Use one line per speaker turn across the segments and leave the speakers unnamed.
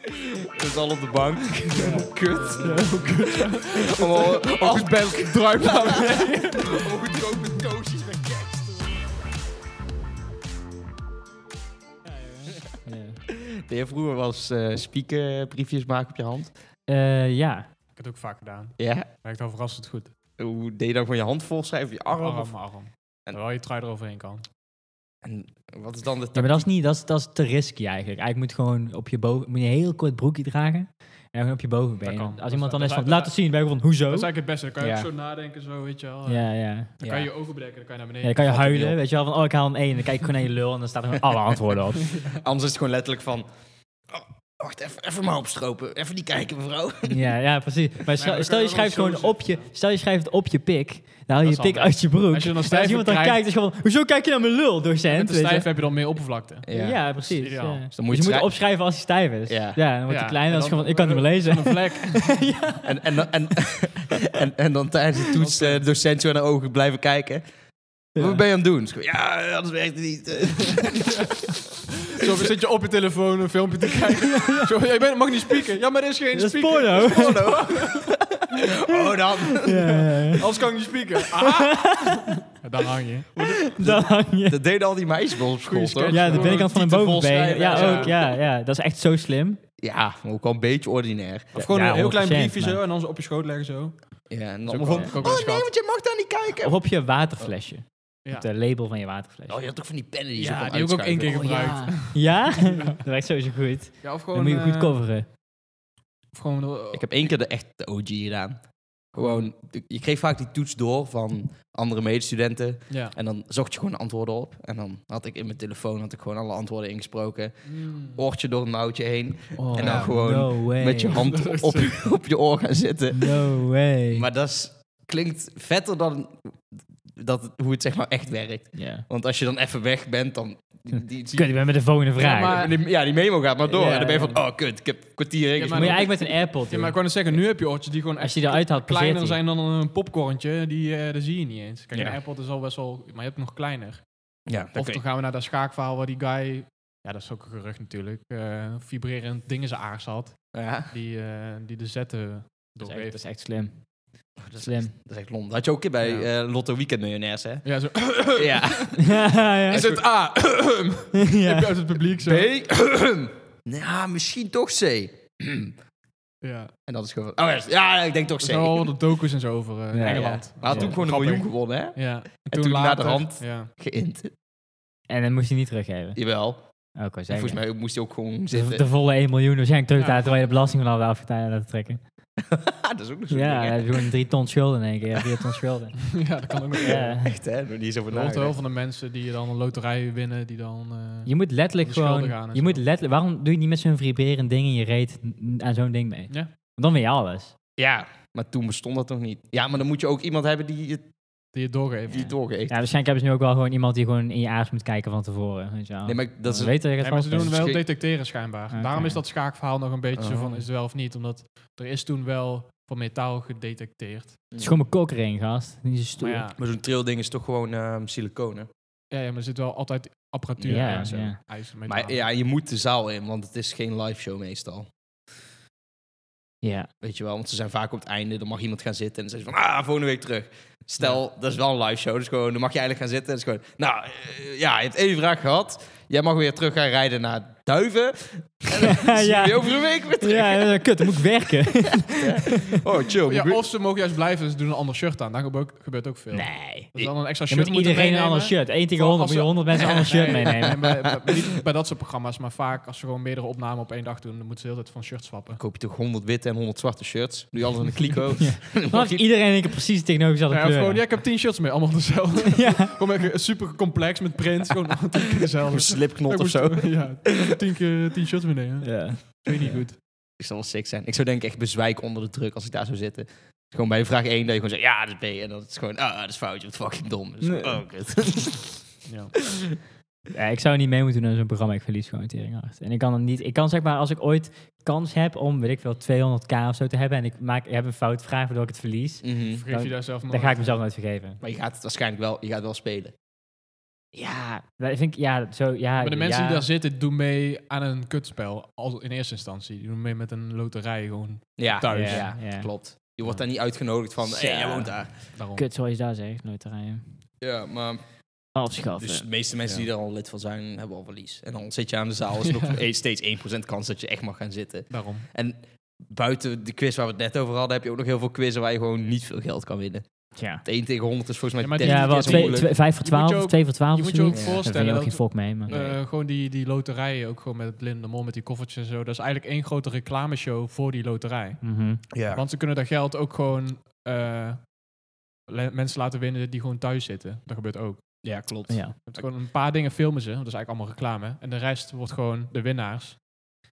Het is al op de bank. Kut. Allemaal al goed bij elkaar druipen. goedkoop met toosjes met
Ja.
Deed je vroeger wel eens eh, speakerbriefjes maken op je hand?
Eh, ja.
Ik heb het ook vaak gedaan.
Ja.
Werkt al verrassend goed.
Hoe deed je dan gewoon je hand volschrijven of je arm?
arm,
Of,
arm.
En-
Terwijl je trui eroverheen kan.
en wat is dan de
ja, maar dat is, niet, dat, is, dat is te risky eigenlijk. Eigenlijk moet je gewoon op je boven... Moet je een heel kort broekje dragen. En gewoon op je bovenbeen.
kan.
Als iemand
Dat is-
dan
dat
is
is-
van,
dat
laat het zien. Ben je van, hoezo?
Dat is eigenlijk het beste. Dan kan je
Ja.
ook zo nadenken, zo, weet je wel. Eh,
Ja, ja.
Dan
Ja.
kan je je overbreken, dan kan je naar beneden.
Ja, dan kan je
valt er niet
huilen,
op.
weet je wel, van oh, ik haal een 1. En dan kijk ik gewoon naar je lul en dan staan er gewoon alle antwoorden op.
Anders is het gewoon letterlijk van... oh, wacht, even, even maar opstropen. Even niet kijken, mevrouw.
ja, ja, precies. Maar stel,
dan
stel je
kunnen we
schrijft
wel
gewoon
zo
op je,
zitten.
stel je schrijft het op je pik, dan haal je
Dat
je
is
pik
handig.
uit je broek.
Als je dan
En
stijf
iemand dan
krijgt-
kijkt, is gewoon, hoezo kijk je naar mijn lul,
Met
docent?
de
Weet je?
stijf heb je dan meer oppervlakte.
ja. precies.
Ideaal.
ja.
Dus dan
Dus
je
je moet
schrij-
opschrijven als hij stijf is.
Ja.
Ja, dan wordt
Ja,
hij kleiner,
en
als je
dan-
gewoon, ik kan het niet meer lezen.
Een vlek.
En, en, dan- en, en, en dan tijdens de toets eh, de docent zo naar de ogen blijven kijken. Wat ben je aan het doen? Dus gewoon, Ja, eh, anders werkt het niet.
Zo zit je op je telefoon een filmpje te kijken. Zo, jij bent, mag niet spieken. Ja, maar er is geen
Dat is
speaker.
porno.
Oh, no. oh dan.
Ja, ja, ja.
Anders kan ik niet spieken. Ah! Ja, Daar hang je.
Dan hang je.
Dat deden al die meisjes bij ons op school,
Goeie
toch?
sketch.
Ja, de
Gewoon
binnenkant van een
tieten
bovenbeen.
volschrijven,
Ja,
ja.
ook. Ja, ja, dat is echt zo slim.
Ja, maar ook al een beetje ordinair.
Of gewoon
Ja,
een heel klein
100%,
briefje zo en dan zo op je schoot leggen zo.
Ja, en
Dat
dan
is
van...
ook wel- ook
Oh
wel
nee,
schat. Oh,
want je mag daar niet kijken.
Of op je waterflesje.
Ja.
Het eh, label van je waterflesje.
Oh, je had toch van die pennen die je zo
Ja,
kon
die heb ik ook één keer
uitschuiven? Oh,
gebruikt.
Ja? dat werkt sowieso goed.
Ja, of
Oh, Dan
gewoon...
moet je goed
eh,
coveren.
of gewoon eh,
Ik heb één keer de echte OG gedaan. Gewoon, je kreeg vaak die toets door van andere medestudenten.
Ja.
En dan zocht je gewoon antwoorden op. En dan had ik in mijn telefoon had ik gewoon alle antwoorden ingesproken. Oortje door het mouwtje heen.
Oh,
en dan gewoon
no way.
Met je hand
Dat is
op, op je oor gaan zitten.
No way.
Maar dat is- klinkt vetter dan dat, hoe het zeg maar echt werkt.
ja.
Want als je dan even weg bent, dan... Die, die-
Kut, ik ben met de volgende vraag.
Ja, maar-
die- ja, die memo gaat maar door.
Ja,
en dan ben je van,
ja.
oh kut, ik heb een kwartier
Ja,
ingesproken.
Moet je eigenlijk met een airpod
Ja,
doen.
maar ik wou net zeggen, nu heb je oortjes die gewoon
Als
echt
je die eruit haalt, passeert
kleiner
die.
zijn dan een popcorntje. Die, eh daar zie je niet eens. Kijk,
Ja.
een iPod is al best wel... Maar je hebt nog kleiner.
Ja, dat
Of
kun je-
dan gaan we naar dat schaakverhaal waar die guy... Ja, dat is ook een gerucht natuurlijk. eh, vibrerend ding in zijn aars had.
ja.
Die, eh, die de zetten
dat, is echt, dat
doorgeeft.
is echt slim.
Oh, Dat is-
Slim.
Dat is echt lom. Dat had je ook een keer bij
Ja.
eh, Lotto Weekend Miljonairs, hè?
Ja, zo...
ja.
ja, ja.
Is het A? Heb je uit het publiek zo?
B. ja, misschien toch C.
Ja.
en dat is gewoon van, oh ja, ja, ik denk toch
Er
C.
zijn al de docus en zo over eh,
Ja,
Engeland.
Maar had toen
Ja.
gewoon
Grappig.
een miljoen gewonnen, hè?
Ja. En,
toen
later,
naderhand.
Ja.
Geïnt.
En dan moest je niet teruggeven.
Jawel. En
Oh, ik wou zeggen.
Volgens mij moest hij ook gewoon
de,
zitten.
de volle 1 miljoen waarschijnlijk terug te
Ja.
halen terwijl je de belasting van al af laten trekken.
Ah, dat is ook nog zo'n
Ja,
ding,
dan
hè?
heb je gewoon 3 ton schulden in één keer. 4 ton schulden.
ja, dat kan ook nog. Ja.
Ja.
Echt, hè? Nog niet eens over
Er hoort wel
nagedacht.
van de mensen die dan een loterij winnen, die dan... eh,
Je moet letterlijk
Om de schulden
gewoon...
gaan en
Je
zo.
moet letterlijk, waarom doe je niet met zo'n vibrerend ding in je reet n- aan zo'n ding mee?
Ja.
Want dan weet je alles.
Ja, maar toen bestond dat nog niet. Ja, maar dan moet je ook iemand hebben die het
Die het doorgeven.
die het doorgeeft.
Ja, waarschijnlijk hebben ze nu ook wel gewoon iemand die gewoon in je aars moet kijken van tevoren. Weet je wel.
Nee, maar dat is...
Dan weet je dat je
Nee,
het
maar
vast
ze
bent.
doen wel
Schi-
detecteren schijnbaar.
Oké.
Daarom is dat schaakverhaal nog een beetje zo van,
Oh.
is het wel of niet? Omdat er is toen wel van metaal gedetecteerd.
Het is gewoon mijn kokering, gast. Niet zo stoer.
Maar ja,
Maar zo'n trailding is toch gewoon ehm, siliconen.
ja, ja, maar er zit wel altijd apparatuur
Ja,
in. Zo.
ja.
IJzer, metaal.
Maar ja, je moet de zaal in, want het is geen live show meestal.
Ja.
Weet je wel, want ze zijn vaak op het einde, dan mag iemand gaan zitten en dan zeggen ze van, ah, volgende week terug. Stel, dat is wel een live show, dus gewoon, dan mag je eigenlijk gaan zitten en is gewoon, nou, eh, ja, je hebt één vraag gehad. Jij mag weer terug gaan rijden naar Duiven. En dan
Ja,
zie je
ja.
je over een week weer terug.
Ja, ja, kut, dan moet ik werken.
Oh, chill.
Ja,
ik weet-
of ze mogen juist blijven en ze doen een ander shirt aan. Daar gebe- gebeurt ook veel.
Nee.
Dat ze dan een extra
Je
shirt
moet
moeten
iedereen een ander
meenemen.
shirt. 1 tegen
Voor
100 moet
als
je
ze-
100 mensen een ander shirt meenemen.
bij, bij- niet bij dat soort programma's, maar vaak als ze gewoon meerdere opnamen op één dag doen, dan moeten ze de hele tijd van shirt swappen.
koop je toch 100 witte en 100 zwarte shirts. Doe je alles in een kliko.
Ja.
Dan
Dan
mag
had
je-
iedereen in één keer precies tegenovergestelde
Ja, of gewoon, ja,
kleuren.
ik heb tien shirts mee, allemaal dezelfde.
Ja.
Gewoon echt super complex met prints, gewoon allemaal tien keer
Of
dezelfde.
een slipknot
Ik
of
moest-
zo.
ja, tien, keer, tien shirts meenemen.
Ja.
Weet je niet goed.
Hm.
Ik zou wel sick zijn. Ik zou denk ik echt bezwijken onder de druk als ik daar zou zitten. Gewoon bij vraag 1 dat je gewoon zegt, ja, dat is B. En dan is het gewoon, ah, dat is foutje, wat fucking dom. Dus,
Nee.
Oh, kut.
Ja.
Ja, ik zou niet mee moeten doen aan zo'n programma. Ik verlies gewoon tering hard. En ik kan het niet. Ik kan zeg maar, als ik ooit kans heb om, weet ik veel, 200k of zo te hebben. En ik maak, ik heb een fout vraag waardoor ik het verlies.
Mhm.
Vergeef je daar zelf
Dan
nog.
ga ik mezelf nooit vergeven.
Maar je gaat het waarschijnlijk wel, je gaat wel spelen.
Ja, dat vind ik, ja, zo, ja.
maar de mensen
ja,
die daar zitten doen mee aan een kutspel. Al in eerste instantie. Die doen mee met een loterij gewoon.
Ja,
thuis.
ja,
Ja, ja.
klopt. Je wordt daar niet uitgenodigd van, hey, jij
Zo.
woont daar.
Daarom.
Kut, zoals je daar zegt, nooit rijden.
Ja, maar
Afschaffen.
dus de meeste mensen
Ja.
die er al lid van zijn, hebben al verlies. En dan zit je aan de zaal, is er nog e- steeds 1% kans dat je echt mag gaan zitten.
Daarom.
Buiten de quiz waar we het net over hadden, heb je ook nog heel veel quizzen waar je gewoon niet veel geld kan winnen.
ja.
Het 1 tegen 100 is volgens mij
Ja, maar die-
dertig
Ja, wel
keer zo
twee,
moeilijk.
twee, vijf voor
Je moet je
twaalf,
ook-
twee voor twaalf
je
of
moet je ook
zoiets.
voorstellen
Daar vind
dat-
je ook geen fok mee, maar...
Nee.
Eh, gewoon die, die loterijen, ook gewoon met Linde Mol, met die koffertjes en zo. Dat is eigenlijk één grote reclameshow voor die loterij.
Mhm.
Ja.
Want ze kunnen dat geld ook gewoon eh, le- mensen laten winnen die gewoon thuis zitten. Dat gebeurt ook.
ja, klopt.
Ja.
Het gewoon een paar dingen filmen ze, want dat is eigenlijk allemaal reclame. En de rest wordt gewoon de winnaars.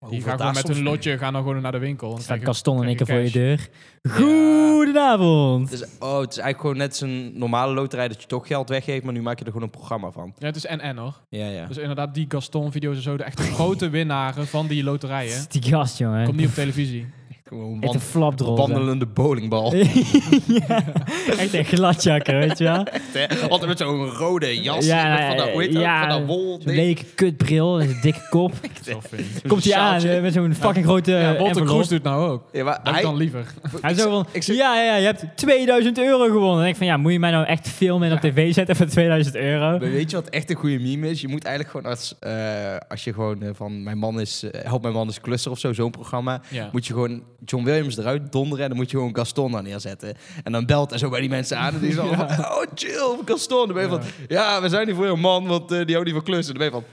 Maar
Die
hoeveel
gaan
daar
gewoon met
soms
hun
mee?
lotje gaan dan gewoon naar de winkel. Dan
Staat
krijg je-
Gaston en ik
krijg
er
je
voor je
cash.
deur. Goedenavond!
Het is, oh, het is eigenlijk gewoon net zo'n normale loterij dat je toch geld weggeeft, maar nu maak je er gewoon een programma van.
Ja, het is en-en hoor.
Ja, ja.
Dus inderdaad, die Gaston-video's en zo, de echte grote winnaren van die loterijen.
Die gast, jongen.
Komt niet op televisie.
gewoon
Echt een flapdrol.
wandelende bowlingbal.
ja, echt een gladjakker, weet je wel?
Echt, hè? Altijd met zo'n rode jas.
Ja,
met van dat, hoe heet dat?
ja,
van dat wol.
Zo'n
ding.
lelijke kutbril, een dikke kop.
Zo vind ik.
Zo'n
Komt hij aan
sjaaltje.
eh, met zo'n fucking grote
Ja,
eh,
Walter Kroes
envelop.
doet nou ook.
Ja, maar
Dat
hij,
dan liever.
Hij is ook
ik
van,
zeg-
ja, ja, je hebt 2000 euro gewonnen. En ik van, ja, moet je mij nou echt filmen en op tv zetten voor 2000 euro?
Maar weet je wat echt een goede meme is? Je moet eigenlijk gewoon als, eh, als je gewoon eh, van mijn man is, eh, help mijn man is klusser of zo, zo'n programma.
Ja.
Moet je gewoon John Williams eruit donderen en dan moet je gewoon Gaston daar neerzetten. En dan belt en zo bij die mensen aan en die is dan van, oh chill, Gaston. Dan ben je
Ja.
van, ja, we zijn hier voor jouw man, want eh, die houdt niet van klussen. Dan ben je van,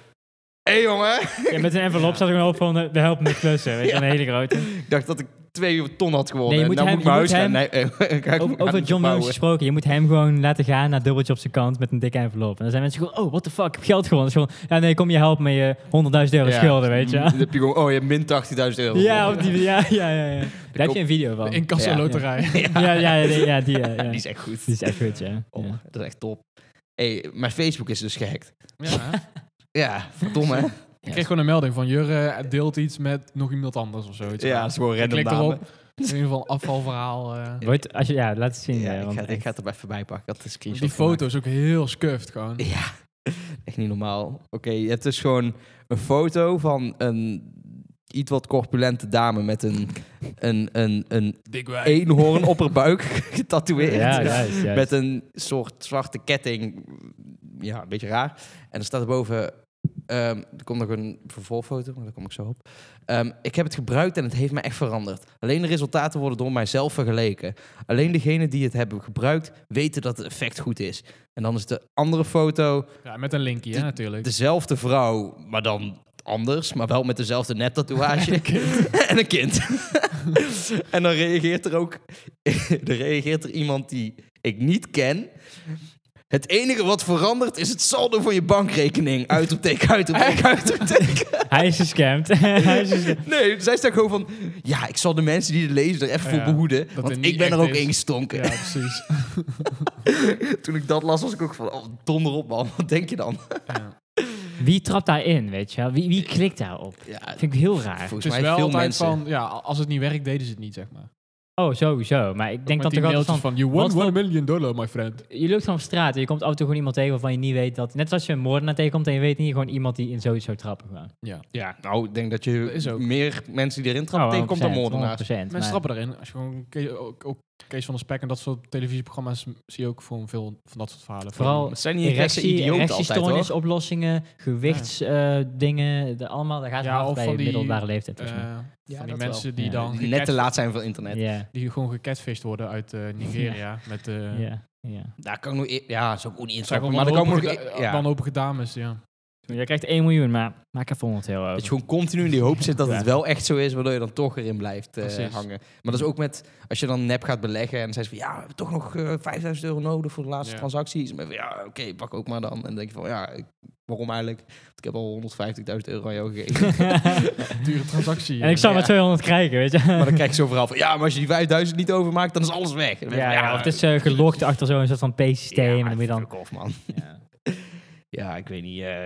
hé hey, jongen.
Ja, met een envelop staat er gewoon op van, eh, we helpen met klussen. Weet je,
Ja.
een hele grote.
ik dacht dat ik twee ton had gewonnen.
Nee, je
en
moet
nou
hem-
moet ik mijn huis
je
gaan.
moet
Nee, eh, ga ik
Over,
gaan
over John Williams
verbouwen.
gesproken, je moet hem gewoon laten gaan naar dubbeltje op zijn kant met een dikke envelop. En dan zijn mensen gewoon, oh, what the fuck, ik heb geld gewonnen. Dus gewoon, ja, nee, kom je helpen met je 100.000 euro
Ja.
schulden, weet je.
Dan heb je gewoon, oh, je hebt min 18.000 euro.
Ja, op die, ja, ja, ja, ja. Daar heb je een video van.
In
Ja.
loterij.
Ja, ja, ja, die, ja, die, ja, ja.
Die
Die
is echt goed.
is echt goed, ja.
Oh,
Ja.
Dat is echt top. hey, mijn Facebook is dus gehackt.
Ja.
Ja, verdomme. hè?
Ik kreeg gewoon een melding van Jurre deelt iets met nog iemand anders of zo. weet je
ja,
wel.
dat is gewoon
Ik
random
klik
namen.
erop. In ieder geval afvalverhaal. eh.
Wordt, als je, ja, laat het zien.
Ja,
eh,
ik,
want
ga, ik
echt.
ga het er even bij pakken. Dat is
die foto is ook heel scuffed gewoon.
Ja, echt niet normaal. Oké, je hebt dus gewoon een foto van een iets wat corpulente dame met een, een, een, een
Dik wij.
eenhoorn op haar buik getatoeëerd.
Ja, juist, juist.
Met een soort zwarte ketting. Ja, een beetje raar. En er staat erboven... ehm er komt nog een vervolgfoto, maar daar kom ik zo op. Ehm, ik heb het gebruikt en het heeft me echt veranderd. Alleen de resultaten worden door mijzelf vergeleken. Alleen degenen die het hebben gebruikt weten dat het effect goed is. En dan is de andere foto
Ja, met een linkje hè, natuurlijk.
dus- dezelfde vrouw, maar dan anders, maar wel met dezelfde neptatoeage. en een kind. en dan reageert er ook dan reageert er iemand die ik niet ken. Het enige wat verandert is het saldo van je bankrekening. Uitroepteken, uitroepteken, uitroepteken.
Hij is gescamd. Hij is gescamd.
Nee, zij staat gewoon van... Ja, ik zal de mensen die het lezen er even
Ja,
voor behoeden.
dat het
Want
niet
ik ben er
echt
ook
is.
ingestonken.
Ja, precies.
Toen ik dat las, was ik ook van... Oh, donder op man, wat denk je dan?
Ja.
Wie trapt daarin, weet je wel? Wie, wie klikt daarop?
Ja,
Dat vind ik heel raar.
volgens
Het is
mij
wel
veel
altijd
mensen...
van, ja, als het niet werkt, deden ze het niet, zeg maar.
Oh, sowieso. Maar ik denk
Met
dat
die
er altijd
mailtjes
van...
van, you
wat
won
voor-
1 million dollar, my friend.
Je loopt gewoon op straat en je komt af en toe gewoon iemand tegen waarvan je niet weet dat... Net zoals je een moordenaar tegenkomt en je weet niet gewoon iemand die in zoiets zou trappen. Gewoon.
Ja.
Ja, nou, ik denk dat je
Dat is ook.
meer mensen die erin trappen
Oh,
tegenkomt dan
100%,
moordenaars.
100%, maar-
Mensen trappen erin. Als je gewoon, Ke- ook, ook Kees van der Spek en dat soort televisieprogramma's zie je ook gewoon veel van dat soort verhalen.
Vooral
Het zijn niet rechtse
erectie,
idioten altijd, hoor.
erectiestoornisoplossingen, gewichtsdingen, de allemaal. Daar gaat
Ja,
het hard
of
bij
van
de
die,
middelbare leeftijd.
Eh,
volgens mij.
van die
dat
mensen die
Ja.
dan
Die net te
gecatfish-
laat zijn van internet.
Ja,
die gewoon gecatfished worden uit eh, Nigeria. Met, eh,
ja, ja.
Daar kan ik nog... e- Ja, dat is ook niet
Zijn
interessant.
gewoon
Maar dan kan ik nog...
wanhopige
e-
da-
Ja.
wanhopige dames, ja.
Jij krijgt 1 miljoen, maar maak even 100 euro
Dat je
over.
gewoon continu in die hoop zit dat het
Ja.
wel echt zo is, waardoor je dan toch erin blijft eh,
Precies.
hangen. Maar dat is ook met, als je dan nep gaat beleggen en dan zei ze van, ja, we hebben toch nog eh, 5000 euro nodig voor de laatste
Ja.
transacties. Maar van, ja, oké, pak ook maar dan. En dan denk je van, ja, ik- waarom eigenlijk? Want ik heb al 150.000 euro aan jou gegeven.
Dure transactie. eh.
en ik zou
Ja.
maar 200 krijgen, weet je.
maar dan krijg je zo verhaal van, ja, maar als je die 5000 niet overmaakt, dan is alles weg. En dan ben je
ja,
van,
ja, of het is eh, gelokt achter zo'n soort van P-systeem. en dan moet je dan...
fuck off, man. Ja, ik weet niet. eh,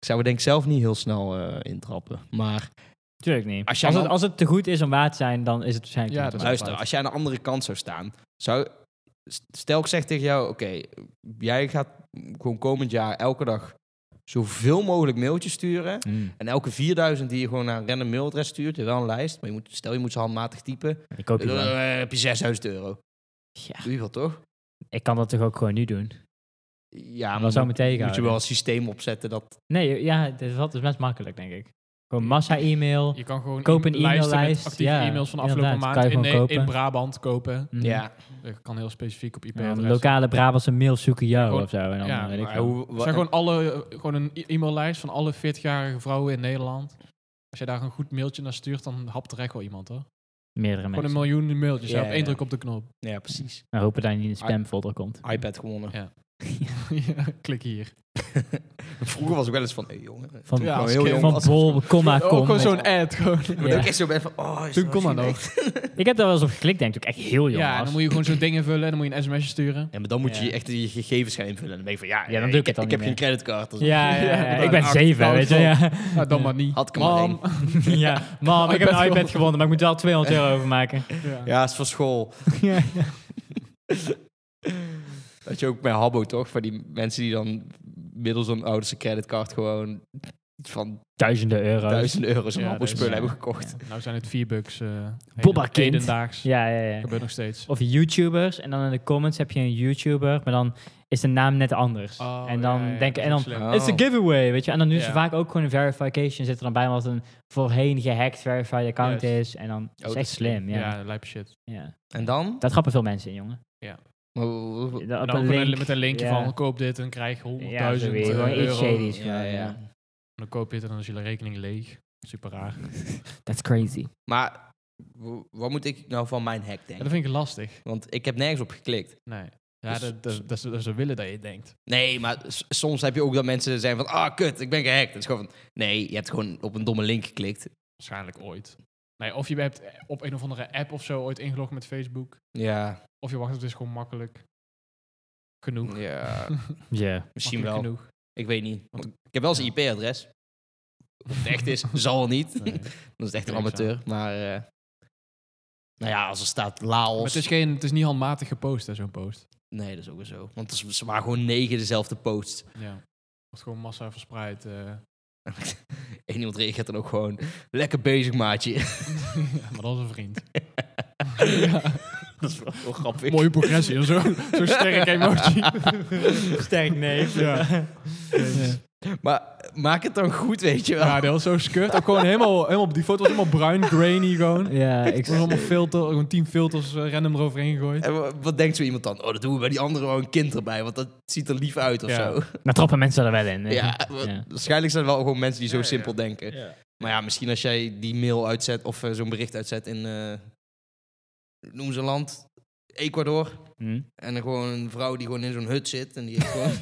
ik zou er denk ik zelf niet heel snel eh, intrappen. Maar
Tuurlijk niet.
Als
Als,
je
het,
dan-
als het te goed is om waar te zijn, dan is het waarschijnlijk
Ja,
niet
dat
waar.
is-
luister, als jij aan de andere kant zou staan, zou, s- stel ik zeg tegen jou, oké, jij gaat gewoon komend jaar elke dag zoveel mogelijk mailtjes sturen. En elke 4000 die je gewoon naar een random mailadres stuurt, je hebt wel een lijst, maar je moet, stel je moet ze handmatig typen,
Mm. Ik koop je
dan
wel.
heb je 6000 euro.
Ja,
Doe je wel toch?
ik kan dat toch ook gewoon nu doen?
Ja,
Dat
maar
zou
moet,
me tegenhouden.
moet je wel een systeem opzetten dat...
Nee, ja, dat is, dat is best makkelijk, denk ik. Gewoon massa-e-mail.
Je kan gewoon
Koop een
e- lijsten
e-maillijst,
met actieve
ja,
e-mails van afgelopen
inderdaad,
maand
kan je
in,
gewoon kopen.
eh, in Brabant kopen.
Mm.
Ja,
Dat kan heel specifiek op
Ja,
IP-adres.
een lokale Brabantse mail zoeken jou
Gewoon-
of zo. En dan eh,
ja,
weet ik
maar
veel.
hoe- wa-
zijn gewoon, alle, eh, gewoon een e- e-maillijst van alle 40-jarige vrouwen in Nederland. Als je daar een goed mailtje naar stuurt, dan hapt er echt wel iemand hoor.
Meerdere
Gewoon
mensen.
een miljoen mailtjes.
Ja,
hè, op één
ja.
druk op de knop.
Ja, precies.
We hopen dat je niet in de spamfolder komt.
iPad gewonnen.
Ja, Klik hier.
Vroeger was ik wel eens van, hé jongen.
Van,
ja,
Ja, als
heel
kind
jong
van
was.
bol, komma,
Ook
kom.
Oh, gewoon
weet
zo'n
je.
ad. Gewoon.
Maar
Ja.
dat ik echt zo ben van, oh, is
Toen
dat
kon dat nog.
Chinees?
Ik heb daar wel eens op geklikt, denk ik. Toen ik echt heel jong
Ja, en
was.
dan moet je gewoon zo'n ding invullen en dan moet je een sms'je sturen.
Ja, maar dan moet je
Ja.
echt je gegevens gaan invullen. En dan ben je van, ja,
Ja, dan doe ik het dan
Ik
niet
heb geen creditcard. Dus
Ja, ja, ja,
Ja,
ik ben
acht,
zeven,
nou,
weet je.
zo.
Ja.
Nou, dan maar niet.
Had ik hem maar
Mam.
ja. Mam, ik heb een iPad gewonnen, maar ik moet wel 200 euro overmaken.
Ja.
Ja, is voor school.
ja, ja.
Dat je ook bij Habbo toch? Van die mensen die dan middels een ouders creditcard gewoon iets van
Duizenden euro's.
duizenden euro's aan
Ja,
Habbo spullen
dat is-
hebben gekocht.
Nou zijn het vier bucks. eh
Bobba
heden-
kind.
hedendaags.
Ja, Oh. ja, ja.
Gebeurt nog steeds.
Of YouTubers. En dan in de comments heb je een YouTuber, maar dan is de naam net anders.
Oh,
en dan
ja, ja,
denk
dat
en
is ook
dan
slim.
Oh.
It's a giveaway, weet je. En dan doen ze
Ja.
vaak ook gewoon een verification zit er dan bij, omdat een voorheen gehackt verified account
Juist. Oh,
is. En dan dat
dat
is echt
is
slim, ja. ja.
Ja, lijp shit.
En dan?
Dat grappen veel mensen in, jongen.
Oh,
Dat-
En
op
dan
een
gewoon
link,
een- met een linkje
ja.
van koop dit en krijg 100.000
Ja, zo weer,
euro.
gewoon iets shadies.
Ja,
Ja,
ja.
ja.
En dan koop je het en dan is je rekening leeg. Super raar.
That's crazy.
Maar w- wat moet ik nou van mijn hack
Ja, dat
denken?
vind ik lastig.
Want ik heb nergens op geklikt.
Nee. Ja,
Dus-
dat, dat, dat, ze- dat ze willen dat je denkt.
Nee, maar s- soms heb je ook dat mensen zijn van... Ah, kut, ik ben gehackt. Het is gewoon van... Nee, je hebt gewoon op een domme link geklikt.
Waarschijnlijk ooit. Nee, of je hebt op een of andere app of zo ooit ingelogd met Facebook.
Ja,
Of je wacht, het is gewoon makkelijk. Genoeg.
ja
Ja.
misschien
Makkelijk
wel.
genoeg.
Ik weet niet. Want ik heb wel eens een IP-adres. Of het echt is, zal niet.
Nee.
Dat is echt een
Ik weet
amateur. Maar eh, nou ja, als er staat Laos...
Maar het, is geen, het is niet handmatig gepost, hè, zo'n post.
Nee, dat is ook weer zo. Want het is- ze waren gewoon negen dezelfde posts.
Ja. Wordt gewoon massa verspreid. eh.
En iemand reageert dan ook gewoon... Lekker bezig, maatje.
Ja, maar dat is een vriend.
dat is wel, wel grappig.
Mooie progressie. Zo'n zo sterk emoji.
Sterk nee.
Ja.
Maar maak het dan goed, weet je wel.
Ja, dat was zo skurt. Ook gewoon helemaal, helemaal, die foto was helemaal bruin, grainy gewoon. Er
Ja, ik...
was allemaal filter, gewoon tien filters eh, random eroverheen gegooid.
En wa- wat denkt zo iemand dan? Oh, dat doen we bij die andere wel een kind erbij. Want dat ziet er lief uit of
Ja.
zo.
Nou trappen mensen er wel in. weet je.
Ja, wa-
Ja.
waarschijnlijk zijn er wel gewoon mensen die zo
Ja, ja.
simpel denken. Maar ja, misschien als jij die mail uitzet of eh, zo'n bericht uitzet in, eh, noem ze land, Ecuador.
Hm?
En dan gewoon een vrouw die gewoon in zo'n hut zit en die heeft gewoon...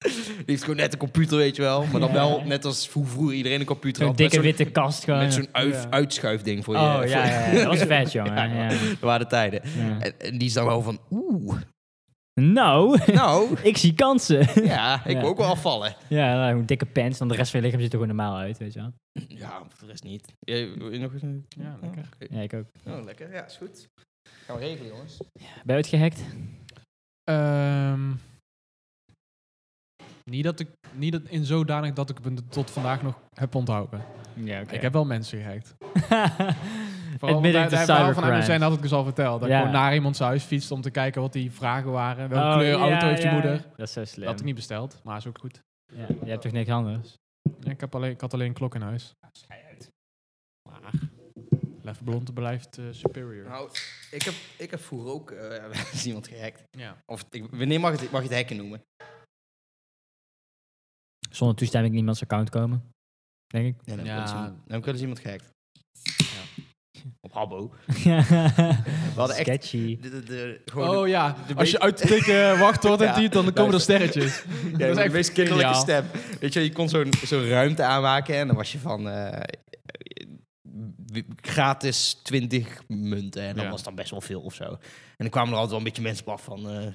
die heeft gewoon net een computer, weet je wel. Maar dan
Ja.
wel, net als hoe vroeger iedereen een computer
Zo'n
had. met
dikke
zo'n-
witte kast gewoon.
Met zo'n uif-
Ja.
uitschuifding voor je.
oh,
voor
ja,
je-
ja, ja. Dat was vet, jongen.
Ja,
Ja,
Dat waren de tijden.
ja.
En, en die is dan wel van, oeh,
Nou,
nou,
ik zie kansen.
ja, ik wil
Ja.
ook wel afvallen.
ja, nou, een dikke pants, dan de rest van je lichaam ziet er gewoon normaal uit, weet je wel.
Ja, voor de rest niet. Jij, wil je nog eens een-
Ja, lekker.
oké.
Ja, ik ook.
Oh, lekker. Ja, is goed. Gaan we regelen, jongens.
Ben je uitgehackt?
Ehm, niet, dat ik, niet dat in zodanig dat ik het tot vandaag nog heb onthouden.
Ja, oké.
Ik heb wel mensen gehackt. Vooral
Admitting
daar-
to
daar- verhaal van
cybercrime.
MSN had ik dus al verteld. Dat
Ja.
ik gewoon naar iemands huis fietste om te kijken wat die vragen waren. Welke kleur auto heeft je moeder?
Oh, Dat is zo slim.
Dat had ik niet besteld, maar is ook goed.
Ja, je hebt toch niks anders?
Ja, ik, heb alleen, ik had alleen een klok in huis. Maar Lef Blond blijft eh, superior.
Nou, ik heb, ik heb vroeger ook eh, is iemand gehackt.
Ja.
Of ik, wanneer mag, het, mag je het hacken noemen?
Zonder toestemming niemands account komen. Denk ik.
Ja, dan
Ja.
heb ik wel eens iemand- dan heb ik wel eens iemand gehackt. Op Habbo.
we
hadden echt-
Sketchy.
De, de, de- gewoon
Oh
de-
ja,
de
als
meest-
je uit eh, de dikke wachtwoord en
Ja,
typt, dan komen er
luister.
sterretjes.
ja, dat is
echt
de meest kinderlijke
geniaal.
stem. Weet je, je kon zo'n zo'n ruimte aanmaken en dan was je van eh, gratis 20 munten. En dat
Ja.
was dan best wel veel of zo. En dan kwamen er altijd wel een beetje mensen op af van... eh,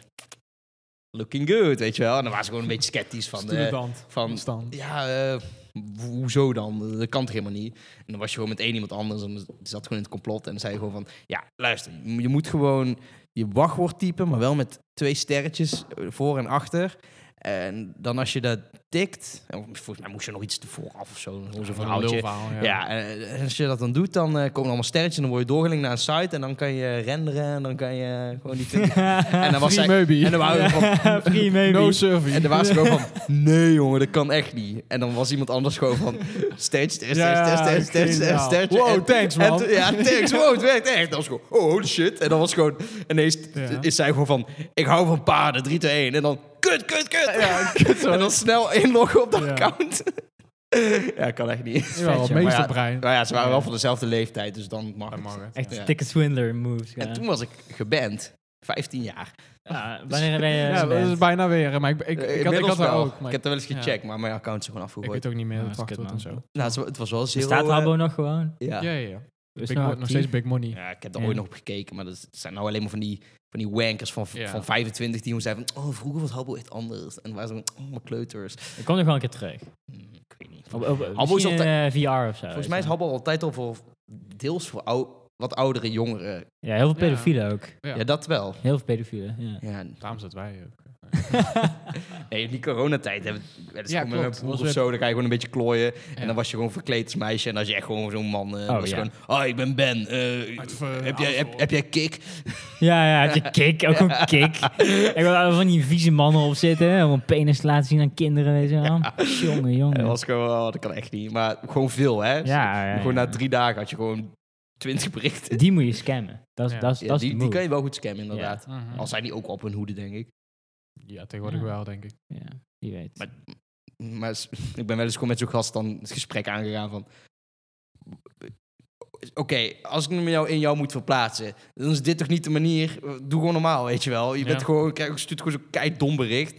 looking good, weet je wel. En dan waren ze gewoon een beetje sceptisch van... eh,
Student.
van
Stand.
Ja, eh, ho- hoezo dan? Dat kan toch helemaal niet? En dan was je gewoon met één iemand anders en die zat gewoon in het complot en dan zei je gewoon van, ja, luister, je mo- je moet gewoon je wachtwoord typen, maar wel met twee sterretjes eh, voor en achter. En dan als je dat tikt, en volgens mij moest je nog iets vooraf of zo, zo'n verhaaltje.
lulverhaal, ja.
Ja, eh, en als je dat dan doet, dan eh, komen er allemaal sterretjes en dan word je doorgelinkt naar een site en dan kan je renderen en dan kan je gewoon die... en dan was
Free
zij-
maybe.
en dan waren we van,
Free maybe.
No survey.
en dan was ze gewoon van, nee jongen, dat kan echt niet. En dan was iemand anders gewoon van, stage, stage,
Ja,
stage, stage, stage, stage,
geniaal.
stage.
Wow,
En-
thanks,
en
man.
toen- ja, thanks, wow, het werkt echt. Dat was gewoon, oh, holy shit. En dan was gewoon, ineens t-
Ja.
is zij gewoon van, ik hou van paarden, 3, 2, 1. En dan, kut, kut, kut. en dan snel inloggen op dat
Ja.
account. ja, kan echt niet.
Jawel,
Vet, joh.
meesterbrein.
Nou ja, ze waren wel van dezelfde leeftijd, dus dan mag het.
Echt
Ja.
dikke swindler moves. Ja.
En toen was ik geband, 15 jaar.
Ja, wanneer ben je
Ja, dat is
geband?
bijna weer. Maar ik,
Eh,
ik, ik, had, ik
Inmiddels
had haar
wel.
ook.
Ik
Maar ik,
heb er wel eens
ja.
gecheckt, maar mijn account is gewoon
ik
afgegooid.
weet ook niet meer
Ja,
het
dat is kut,
wachtwoord en
man.
zo.
Nou, het wa- het was wel zero...
Staat
eh,
Habbo nog gewoon?
ja.
Ja, ja, ja.
Is
Big
nou
Mo- nog steeds
actief?
Big Money.
ja, ik heb er
Ja.
ooit nog op gekeken, maar dat zijn nou alleen maar van die, van die wankers van,
Ja.
van 25 die gewoon zeiden van... Oh, vroeger was Habbo echt anders. En waar zijn oh, mijn kleuters.
Ik kom nog wel een keer terug.
Hm, ik weet niet.
Op, op,
Habbo is
misschien in, eh, VR of zo.
Volgens mij is
weet
Habbo altijd al voor... Deels voor ou- wat oudere jongeren.
je. Ja, heel veel
Ja.
pedofielen ook.
Ja,
Ja.
dat wel.
Heel veel pedofielen, ja.
Ja,
Daarom zitten wij ook.
nee, in die coronatijd hebben we wel eens
Ja,
gewoon met
klopt.
mijn broer
Was
of
het-
zo. Dan ga je gewoon een beetje klooien.
Ja.
En dan was je gewoon verkleed als meisje. En dan was je echt gewoon zo'n man. eh dan
Oh,
was je
ja.
gewoon... Oh, ik ben Ben. eh,
Uit, Hmm. eh,
heb, jij, heb,
Alphen.
heb jij kick?
Ja, ja, heb je kick, ook een kick. Ik wil daar van die vieze mannen op zitten, hè, om een penis te laten zien aan kinderen, weet je wel. Jongen, jongen.
En dat was gewoon... oh, dat kan echt niet. Maar gewoon veel, hè?
ja, ja, ja.
Gewoon na drie dagen had je gewoon 20 berichten.
Die moet je scammen. Dat is,
Ja.
dat is,
Ja,
dat is
die, die
de move.
kan je wel goed scammen, inderdaad.
Mhm.
Al zijn die ook op hun hoede, denk ik.
Ja, tegenwoordig
Ja.
wel, denk ik.
Ja, wie weet.
Maar- Maar s- ik ben wel eens gewoon met zo'n gast dan het gesprek aangegaan van... Oké, als ik me jou in jou moet verplaatsen, dan is dit toch niet de manier? Doe gewoon normaal, weet je wel. Je bent
Ja.
gewoon, kijk, je stuurt gewoon zo'n keidom bericht.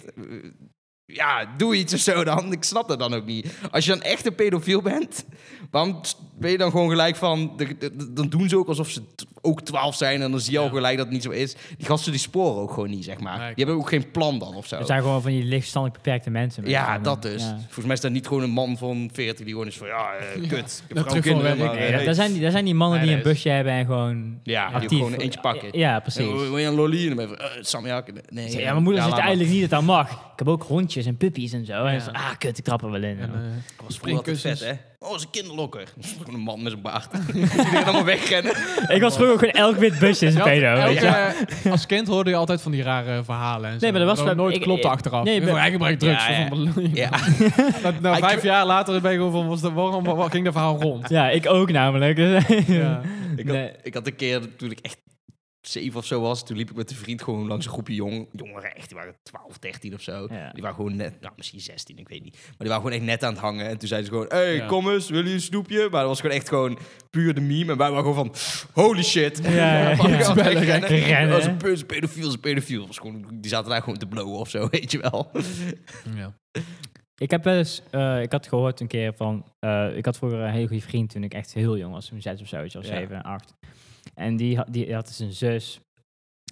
Ja, doe iets of zo dan. Ik snap dat dan ook niet. Als je dan echt een pedofiel bent, waarom st- ben je dan gewoon gelijk van... de- de- de- Dan doen ze ook alsof ze t- ook twaalf zijn en dan zie je al
Ja.
gelijk dat het niet zo is. Die gasten die sporen ook gewoon niet, zeg maar.
Nee,
Die hebben ook geen plan dan of zo.
Het zijn gewoon van die lichtstandig beperkte mensen. weet je
Ja,
wel.
dat dus.
Ja.
Volgens mij is dat niet gewoon een man van 40 die gewoon is van ja, eh,
Ja.
kut. Ik heb
Dat
gewoon
terug van
kinderen,
werk.
maar,
Nee,
eh,
dat, daar zijn die, daar zijn die mannen
Nee,
die een
dat is-
busje hebben en gewoon
Ja, die
actief...
gewoon eentje pakken.
Ja,
Eh,
precies.
Wil je een lolly? En dan ben je van, eh, Sam, ja, ik- nee.
Ja, mijn moeder
ja,
zit
laat maar.
eigenlijk niet dat dat mag. Ik heb ook hondjes en puppies en zo. En
Ja.
zo, ah, kut, ik trap er wel in.
En,
joh.
eh,
Dat was vroeger altijd vet, hè?
springkussens.
Oh, dat is een kinderlokker. Dat is gewoon een man met een baard. Die gaan allemaal wegrennen.
ik was vroeger ook gewoon elk wit busje is een
Ja,
pedo.
elke-
weet je wel.
Als kind hoorde je altijd van die rare verhalen. En zo.
Nee, maar dat was wel-
nooit
ik-
klopte
ik-
achteraf.
nee,
Nee,
maar-
hij gebruikt drugs.
Ja, ja. Ja.
Na, na
Hij
vijf
kn-
jaar later ben ik gewoon van, was dat, waarom, waar ging dat verhaal rond?
Ja, ik ook namelijk. Dus-
Ja.
Ik had,
Nee.
ik had een keer, toen ik echt zeven of zo was, toen liep ik met een vriend gewoon langs een groepje jong, jongeren, echt, die waren 12, 13 of zo.
Ja.
Die waren gewoon net, nou misschien 16, ik weet niet. Maar die waren gewoon echt net aan het hangen. En toen zeiden ze gewoon, hey,
Ja.
kom eens, wil je een snoepje? Maar dat was gewoon echt gewoon puur de meme. En wij waren gewoon van, holy shit.
Ja, ja, ja.
Allemaal
Ja,
rennen.
lekker rennen.
Dat was een pe- een pedofiel, dat is een pedofiel. Dat Was gewoon, die zaten daar gewoon te blowen of zo, weet je wel.
Ja.
Ik heb wel eens, eh, ik had gehoord een keer van, eh, ik had vroeger een hele goede vriend toen ik echt heel jong was, toen zes of zoiets, of
Ja.
zeven, acht. En die, had- die had dus een zus.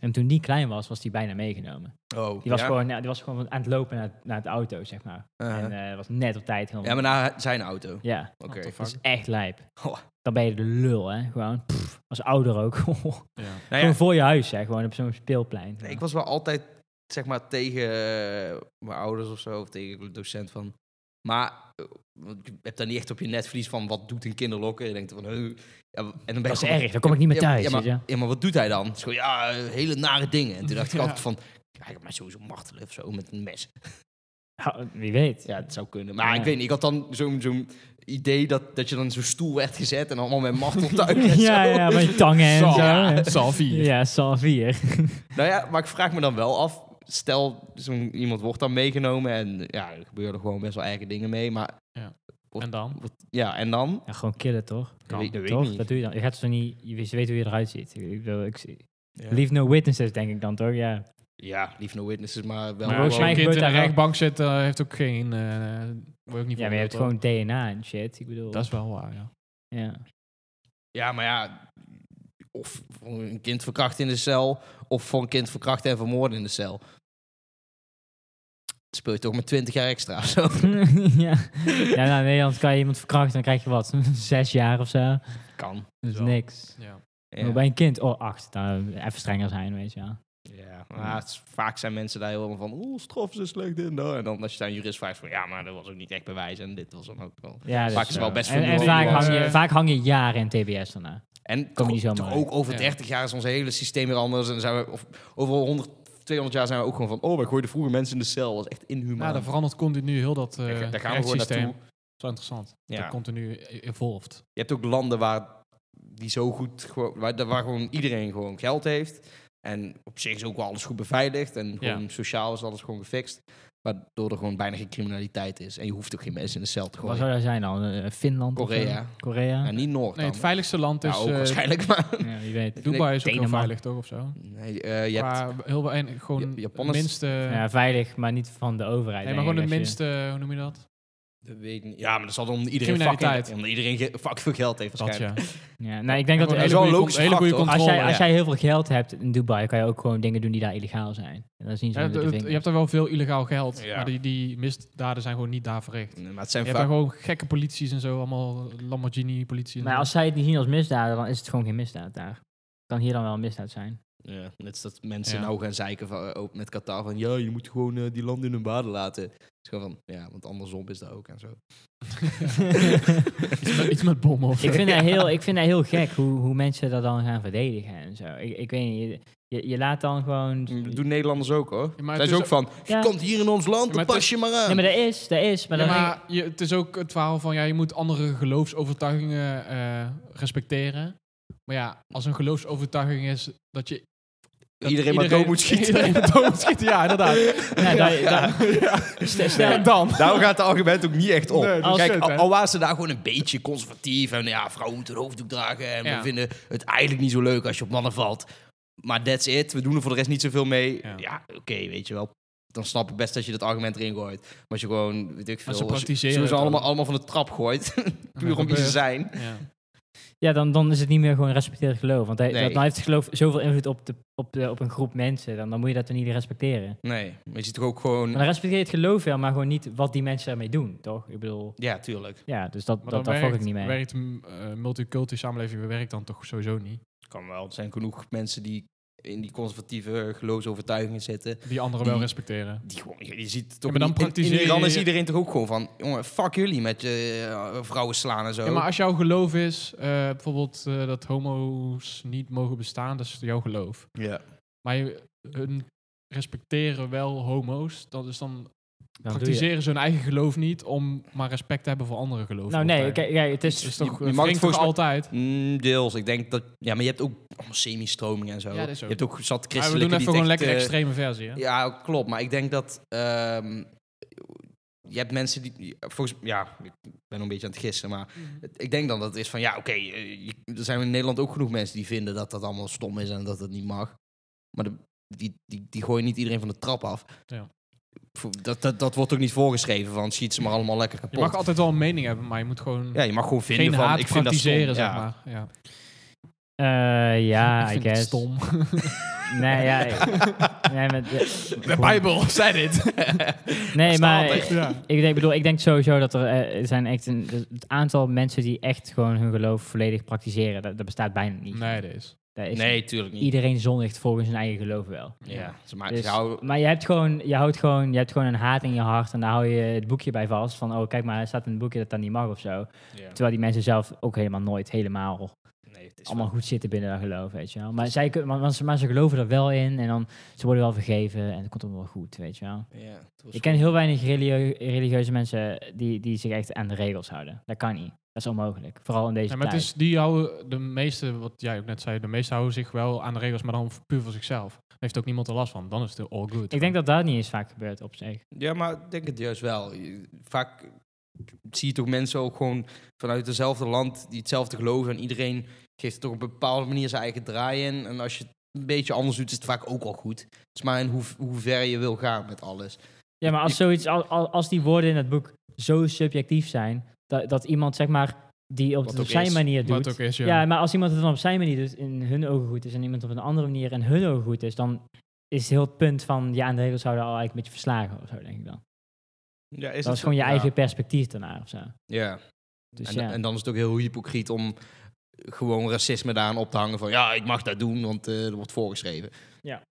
En toen die klein was, was die bijna meegenomen.
Oh,
Die was,
ja?
gewoon, nou, die was gewoon aan het lopen naar, naar het auto, zeg maar.
Uh-huh.
En eh, was net op tijd helemaal.
Ja, maar nou- naar zijn auto.
Ja,
Oké.
What the
dat is
fuck?
echt lijp.
Oh.
Dan ben je de lul, hè. Gewoon, pff, als ouder ook. gewoon
Ja.
Nou ja,
voor je huis, hè. Gewoon op zo'n speelplein.
Nee, ik was wel altijd, zeg maar, tegen eh, mijn ouders of zo, of tegen de docent van... Maar eh, want je hebt daar niet echt op je netvlies van, wat doet een kinderlokker? Je denkt van, eh, ja, en dan ben
dat is
gewoon-
erg, dan kom ik niet meer
Ja,
thuis.
Ja, maar,
weet je.
ja, maar wat doet hij dan? Het is gewoon, ja, eh, hele nare dingen. En toen dacht ik
Ja.
altijd van, ja, hij gaat mij sowieso martelen of zo, met een mes.
Ha, Wie weet.
Ja, het zou kunnen. Maar
Ja.
ik weet niet, ik had dan zo'n zo'n idee dat, dat je dan zo'n stoel werd gezet en allemaal met marteltuigen en
ja,
zo.
ja, met je tangen en
Zo.
zo.
Ja,
Ja,
Salvi.
ja salvier.
Nou ja, maar ik vraag me dan wel af. Stel, zo'n iemand wordt dan meegenomen en ja, er gebeuren gewoon best wel eigen dingen mee. Maar
En dan?
ja, en dan?
Ja, gewoon killen, toch?
Kan. Dat weet ik
toch?
niet.
Dat doe je dan. Je gaat zo niet... Je weet- ze weten hoe je eruit ziet. Ik bedoel, ik,
Ja, lief,
Leave no witnesses, denk ik dan, toch? Ja.
no witnesses, maar wel.
Maar
gewoon-
als je
mij
een
gebeurt
kind in de
daar wel-
rechtbank zit, eh, heeft ook geen... eh word je ook niet
Ja, maar je hebt
veroordeeld,
gewoon DNA en shit. Ik bedoel...
hoor. Dat is wel waar, ja.
ja.
Ja, maar ja, of voor een kind verkracht in de cel, of voor een kind verkracht en vermoord in de cel. speel je toch met 20 jaar extra of zo.
ja. ja, nou, in Nederland kan je iemand verkrachten, dan krijg je wat, zes jaar of zo.
Kan.
Dat is
Zo.
niks.
Ja.
Ja.
Maar bij een kind, oh, acht. Nou, even strenger zijn, weet je. Ja.
Ja, maar het is- vaak zijn mensen daar helemaal van, oeh, straf is slecht en dat. En dan als je daar een jurist vraagt van, ja, maar dat was ook niet echt bewijs en dit was dan ook wel.
ja dus,
Vaak is het wel
eh,
best
en, en
vernieuwend.
vaak, hang je,
Eh,
vaak hang je jaren in TBS daarna.
En
Kom je niet
toch-
zomaar
toch ook over
Ja.
30 jaar is ons hele systeem weer anders. En dan zijn we, of over 100, 200 jaar zijn we ook gewoon van, oh, wij gooiden vroeger mensen in de cel. Dat is echt inhumaan.
Nou, dat verandert continu heel dat eh
Daar gaan we gewoon
rechtssysteem.
naartoe.
Zo interessant.
Ja.
Dat continu e-, evolved.
Je hebt ook landen waar die zo goed, gewoon- waar, waar gewoon iedereen gewoon geld heeft. En op zich is ook wel alles goed beveiligd. En gewoon sociaal is alles gewoon gefixt. Waardoor er gewoon bijna geen criminaliteit is. En je hoeft ook geen mensen in de cel te
Wat
gooien.
zou dat zijn dan? Eh, Finland? of zo?
Korea.
Korea.
En niet Noord.
Nee,
dan.
het veiligste land
Ja,
is...
ook
eh,
waarschijnlijk, maar...
Ja, wie weet.
Dubai is ook heel
Nou, Denemarken.
veilig, toch? Of zo?
Nee, eh, je hebt,
Maar heel weinig, gewoon
Ja, Japan is-
de minste...
Ja, veilig, maar niet van de overheid.
Eh, nee, maar
denk
gewoon de
ik, als je-
minste, hoe noem je dat?
dat weet ik niet. Ja, maar dat zal om iedereen fucking,
Criminaliteit.
omdat iedereen ge- fuck veel geld heeft
Dat,
waarschijnlijk.
ja.
Ja, nou, ik denk dat
dat
Gewoon
is
er-
wel een
goede
logische
con- hele goede
factor.
controle.
als, jij,
ja.
als jij heel veel geld hebt in Dubai, kan je ook gewoon dingen doen die daar illegaal zijn. En dan zien ze
Ja,
met de
dat-
vinger.
je hebt daar wel veel illegaal geld,
Ja.
maar die, die misdaden zijn gewoon niet daar verricht.
Nee, maar het
Je
zijn
hebt
vaak...
daar gewoon gekke polities en zo, allemaal Lamborghini-politie.
Maar als zij het niet zien als misdaden, dan is het gewoon geen misdaad daar. Kan hier dan wel een misdaad zijn.
Ja, net als dat mensen
Ja.
nou gaan zeiken van, eh, ook met Qatar van... Ja, je moet gewoon eh, die landen in hun waarde laten. Het is gewoon van, ja, want andersom is dat ook en zo.
iets, met, iets met bommen of zo.
ik, vind dat heel, ik vind dat heel gek hoe, hoe mensen dat dan gaan verdedigen en zo. Ik, ik weet niet, je- je, je laat dan gewoon...
Mm.
Dat doen Nederlanders ook, hoor.
Ja, maar
Zij
het
is
is
ook van,
Ja.
je komt hier in ons land,
Ja,
dan
maar het
pas je maar aan.
Nee, maar dat is, dat is. Maar
Ja,
dan
maar je, het is ook het verhaal van, ja, je moet andere geloofsovertuigingen eh, respecteren. Maar ja, als een geloofsovertuiging is dat je... dat
Iedereen maar dood moet schieten.
Iedereen maar dood moet schieten, ja, inderdaad.
Ja, daar- daar- Stel- stel-
En dan?
Daarom gaat het argument ook niet echt op.
Nee, dat is
Kijk,
kut,
al,
hè?
al waren ze daar gewoon een beetje conservatief en ja, vrouwen moeten een hoofddoek dragen en we
Ja.
vinden het eigenlijk niet zo leuk als je op mannen valt. Maar that's it, we doen er voor de rest niet zoveel mee. Ja,
Ja.
oké, weet je wel. Dan snap ik best dat je dat argument erin gooit. Maar als je gewoon, weet ik veel,
Maar ze
als je- als je
praktiseren
ze
het ook.
allemaal, allemaal van de trap gooit, puur om wie ze
gebeurt.
zijn.
Ja.
Ja, dan, dan is het niet meer gewoon respecteer geloof. Want hij,
Nee.
dat, dan heeft het geloof zoveel invloed op, de, op, de, op een groep mensen. Dan, dan moet je dat dan niet respecteren.
Nee, maar je ziet toch ook gewoon...
Maar dan respecteer je het geloof wel, maar gewoon niet wat die mensen ermee doen, toch? Ik bedoel,
Ja, tuurlijk.
ja, dus dat,
Maar
dat,
dan
daar
werkt,
volg ik niet mee.
werkt een eh, multiculturele samenleving werkt dan toch sowieso niet.
Kan wel. Er zijn genoeg mensen die in die conservatieve geloofsovertuigingen zitten.
Die anderen
Die-
wel respecteren.
Die gewoon, je je ziet toch
maar dan
niet- in- in,
praktiseer
Iran
je-
is iedereen toch ook gewoon van, jongen, fuck jullie met je eh, vrouwen slaan en zo.
Ja, maar als jouw geloof is, eh, bijvoorbeeld eh, dat homo's niet mogen bestaan, dat is jouw geloof.
Ja.
Maar je, hun respecteren wel homo's, dat is dan
Dan doe je-
praktiseren ze hun eigen geloof niet om maar respect te hebben voor andere geloven.
Nou nee, kijk, kijk, het
het
is...
is toch
je
je,
mag het volgens mij-
altijd.
Mm, deels. Ik denk dat, ja, maar je hebt ook allemaal semi-stroming en zo.
Ja, dat is
Je
ook.
hebt ook zat
Maar we
christelijke
doen even
die
gewoon
het
lekker
echt, eh,
extreme versie. Hè?
Ja, klopt. Maar ik denk dat ehm, je hebt mensen die, die- volgens ja, ik ben een beetje aan het gissen, maar
Mhm.
het- ik denk dan dat het is van, ja, oké, eh, je- er zijn in Nederland ook genoeg mensen die vinden dat dat allemaal stom is en dat het niet mag. Maar de- die, die, die gooien niet iedereen van de trap af.
Ja.
Voor- Dat, dat, dat wordt ook niet voorgeschreven, van schiet ze maar allemaal lekker
Je
kapot.
mag altijd wel een mening hebben, maar je moet gewoon
Ja, je mag gewoon vinden
geen
van,
haat
ik vind dat stom.
praktiseren, zeg
ja.
maar. Ja.
eh, ja,
ik
I
vind
guess.
het stom.
Nee, ja... nee, maar,
De Bijbel zei dit.
nee,
staat
maar
echt,
ja.
ik, denk, bedoel, ik denk sowieso dat er eh, zijn echt een, het aantal mensen die echt gewoon hun geloof volledig praktiseren, dat, dat bestaat bijna niet.
Nee, dat is.
Dat is
nee, tuurlijk niet.
iedereen zondigt volgens zijn eigen geloof wel.
Ja, ze maken
Dus-
ze houden-
maar je hebt, gewoon, je, houdt gewoon, je hebt gewoon een haat in je hart en daar hou je het boekje bij vast. Van, oh kijk maar, er staat in het boekje dat dat niet mag of zo. Terwijl die mensen zelf ook helemaal nooit helemaal
Nee, het is
allemaal goed zitten binnen dat geloof, weet je wel. Maar, zij, kun- maar, maar ze- maar ze geloven er wel in en dan, ze worden wel vergeven en het komt allemaal wel goed, weet je wel.
wel- Ja, het was
Ik ken heel weinig religie- religieuze mensen die, die zich echt aan de regels houden. Dat kan niet. Dat is onmogelijk. Vooral in deze
Ja, maar het
tijd.
is, die houden de meeste, wat jij ook net zei, de meeste houden zich wel aan de regels, maar dan puur voor zichzelf. Daar heeft ook niemand er last van. Dan is het all good.
Ik denk dat dat niet eens vaak gebeurt op zich.
gewoon- ja, maar ik denk het juist wel. Je- Vaak zie je toch mensen ook gewoon vanuit hetzelfde land die hetzelfde geloven. En iedereen geeft er toch op een bepaalde manier zijn eigen draai in. En als je het een beetje anders doet, is het vaak ook al goed. Het is maar in hoe, hoe ver je wil gaan met alles.
Ja, maar als, zoiets, al- al- als die woorden in het boek zo subjectief zijn, dat, dat iemand zeg maar die op,
Wat
het op
ook
zijn
is.
manier
Wat
doet.
het ook is, ja.
ja. maar als iemand het dan op zijn manier doet, in hun ogen goed is, en iemand op een andere manier in hun ogen goed is, dan is heel het punt van je aan de regels houden al eigenlijk een beetje verslagen of zo, denk ik dan.
Ja,
dat is gewoon je eigen perspectief daarna of zo.
Ja.
Dus
en,
ja.
en dan is het ook heel hypocriet om gewoon racisme daaraan op te hangen van ja, ik mag dat doen, want eh er wordt voorgeschreven.
Ja.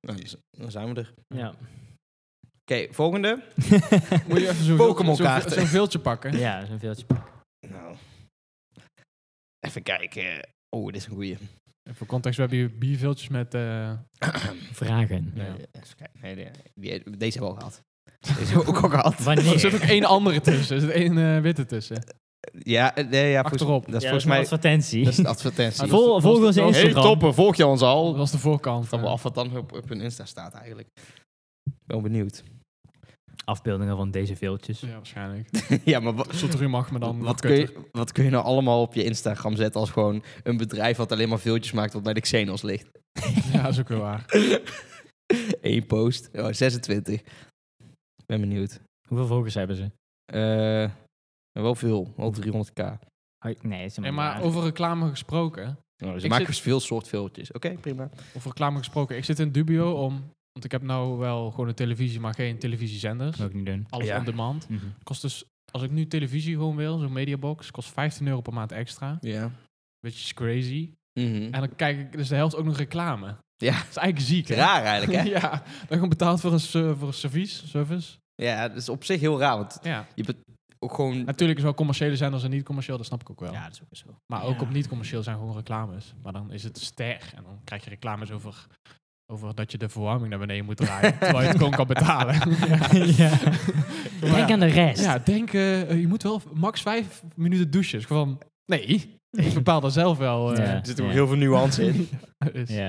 Nou, dan z- dan zijn we er. Oké,
ja.
volgende.
Moet je even zo'n
Pokémon
zo'n-
kaarten.
zo'n veeltje pakken.
ja, dat is een veeltje.
Nou. Even kijken. Oh, dit is een goeie.
En Voor context, we hebben hier bierveeltjes met... eh,
Vragen.
Ja.
Even kijken. Nee, nee, die- deze hebben we al gehad. Deze hebben we ook al gehad.
er zit ook
Wanneer?
één andere tussen. Er zit één eh, witte tussen.
Ja, eh, nee, ja volgens,
Achterop.
dat is
Ja,
volgens mij...
advertentie.
Dat is de advertentie.
Ah,
Vol, volg ons op
Hey,
Hey,
Instagram.
toppen, volg je ons
Dat
al.
was de voorkant.
Dan
eh.
wel af wat dan op, op hun Insta staat eigenlijk. Wel benieuwd.
Afbeeldingen van deze veeltjes.
Ja, waarschijnlijk.
ja, maar wa-
Soteru mag me dan nog
wat, kun
kutter.
je, wat kun je nou allemaal op je Instagram zetten als gewoon een bedrijf wat alleen maar veeltjes maakt wat bij de Xenos ligt?
Ja, dat is ook weer waar.
Eén post. Oh, 26. Ik ben benieuwd.
Hoeveel volgers hebben ze?
Eh, wel veel. Wel 300k.
Nou,
Hoi- Nee, dat is
Hey,
helemaal niet
maar
waar.
over reclame gesproken.
Nou, ze
dus Ik
maken
zit-
veel soort veeltjes. Oké, prima.
Over reclame gesproken. Ik zit in dubio om... Want ik heb nou wel gewoon een televisie, maar geen televisiezenders.
Dat moet ik niet doen.
Alles
Ja.
on demand.
Mhm.
Kost dus... Als ik nu televisie gewoon wil, zo'n mediabox, kost 15 euro per maand extra.
Ja.
Which is crazy.
Mhm.
En dan kijk ik dus de helft ook nog reclame.
Ja.
Dat is eigenlijk ziek, hè?
Raar eigenlijk, hè?
ja, dan gewoon betaald voor een, ser- voor een service. service.
ja, dat is op zich heel raar. Want
Ja.
je bent ook gewoon...
Natuurlijk is wel commerciële zenders en niet commercieel, dat snap ik ook wel.
Ja, dat is ook zo.
Maar ook
Ja.
op niet commercieel zijn gewoon reclames. Maar dan is het ster en dan krijg je reclames over, over dat je de verwarming naar beneden moet draaien. terwijl je het gewoon kan betalen.
ja.
Maar
Denk
ja.
aan de rest.
Ja, denk, eh, je moet wel max vijf minuten douchen. Dus Gewoon, nee, ik bepaal dat zelf wel. eh,
Ja.
Er zit ook heel veel nuance in.
is. Ja.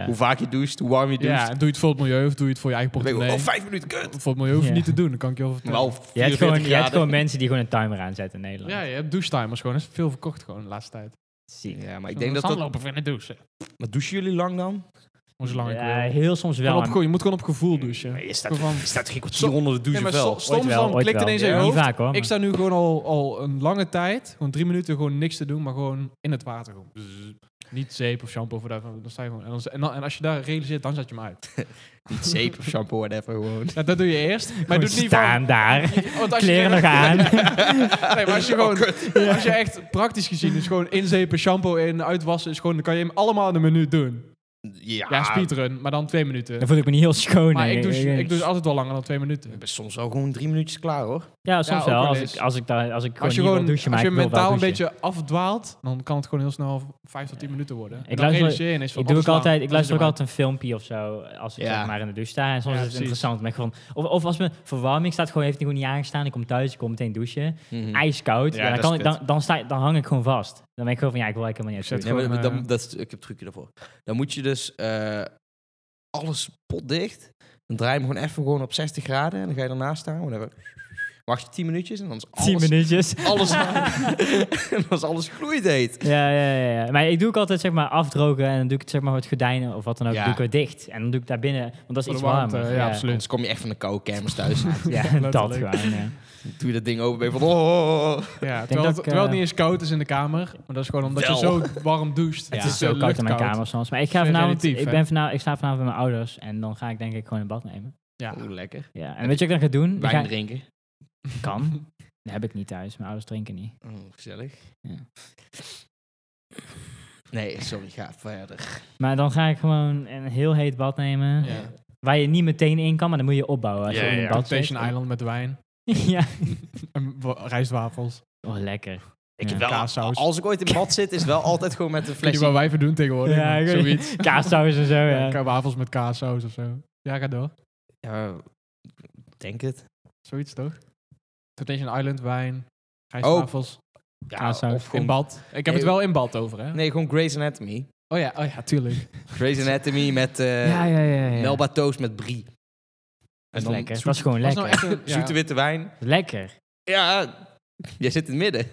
Ja.
Hoe vaak je doucht, hoe warm je doucht.
en doe je het voor het milieu of doe je het voor je eigen
Dan ben ik ook,
portemonnee?
oh, vijf minuten, kut!
Voor het milieu hoef je
Ja.
niet te doen, dat kan ik je wel vertellen.
Wel
Je hebt, gewoon,
44
je hebt
graden.
gewoon mensen die gewoon een timer aanzetten in Nederland.
Ja, je hebt douchetimers gewoon. Er is veel verkocht gewoon de laatste tijd.
Ziek.
Ja, maar ik denk dat dat...
Zandlopen vinden douchen.
Maar douchen jullie lang dan?
Hoe zo lang ik
Ja,
wil.
heel soms wel.
Gewoon op
maar
gevoel- je moet gewoon op gevoel douchen.
Je staat,
Gewoon van-
je staat geen kwartier onder de douche
Ja, maar
wel.
so- soms
wel,
dan
ooit
klikt
wel.
ineens
Ja,
in je
niet
Niet
hoofd.
vaak hoor.
Ik sta nu gewoon al, al een lange tijd, gewoon drie minuten, gewoon niks te doen, maar gewoon in het water. Gewoon. bzzz. Niet zeep of shampoo of whatever, dan sta je gewoon. En, dan, en, dan- en als je daar realiseert, dan zet je hem uit.
Niet zeep of shampoo, whatever, gewoon.
Ja, dat doe je eerst, maar
maar
doe het niet
staan
van...
daar.
Want als je-
Kleren nog aan.
Nee, maar als je
Oh,
gewoon, als je echt praktisch gezien, dus gewoon inzepen, shampoo in, uitwassen, is gewoon, dan kan je hem allemaal in een minuut doen.
Ja,
Ja, speedrun, maar dan twee minuten.
Dan voel ik me niet heel schoon.
maar
nee.
ik douche, ik douche altijd wel langer dan twee minuten.
Ik ben soms al gewoon drie minuutjes klaar, hoor.
Ja, soms
Ja, ook
wel.
wel
Als
eens.
ik, als ik, daar, als ik gewoon
Als je
niet wil
gewoon
douchen, maar
als je
ik wil wel
mentaal een
douchen.
beetje afdwaalt, dan kan het gewoon heel snel 5 tot 10 minuten worden. En dan
luister-
realiseer je ineens van,
Ik, doe
oh,
ook altijd, ik
dat is
luister ook
waar.
altijd een filmpje of zo, als ik
Ja.
zeg maar in de douche sta. En soms
Ja,
is het
precies.
interessant. Maar ik gewoon, of, of als mijn verwarming staat, gewoon, heeft die gewoon niet aangestaan. Ik kom thuis, ik kom meteen douchen.
Hm.
Ijskoud.
Ja,
Ja, dan,
dat
kan
is
ik,
kut.
dan, dan, sta, ik- dan hang ik gewoon vast. Dan ben ik gewoon van, ja, ik wil eigenlijk helemaal niet
Zet
uit
Nee, maar
Gewoon,
dan-
eh,
dat is, ik heb een trucje daarvoor. Dan moet je dus eh, alles potdicht. Dan draai je hem gewoon even gewoon op 60 graden. En dan ga je ernaast staan. Whatever. Wacht je 10 minuutjes en dan is alles...
douchen. 10 minuutjes.
Alles, en dan is alles gloeideet.
Ja, ja, ja, ja. Maar ik doe ook altijd zeg maar afdrogen en dan doe ik het zeg maar met gordijnen of wat dan ook,
Ja.
doe ik het dicht. En dan doe ik daar binnen, want dat is
Voor de
iets
warmte,
warmer.
ja, absoluut.
Anders kom je echt van de koude kermis thuis.
Ja, dat
Letterlijk.
gewoon, ja.
Doe je dat ding open, ben je van... Oh,
Ja,
dat
terwijl, het,
ik,
terwijl het
eh,
niet eens koud is in de kamer. Maar dat is gewoon omdat
Wel.
je zo warm doucht.
Het is zo
eh,
koud in mijn
luchtkoud.
kamer soms. Maar ik,
Het
ga
is
vanavond,
relatief,
ik,
hè?
ben vanavond, ik sta vanavond bij mijn ouders en dan ga ik denk ik gewoon een bad nemen.
Ja.
oh, lekker.
Ja. En weet je wat ik dan ga doen? Ik
Wijn
ga,
drinken.
kan. Dat heb ik niet thuis. Mijn ouders drinken niet.
Oh, gezellig.
Ja.
Nee, sorry, ga verder.
Maar dan ga ik gewoon een heel heet bad nemen.
Ja.
Waar je niet meteen in kan, maar dan moet je opbouwen. Als
Ja,
je in
ja.
een bad zit.
Temptation Island met wijn.
ja.
En wa- rijstwafels.
Oh, lekker.
Ik heb
Ja.
wel,
Kaassaus.
als ik ooit in bad zit, is wel altijd gewoon met een
Weet je
flesje.
wat wijven doen tegenwoordig?
Ja,
maar
ik weet-
zoiets.
Kaassaus en zo, ja.
Ja, Wafels met kaassaus of zo. Ja, ga door.
Ja, ik denk het.
Zoiets toch? Temptation Island, wijn, rijstwafels,
Ja,
Kaassaus.
of
in
gewoon,
bad. Oh, Ik heb het wel in bad over, hè?
nee, gewoon Grey's Anatomy.
Oh ja, oh ja, tuurlijk.
Grey's Anatomy met eh,
ja, ja, ja, ja.
Melba Toast met brie.
Dat
En
is
dan
lekker.
zoet-
Dat is gewoon
Was
lekker.
nou echt een- ja.
zoete witte wijn.
Lekker.
Ja, jij zit in het midden.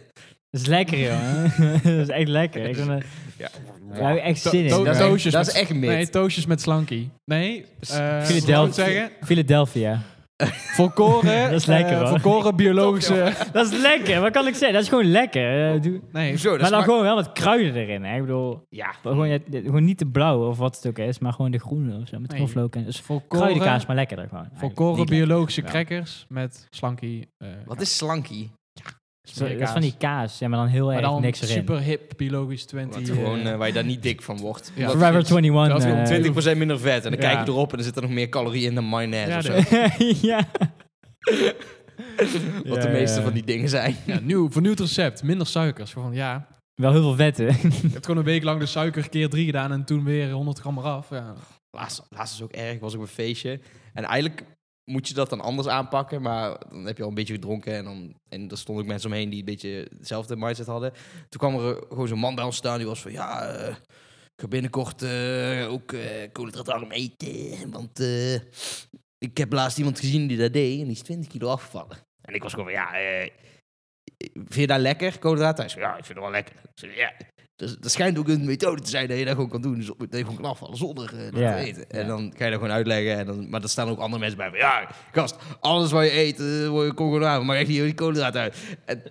Dat is lekker, joh. dat is echt lekker. Ik vind het-
Ja.
daar heb ik echt
To-
zin in.
to-
Dat is
to-
echt-
Toastjes
Toastjes
dat
met-
is echt mid.
Nee, toastjes met slanky. Nee, eh,
Philadelphia.
wat moet ik zeggen?
Philadelphia.
Volkoren,
Dat is lekker,
eh,
hoor.
volkoren biologische...
Dat is lekker. Wat kan ik zeggen? Dat is gewoon lekker. Eh, doe-
Nee,
Hoezo? Dat
maar dan
smaakt-
gewoon wel wat kruiden erin. Hè? Ik bedoel,
Ja.
gewoon, je- gewoon niet de blauwe of wat het ook is, maar gewoon de groene of zo. Met
Nee.
knoflook en dus
volkoren,
kruidenkaas, maar lekkerder gewoon. eigenlijk.
volkoren
Niet lekker.
biologische
Ja.
crackers met slanky... eh,
Wat is slanky?
Zo, Dat is van die kaas, ja, maar dan heel
Maar
erg
dan
niks erin.
super hip biologisch 20.
Wat
eh,
gewoon, eh, waar je daar niet dik van wordt.
Ja.
Omdat
Forever
het-
21.
dat is
eh,
om
het is 20% minder vet. En dan
Ja.
kijk je erop en er zitten nog meer calorieën in dan mayonaise
Ja,
of zo.
dat-
ja.
Wat
Ja,
de meeste
ja.
van die dingen zijn.
ja, nieuw, vernieuwd recept, minder suikers. Gewoon, ja,
Wel heel veel vetten.
ik heb gewoon een week lang de suiker keer drie gedaan en toen weer 100 gram eraf. Ja.
Laatst, laatst is ook erg, was ik op een feestje. En eigenlijk moet je dat dan anders aanpakken. Maar dan heb je al een beetje gedronken. En, dan, en er stonden ook mensen omheen die een beetje dezelfde mindset hadden. Toen kwam er eh, gewoon zo'n man bij ons staan. Die was van, ja, eh, ik ga binnenkort eh, ook eh koolhydraatarm eten. Want eh, ik heb laatst iemand gezien die dat deed. En die is 20 kilo afgevallen. En ik was gewoon van, ja, eh, vind je dat lekker, koolhydraten? Hij zei, ja, ik vind het wel lekker. Ik zei, ja, dus er schijnt ook een methode te zijn dat je dat gewoon kan doen. zo- Dat je gewoon kan afvallen zonder eh, dat
Ja,
te eten. En
ja.
dan ga je dat gewoon uitleggen. En dan, maar dan staan ook andere mensen bij. Van, ja, gast, alles wat je eet, eh, word je kom gewoon aan. Maar echt niet die koolhydraten uit. En,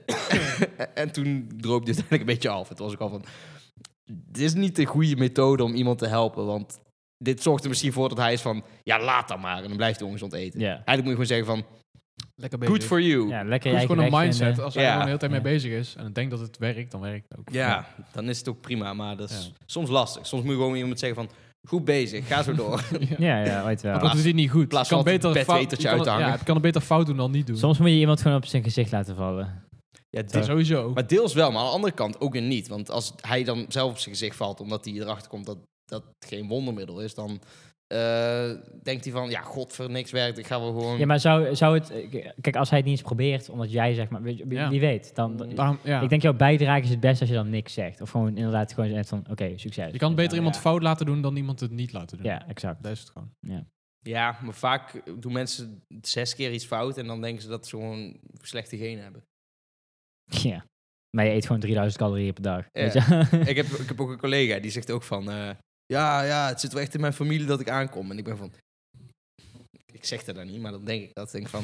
en toen droop dit eigenlijk een beetje af. Het was ook al van... Dit is niet de goede methode om iemand te helpen. Want dit zorgt er misschien voor dat hij is van... Ja, laat dat maar. En dan blijft hij ongezond eten.
ja.
Eigenlijk moet je gewoon zeggen van...
Lekker bezig.
Good for you.
ja, lekker
Het is
je eigen
gewoon een
weg
mindset.
vinden.
Als hij
Ja.
er gewoon de hele tijd mee
Ja.
bezig is en denkt dat het werkt, dan werkt het ook.
Ja, dan is het ook prima, maar dat is
Ja.
soms lastig. Soms moet je gewoon iemand zeggen van, goed bezig, ga zo door.
eh, Ja, ja, ooit wel.
Dan komt het hier niet goed.
plaats
Het kan
van het
beter
bedwetertje
fout, je kan
uit
het-
te hangen.
Ja, het kan het beter fout doen dan niet doen.
Soms eh, moet je iemand gewoon op zijn gezicht laten vallen.
ja,
Ja, Sowieso.
Maar deels wel, maar aan de andere kant ook weer niet. Want als hij dan zelf op zijn gezicht valt, omdat hij erachter komt dat dat geen wondermiddel is, dan eh, denkt hij van, ja, god, voor niks werkt, ik ga wel gewoon...
Ja, maar zou, zou het... eh, Kijk, als hij het niet eens probeert, omdat jij zeg maar... Wie, wie-
Ja.
wie weet, dan... dan-
Daarom- ja.
Ik denk jouw bijdrage is het best als je dan niks zegt. Of gewoon inderdaad gewoon zegt van, oké, succes.
je kan beter
Ja,
iemand
ja.
fout laten doen dan iemand het niet laten doen.
Ja, exact.
Dat is het gewoon.
Ja, maar vaak doen mensen zes keer iets fout en dan denken ze dat ze gewoon slechte genen hebben.
Ja. Maar je eet gewoon 3000 calorieën per dag.
Ja.
Weet je?
ik, heb, ik heb ook een collega die zegt ook van... eh, ja, ja, het zit wel echt in mijn familie dat ik aankom. En ik ben van... Ik zeg dat dan niet, maar dan denk ik dat. Denk ik van,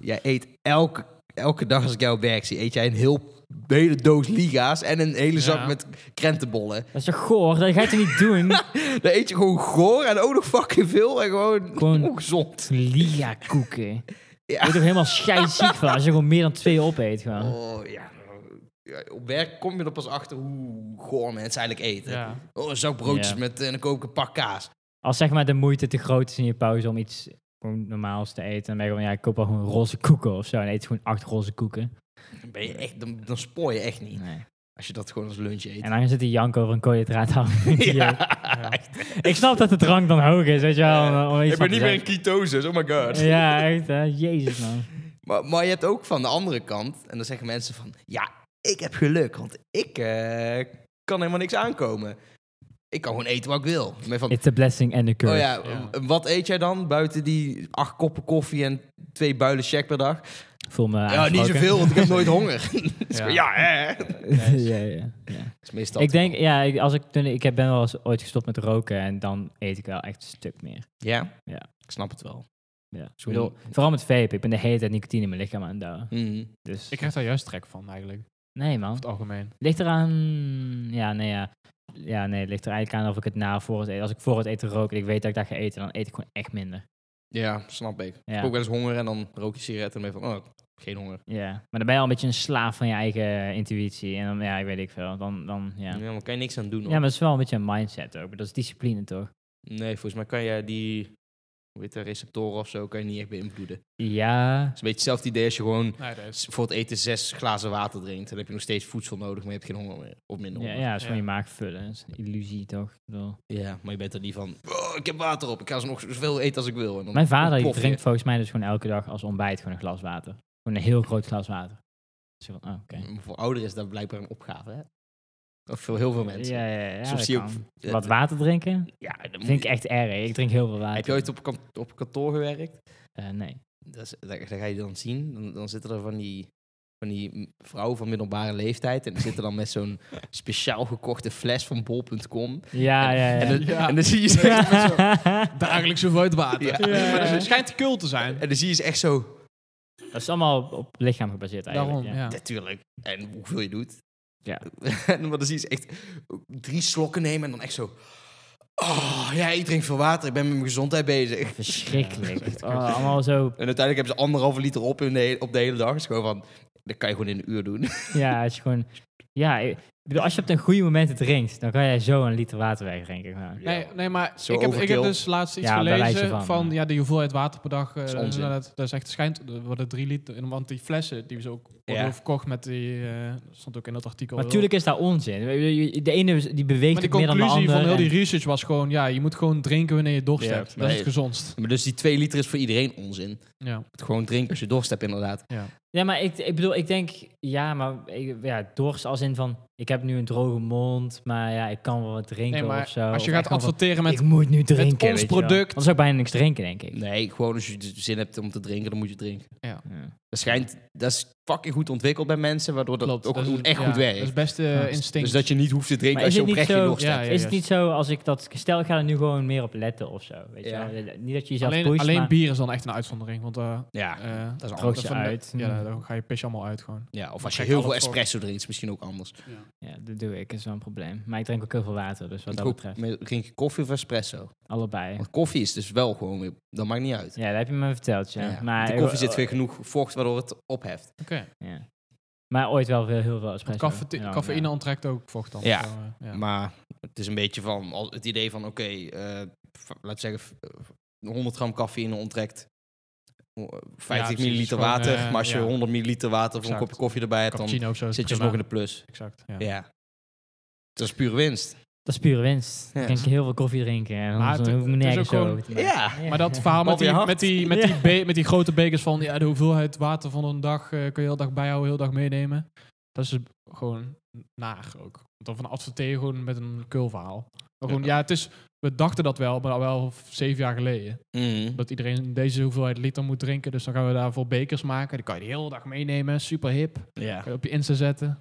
jij eet elke, elke dag als ik jou op werk zie... eet jij een heel hele doos liga's en een hele zak
Ja.
met krentenbollen.
Dat is toch goor? Dat ga je toch niet doen?
Dan eet je gewoon goor en ook nog fucking veel en gewoon,
Gewoon-
ongezond.
Lia koeken.
Ja.
Je wordt er helemaal scheidziek van als je gewoon meer dan twee opeet. Gewoon.
Oh, ja. Ja, Op werk kom je er pas achter hoe goor mensen eigenlijk eten.
Ja.
Oh, een zak broodjes
Ja.
met... en dan koop ik een pak kaas.
Als zeg maar de moeite te groot is in je pauze om iets gewoon normaals te eten, dan ben je gewoon, ja, ik koop wel gewoon roze koeken of zo. En eet gewoon acht roze koeken.
Dan, ben je echt, dan, dan spoor je echt niet.
Nee.
Als je dat gewoon als lunch eet.
En dan zit die jank over een koolhydraat aan.
Ja.
Ik snap dat de drank dan hoog is, weet je wel. om- om iets
Ik ben
van
niet
te
meer in
zeggen.
ketosis, oh my god.
Ja, echt, hè? Jezus, man.
Maar, maar je hebt ook van de andere kant, en dan zeggen mensen van... Ja, ik heb geluk, want ik eh, kan helemaal niks aankomen. Ik kan gewoon eten wat ik wil. Ik ben van,
It's a blessing and a curse.
oh ja,
Ja.
w- wat eet jij dan buiten die acht koppen koffie en twee builen check per dag?
Ik Voel me
Ja, niet
aangesproken.
zoveel, want ik heb nooit honger. Het is
Ja.
gewoon, ja, hè? Dat
ja, ja, ja.
is meestal
ik denk, ja, ik, als ik toen ik heb ben wel eens ooit gestopt met roken en dan eet ik wel echt een stuk meer.
Ja?
Ja.
ik snap het wel.
Ja. Ik
Zo'n-
bedoel, vooral met vape. Ik ben de hele tijd nicotine in mijn lichaam aan het douwen.
Mhm.
Dus
Ik krijg daar juist trek van eigenlijk, over
nee man,
het algemeen.
ligt eraan. Ja, nee ja. Ja, nee, het ligt er eigenlijk aan of ik het na of voor het eten. Als ik voor het eten rook en ik weet dat ik dat ga eten, dan eet ik gewoon echt minder.
Ja, snap ik. Ik
Ja,
heb ook wel eens honger en dan rook je sigaret en dan ben je van... Oh, geen honger.
ja. maar dan ben je al een beetje een slaaf van je eigen intuïtie. En dan, ja, ik weet ik veel. Dan, dan ja.
Ja,
ja.
maar kan je niks aan doen. hoor.
maar het is wel een beetje een mindset ook. Dat is discipline toch?
Nee, volgens mij kan je die hoe heet dat, receptoren of zo kan je niet echt beïnvloeden. Het
Ja.
is een beetje hetzelfde idee als je gewoon
Nee, dat
s- voor het eten zes glazen water drinkt. Dan heb je nog steeds voedsel nodig, maar je hebt geen honger meer. Of minder
Ja,
honger.
ja, het is gewoon
Ja.
je maag vullen. Dat is een illusie toch? Ik bedoel-
Ja, maar je bent er niet van, "Oh, ik heb water op, ik ga zo nog zoveel eten als ik wil. En dan
Mijn vader die
ontplof je.
drinkt volgens mij dus gewoon elke dag als ontbijt gewoon een glas water. Gewoon een heel groot glas water. Dus je van, oh, oké.
Maar Voor ouderen is dat blijkbaar een opgave, hè? Of voor heel veel mensen.
Ja, ja, ja.
Soms
dat
zie je ook-
kan. Dus
Ja,
Wat water drinken?
ja, dan moet
Vind ik
je-
echt erg. Ik drink heel veel water.
Heb je ooit op, kan- op kantoor gewerkt?
Eh, nee.
Dat, is- dat, dat ga je dan zien. Dan, dan zitten er van die van die m- vrouwen van middelbare leeftijd. En die zitten dan met zo'n speciaal gekochte fles van bol.com.
Ah, Ja, ja, ja.
En, dan-
Ja.
en dan zie je ze
Ja. Dagelijks zoveel uit water.
Ja.
Ja.
Maar het schijnt kul te zijn.
En dan zie je ze echt zo,
Dat is allemaal op- op lichaam gebaseerd eigenlijk.
Daarom, ja.
natuurlijk. En hoeveel je doet.
Ja.
En maar dan zie je ze echt drie slokken nemen en dan echt zo... Oh, ja, ik drink veel water. Ik ben met mijn gezondheid bezig.
Verschrikkelijk. Oh, allemaal zo.
En uiteindelijk hebben ze anderhalve liter op, in de he- op de hele dag. Het is gewoon van, dat kan je gewoon in een uur doen.
Ja, het is gewoon. Ja, ik bedoel, als je op een goede moment het drinkt, dan kan jij zo een liter water wegdrinken. gewoon.
Nee, nee maar
Zo
ik heb, ik heb
overkill.
dus laatst iets
Ja, daar lijst je
gelezen
van,
van,
ja.
ja, de hoeveelheid water per dag. eh,
is
dat, is
onzin.
inderdaad- dat is echt schijnt, er worden drie liter. in, Want die flessen die ze ook worden
Ja.
verkocht met die, eh, dat stond ook in dat artikel.
Maar natuurlijk is dat onzin. De ene die beweegt
Maar de
het meer dan de
conclusie
ander.
van heel
en-
die research was gewoon, ja, je moet gewoon drinken wanneer je dorst
Ja,
hebt. Dat
nee.
is het gezondst.
Maar dus die twee liter is voor iedereen onzin.
Ja.
Gewoon drinken als je dorst hebt, inderdaad.
Ja, maar ik, ik bedoel, ik denk, ja, maar ik, ja, dorst als in van, ik heb nu een droge mond, maar ja, ik kan wel wat drinken of
Nee, maar
zo.
als je
Of
gaat
echt gewoon van,
adverteren met...
ik moet nu drinken,
ons
weet je wel.
product.
Dan zou ik bijna niks drinken, denk ik.
Nee, gewoon als je d- zin hebt om te drinken, dan moet je drinken.
Ja.
Dat schijnt, dat is fucking goed ontwikkeld bij mensen, waardoor dat
Klopt,
ook
dat is-
gewoon echt
ja,
goed
Dat is
werkt.
best eh, instinct.
Dus dat je niet hoeft te drinken
Maar
als
is
je
het niet
oprecht je
zo-
dorst
ja,
hebt.
Is het
juist.
niet zo als ik dat, stel ik ga er nu gewoon meer op letten of zo, weet
Ja.
je wel. Niet dat je jezelf
alleen
pusht,
alleen
maar-
bier is dan echt een uitzondering. Want eh,
Ja,
eh,
dat is
Droog
anders.
je
van-
uit. Hmm.
Ja, dan ga je pis allemaal uit gewoon.
Ja, of als je
Kijk,
heel
al
veel
dat soort-
espresso drinkt, is misschien ook anders.
Ja, dat doe ik, is wel een probleem. Maar ik drink ook heel veel water, dus wat
Want
dat
ook
betreft,
met- Drink je koffie of espresso?
allebei.
Want koffie is dus wel gewoon weer, dat maakt niet uit.
Ja, dat heb je me verteld, ja.
Ja,
maar, oh,
want de koffie zit weer genoeg vocht, waardoor het opheft.
Oké.
Ja. Maar ooit wel veel, heel veel espresso.
Cafete-
Ja,
cafeïne
ja.
onttrekt ook vocht dan.
Ja.
Zo, eh, ja.
Maar het is een beetje van al- het idee van: oké, eh, v- laat zeggen, v- eh, 100 gram cafeïne onttrekt eh, 50
precies,
milliliter
gewoon,
water.
eh,
maar als je
ja.
100 milliliter water voor een
Exact.
kopje koffie erbij hebt, dan
Cappuccino of zo. is
zit je
prima.
alsnog in de plus.
Exact. Ja.
Ja. Dat is pure winst.
Dat is pure winst. Dan
Ja.
kan ik heel veel koffie drinken en dan
Maar het-
hoef ik me
het is
nergens
ook gewoon-
over te maken.
Ja.
Ja.
Maar dat verhaal met
Over je
die,
hart.
met, die, met, die be- met die grote bekers van ja, de hoeveelheid water van een dag eh, kun je heel dag bijhouden, heel dag meenemen. Dat is gewoon naar ook. Want dan van adverteer je gewoon met een kulverhaal. Maar gewoon, ja, het is, we dachten dat wel, maar wel v- zeven jaar geleden.
Mhm.
Dat iedereen deze hoeveelheid liter moet drinken. Dus dan gaan we daarvoor bekers maken. Die kan je de hele dag meenemen. Super hip.
Ja.
Kan je op je Insta zetten.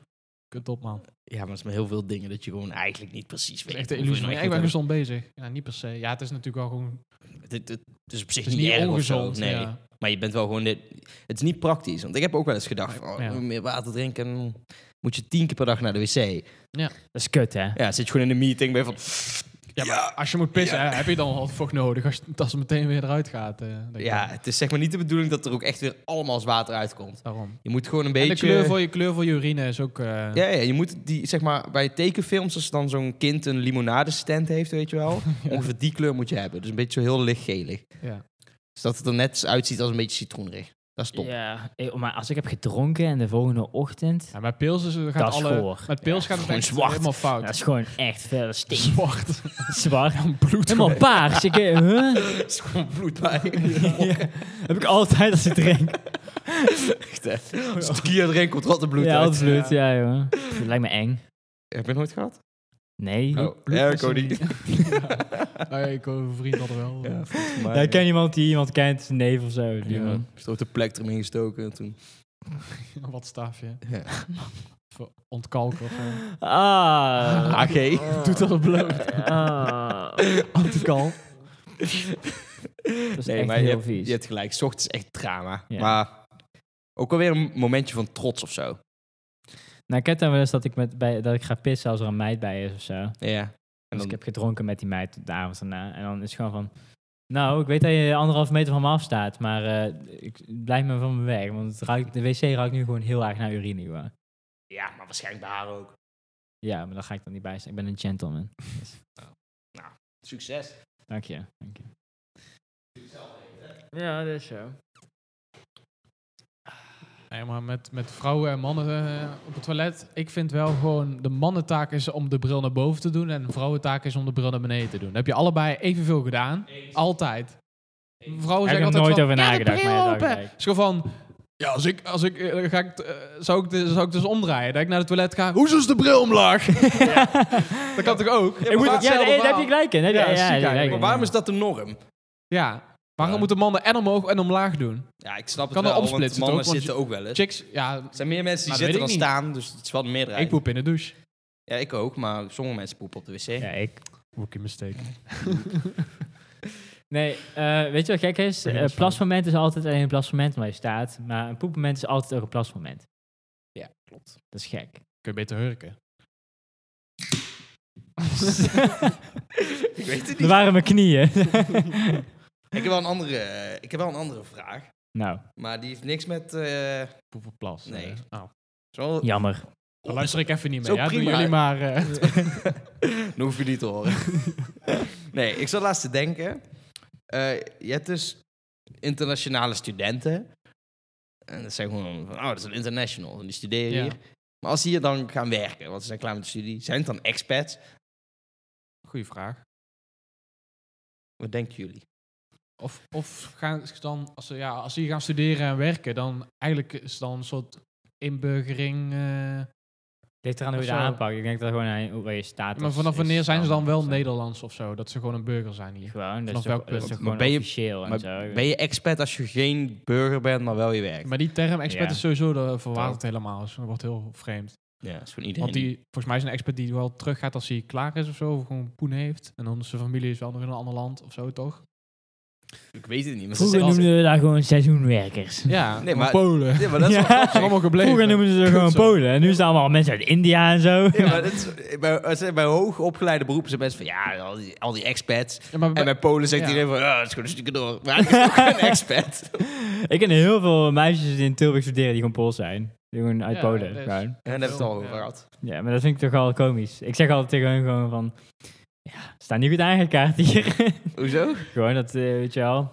Kut op, man.
ja, maar het is met heel veel dingen dat je gewoon eigenlijk niet precies
Dat
weet.
is echt een
hoeveel
illusie.
je
van,
nou
ja, ik ben
echt moet
gezond bezig. Ja, niet per se. Ja, het is natuurlijk wel gewoon...
hebben. Het- het- Het is op zich
Het is
niet,
niet
erg of zo,
ongezond.
Nee.
ja.
Maar je bent wel gewoon... Dit, het is niet praktisch. Want ik heb ook wel eens gedacht, van, oh,
Ja.
meer water drinken... dan moet je tien keer per dag naar de wc.
Dat is kut, hè?
Ja, dan zit je gewoon in een meeting ben je van...
Ja, maar als je moet pissen, hè, heb je dan al vocht nodig als, als het meteen weer eruit gaat. eh, denk ik.
Ja, het is zeg maar niet de bedoeling dat er ook echt weer allemaal als water uitkomt.
daarom.
Je moet gewoon een
En
beetje...
de kleur voor je kleur voor je urine is ook. eh,
Ja, ja, je moet die, zeg maar, bij tekenfilms, als dan zo'n kind een limonadestand heeft, weet je wel. Ongeveer die kleur moet je hebben. Dus een beetje zo heel lichtgelig.
ja.
Dus dat het er net uitziet als een beetje citroenrig. Dat is top.
Ja, eh, maar als ik heb gedronken en de volgende ochtend,
Ja, Met pils is, gaat
Dat is
alle.
goor.
Met pils gaat het
gewoon
echt
zwart.
helemaal fout.
dat is gewoon echt veel dat stinkt
zwart.
zwart.
Bloed.
Helemaal paars. Ik, eh, huh?
Er is gewoon bloed bij.
Ja, Heb ik altijd als ik drink.
Echt, hè. Als het kier erin komt, wat een bloed
ja,
uit.
altijd bloed. Ja, jongen. Pff, lijkt me eng.
Heb je het nooit gehad?
Nee.
Oh, ja, ik ook niet.
Nou ja, ik hoor een vriend hadden wel.
Ja, volgens
Ja,
mij.
ik ken iemand die iemand kent, zijn neef of zo. Die
Ja,
man.
is er ook de plek erin gestoken en toen.
Wat staafje.
Ja.
Voor Ontkalken of zo.
Ah.
AG.
Doet dat op bloot.
Ah. Antikal. Dat is
Nee,
echt
maar je
heel
hebt,
vies.
je hebt gelijk. 's ochtends echt drama.
Ja.
Maar ook alweer een momentje van trots of zo.
Nou, ik heb dan wel eens dat ik, met, bij, dat ik ga pissen als er een meid bij is of zo. En
Ja.
dus
dan-
ik heb gedronken met die meid de avond daarna. En dan is het gewoon van... Nou, ik weet dat je anderhalf meter van me afstaat, maar eh, ik blijf me van me weg. Want het ruikt, de wc ruikt nu gewoon heel erg naar urine. gewoon.
Ja, maar waarschijnlijk bij haar ook.
Ja, maar daar ga ik dan niet bij staan. Ik ben een gentleman. Dus,
Succes.
dank je. Dank je. Ja, dat is zo.
Nee, maar met, met vrouwen en mannen eh, op het toilet. Ik vind wel gewoon de mannentaak is om de bril naar boven te doen. En de vrouwentaak is om de bril naar beneden te doen. Dan heb je allebei evenveel gedaan. Altijd. Vrouwen
Heb ik er
zeggen altijd
nooit
van,
over
"Ja, de
nagedacht, maar
bril
ja, dat
open."
heb ik.
Het is gewoon van... Ja, als ik, als ik, eh, ga ik t- eh, zou, ik de- zou ik dus omdraaien. Dat ik naar het toilet ga. Hoezo is de bril omlaag? Dat kan toch ook?
Ik moet, ja,
Hetzelfde
nee, daar heb
verhaal.
je gelijk in. hè?
Ja,
Ja, ja, daar heb
ziek
je
eigenlijk.
gelijk
Maar
in,
waarom
ja.
is dat de norm?
Ja, Waarom
Ja.
moeten mannen en omhoog en omlaag doen?
Ja, ik snap het
Kan er
wel, want
opsplitsen
mannen
toch? Want
zitten ook wel eens.
Chicks, ja,
Er zijn meer mensen die
Nou,
zitten
dat
dan
weet ik
staan, dus het is wel een meerderheid.
ik poep in de douche.
Ja, ik ook, maar sommige mensen poepen op de wc.
Ja, ik.
Rookie mistake.
Nee, eh, weet je wat gek is?
Ik ben
Een
het van.
plasmoment is altijd alleen een plasmoment waar je staat. Maar een poepmoment is altijd ook een plasmoment.
Ja, klopt.
Dat is gek.
Kun je beter hurken.
Ik weet het
Dat
niet.
waren mijn knieën.
Ik heb wel een andere, eh, ik heb wel een andere vraag,
nou,
maar die heeft niks met... eh,
Poep op plas.
Nee.
eh. Oh.
is wel-
jammer.
Dan luister ik even niet
Zo
mee. Ja, doen
prima.
jullie maar. eh.
Dan hoef je niet te horen. nee, ik zat laatst te denken. Eh, je hebt dus internationale studenten. En dat zijn gewoon van, oh, dat is een international. En die studeren
Ja.
hier. Maar als die hier dan gaan werken, want ze zijn klaar met de studie. Zijn het dan expats?
Goeie vraag.
Wat denken jullie?
Of, of gaan ze dan, als ze, ja, als ze hier gaan studeren en werken, dan eigenlijk is het dan een soort inburgering. eh,
Ligt eraan hoe je
Of
het
zo.
aanpakt. Ik denk dat gewoon aan hoe- waar je staat.
maar vanaf wanneer zijn ze dan wel Nederlands of zo? Dat ze gewoon een burger zijn hier.
Gewoon, dat is
Vanaf
toch,
welk
dat is
punt?
toch
Maar
gewoon
ben je-
officieel en
maar
zo.
Ben je expat als je geen burger bent, maar wel je werkt?
Maar die term expert
Ja.
is sowieso de- verwaterd helemaal. Dus dat wordt heel vreemd.
Ja, dat is gewoon iedereen.
Want die, volgens mij is een expert die wel teruggaat als hij klaar is of zo. Of gewoon poen heeft. En dan zijn familie is wel nog in een ander land of zo, toch?
die- ik weet het niet. Maar ze
Vroeger
zeggen
noemden we daar gewoon seizoenwerkers.
Ja,
Nee,
nee,
maar-
maar Polen.
altijd-
Ze
Ja, maar dat is wel
Ja.
grappig.
zijn allemaal gebleven.
Vroeger noemden ze gewoon
Kutzo.
Polen. En nu zijn allemaal mensen uit India en zo.
Ja, maar dat is- bij, als ze- bij hoogopgeleide beroepen zijn mensen van ja, al die, al die expats.
Ja, maar
En
bij-
bij Polen zegt
Ja.
iedereen van, ja, dat is gewoon een stukje door. Maar eigenlijk is het ook een expat.
Ik ken heel veel meisjes die in Tilburg studeren die gewoon Pools zijn. Die gewoon uit
Ja,
Polen.
dat is-
Gewoon.
En daar hebben we het al
Ja.
over gehad.
Ja, maar dat vind ik toch al komisch. Ik zeg altijd tegen hun gewoon van... Ja, staan niet goed aangekaart hier.
Hoezo?
gewoon dat, eh, weet je wel...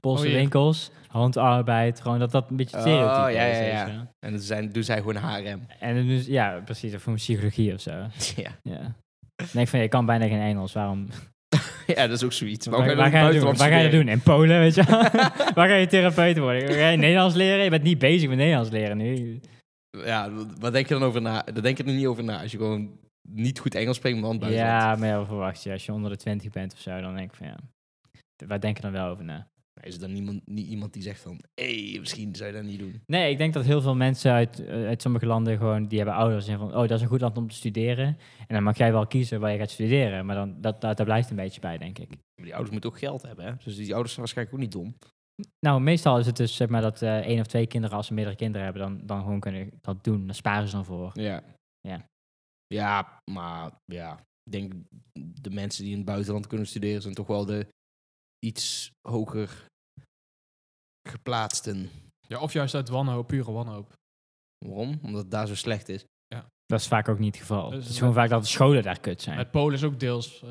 Poolse
Oh, hier.
winkels, handarbeid. Gewoon dat dat een beetje het
Oh,
stereotype
ja,
is.
ja,
weet
ja.
je wel.
En dan zijn, doen zij gewoon HRM.
En dus, ja, precies. Of voor psychologie of zo.
Ja.
Ja. Dan denk ik van, je kan bijna geen Engels. Waarom?
ja, dat is ook zoiets.
Waar, waar ga je dat doen? Waar ga je dat doen? In Polen, weet je wel? Waar ga je therapeut worden? Ga je Nederlands leren? Je bent niet bezig met Nederlands leren nu.
Ja, wat- wat denk je dan over na? Daar denk je er niet over na. Als je gewoon niet goed Engels spreekt, maar dan buitenland.
Ja, maar ja, wat verwacht je? Als je onder de 20 bent of zo, dan denk ik van ja. d- Waar denk je dan wel over na?
Is er dan niemand, niet iemand die zegt van, hé, hey, misschien zou je dat niet doen.
Nee, ik denk dat heel veel mensen uit, eh, uit sommige landen gewoon, die hebben ouders en van, oh, dat is een goed land om te studeren. En dan mag jij wel kiezen waar je gaat studeren. Maar dan, dat, dat, daar blijft een beetje bij, denk ik.
Maar die ouders moeten ook geld hebben, hè? Dus die ouders zijn waarschijnlijk ook niet dom.
Nou, meestal is het dus zeg maar dat eh, één of twee kinderen, als ze meerdere kinderen hebben, dan, dan gewoon kunnen dat doen. Dan sparen ze dan voor.
Ja.
Ja.
Ja, maar ja, ik denk de mensen die in het buitenland kunnen studeren zijn toch wel de iets hoger geplaatsten.
Ja, of juist uit wanhoop, pure wanhoop.
Waarom? Omdat het daar zo slecht is.
Dat is vaak ook niet het geval.
Dus
het is gewoon vaak dat de scholen daar kut zijn.
Met Polen is ook deels eh,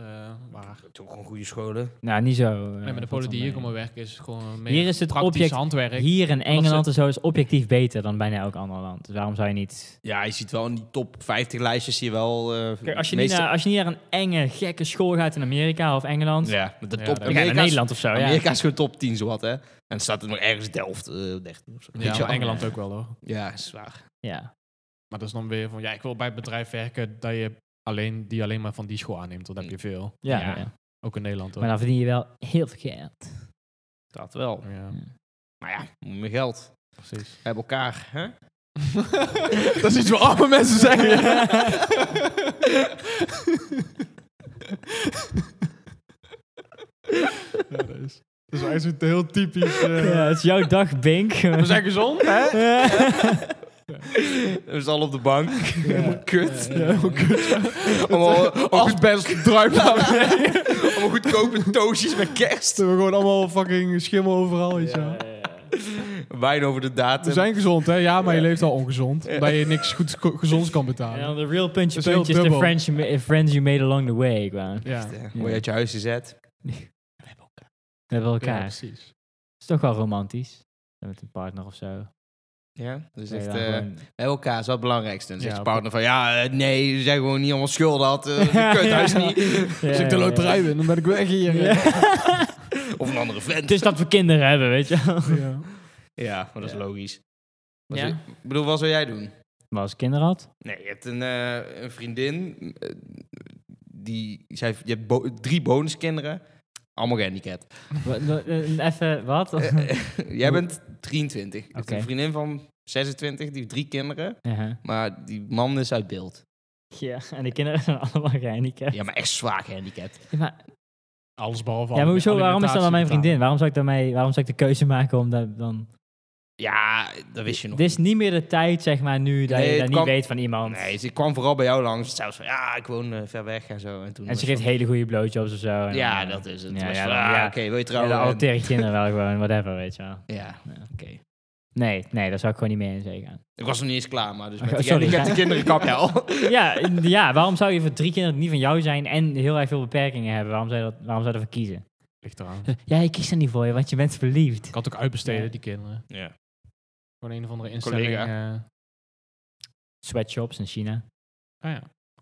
waar.
Toch gewoon goede scholen.
nou, niet zo. eh,
Nee, maar de
valt
Polen
wel
die hier
mee.
komen werken is gewoon meer
Hier is het
praktisch
object-
handwerk.
Hier in
ze-
Engeland en zo is objectief beter dan bijna elk ander land. Dus waarom zou je niet...
Ja, je ziet wel in die top 50 lijstjes zie je wel... eh,
Kijk, als
meeste-
je, niet naar, als je niet naar een enge, gekke school gaat in Amerika of Engeland... Ja,
Ja, met de
Ja,
top...
dat-
dan ga je naar
Amerika, is,
Nederland of zo, ja.
Amerika is gewoon top 10 zowat, hè. En dan staat er nog ergens Delft eh 13 of zo.
Ja,
Weet je
maar
wel?
Engeland
Ja.
ook wel hoor.
Ja, is waar.
Ja.
Maar dat is dan weer van, ja, ik wil bij het bedrijf werken dat je alleen, die alleen maar van die school aanneemt. Dan heb je veel.
Ja,
Ja.
ja.
Ook in Nederland
Maar
hoor.
dan verdien je wel heel veel geld.
Dat wel.
Ja,
Maar ja, meer geld.
precies.
Hebben elkaar, hè?
dat is iets wat arme mensen zeggen. Ja, dat is, dat is eigenlijk zo'n heel typisch. eh,
Ja, het is jouw dag, Bink.
We zijn gezond, hè?
We zijn al op de bank. Helemaal kut.
Ja,
Allemaal, allemaal, goed,
best druipt
allemaal goedkope toosjes met kerst.
We gewoon allemaal fucking schimmel overal, weet je wel.
Wijn over de
We
datum.
zijn gezond, hè? Ja, maar je leeft al ongezond. Dat je niks goed go- gezonds kan
En
betalen.
dan de real puntje
Dat is heel
puntjes, de
dubbel.
friends you, ma- eh, friends you made along the way. Gewoon.
Ja,
Eh, Word je uit je huis gezet.
We hebben
ja
elkaar. Het
precies.
is toch wel romantisch. Met een partner of zo.
Ja, dus
Dat je
echt,
dan
eh, we
gewoon-
hebben elkaar is wel het belangrijkste. En dan zegt
Ja,
je partner van, ja, eh, nee, ze zijn gewoon niet allemaal schuld had. eh, de kut, huis niet.
Als ik de
Ja, ja,
loterij win, dan ben ik weg hier.
ja.
Of een andere vent.
Het is dat we kinderen hebben, weet je wel.
Ja.
Ja, maar dat is
Ja.
logisch. Wat
Ja.
zou- Ik bedoel, wat zou jij doen?
Maar als ik kinderen had...
Nee, je hebt een, eh, een vriendin. eh, die, zij, je hebt bo- drie bonuskinderen. Allemaal gehandicapt.
Wa- wa- eh, Even, wat?
Jij bent 23. Ik heb
Oké.
een vriendin van 26, die heeft drie kinderen.
Ja.
Maar die man is uit beeld.
ja, en de kinderen zijn allemaal gehandicapt.
Ja, maar echt zwaar gehandicapt.
Ja, maar
Alles behalve
Ja, maar hoezo?
alimentatie
Waarom is dat dan mijn
betalen.
vriendin? Waarom zou ik, daarmee, waarom zou ik de keuze maken om dat dan...
Ja, dat wist je nog
Dit is niet meer de tijd, zeg maar, nu dat
Nee,
je
het
dat
kwam-
niet weet van iemand.
Nee, ze kwam vooral bij jou langs. Zelfs van, ja, ik woon eh, ver weg en zo. En, toen
en ze
was
geeft
van-
hele goede blowjobs of zo. En
dus Ja,
dan, eh,
dat is het.
Ja,
Ja, ja,
ja, dan-
ah,
ja.
oké, wil je
Ja,
trouwen?
dan
En-
adopteren kinderen wel gewoon, whatever, weet je wel.
Ja, oké.
Nee, nee, daar zou ik gewoon niet meer in zee gaan.
Ik was nog niet eens klaar, maar dus
Oh,
met, de,
sorry.
met de kinderen kap je al.
ja, in- ja, waarom zou je voor drie kinderen die niet van jou zijn en heel erg veel beperkingen hebben? Waarom zou je, dat, waarom zou je ervoor kiezen?
Ligt eraan.
Ja, ik kies er niet voor je, want je bent verliefd.
Ik had ook uitbesteden,
Ja.
die kinderen.
Ja.
Gewoon een of andere instelling. eh,
Sweatshops in China.
ah ja,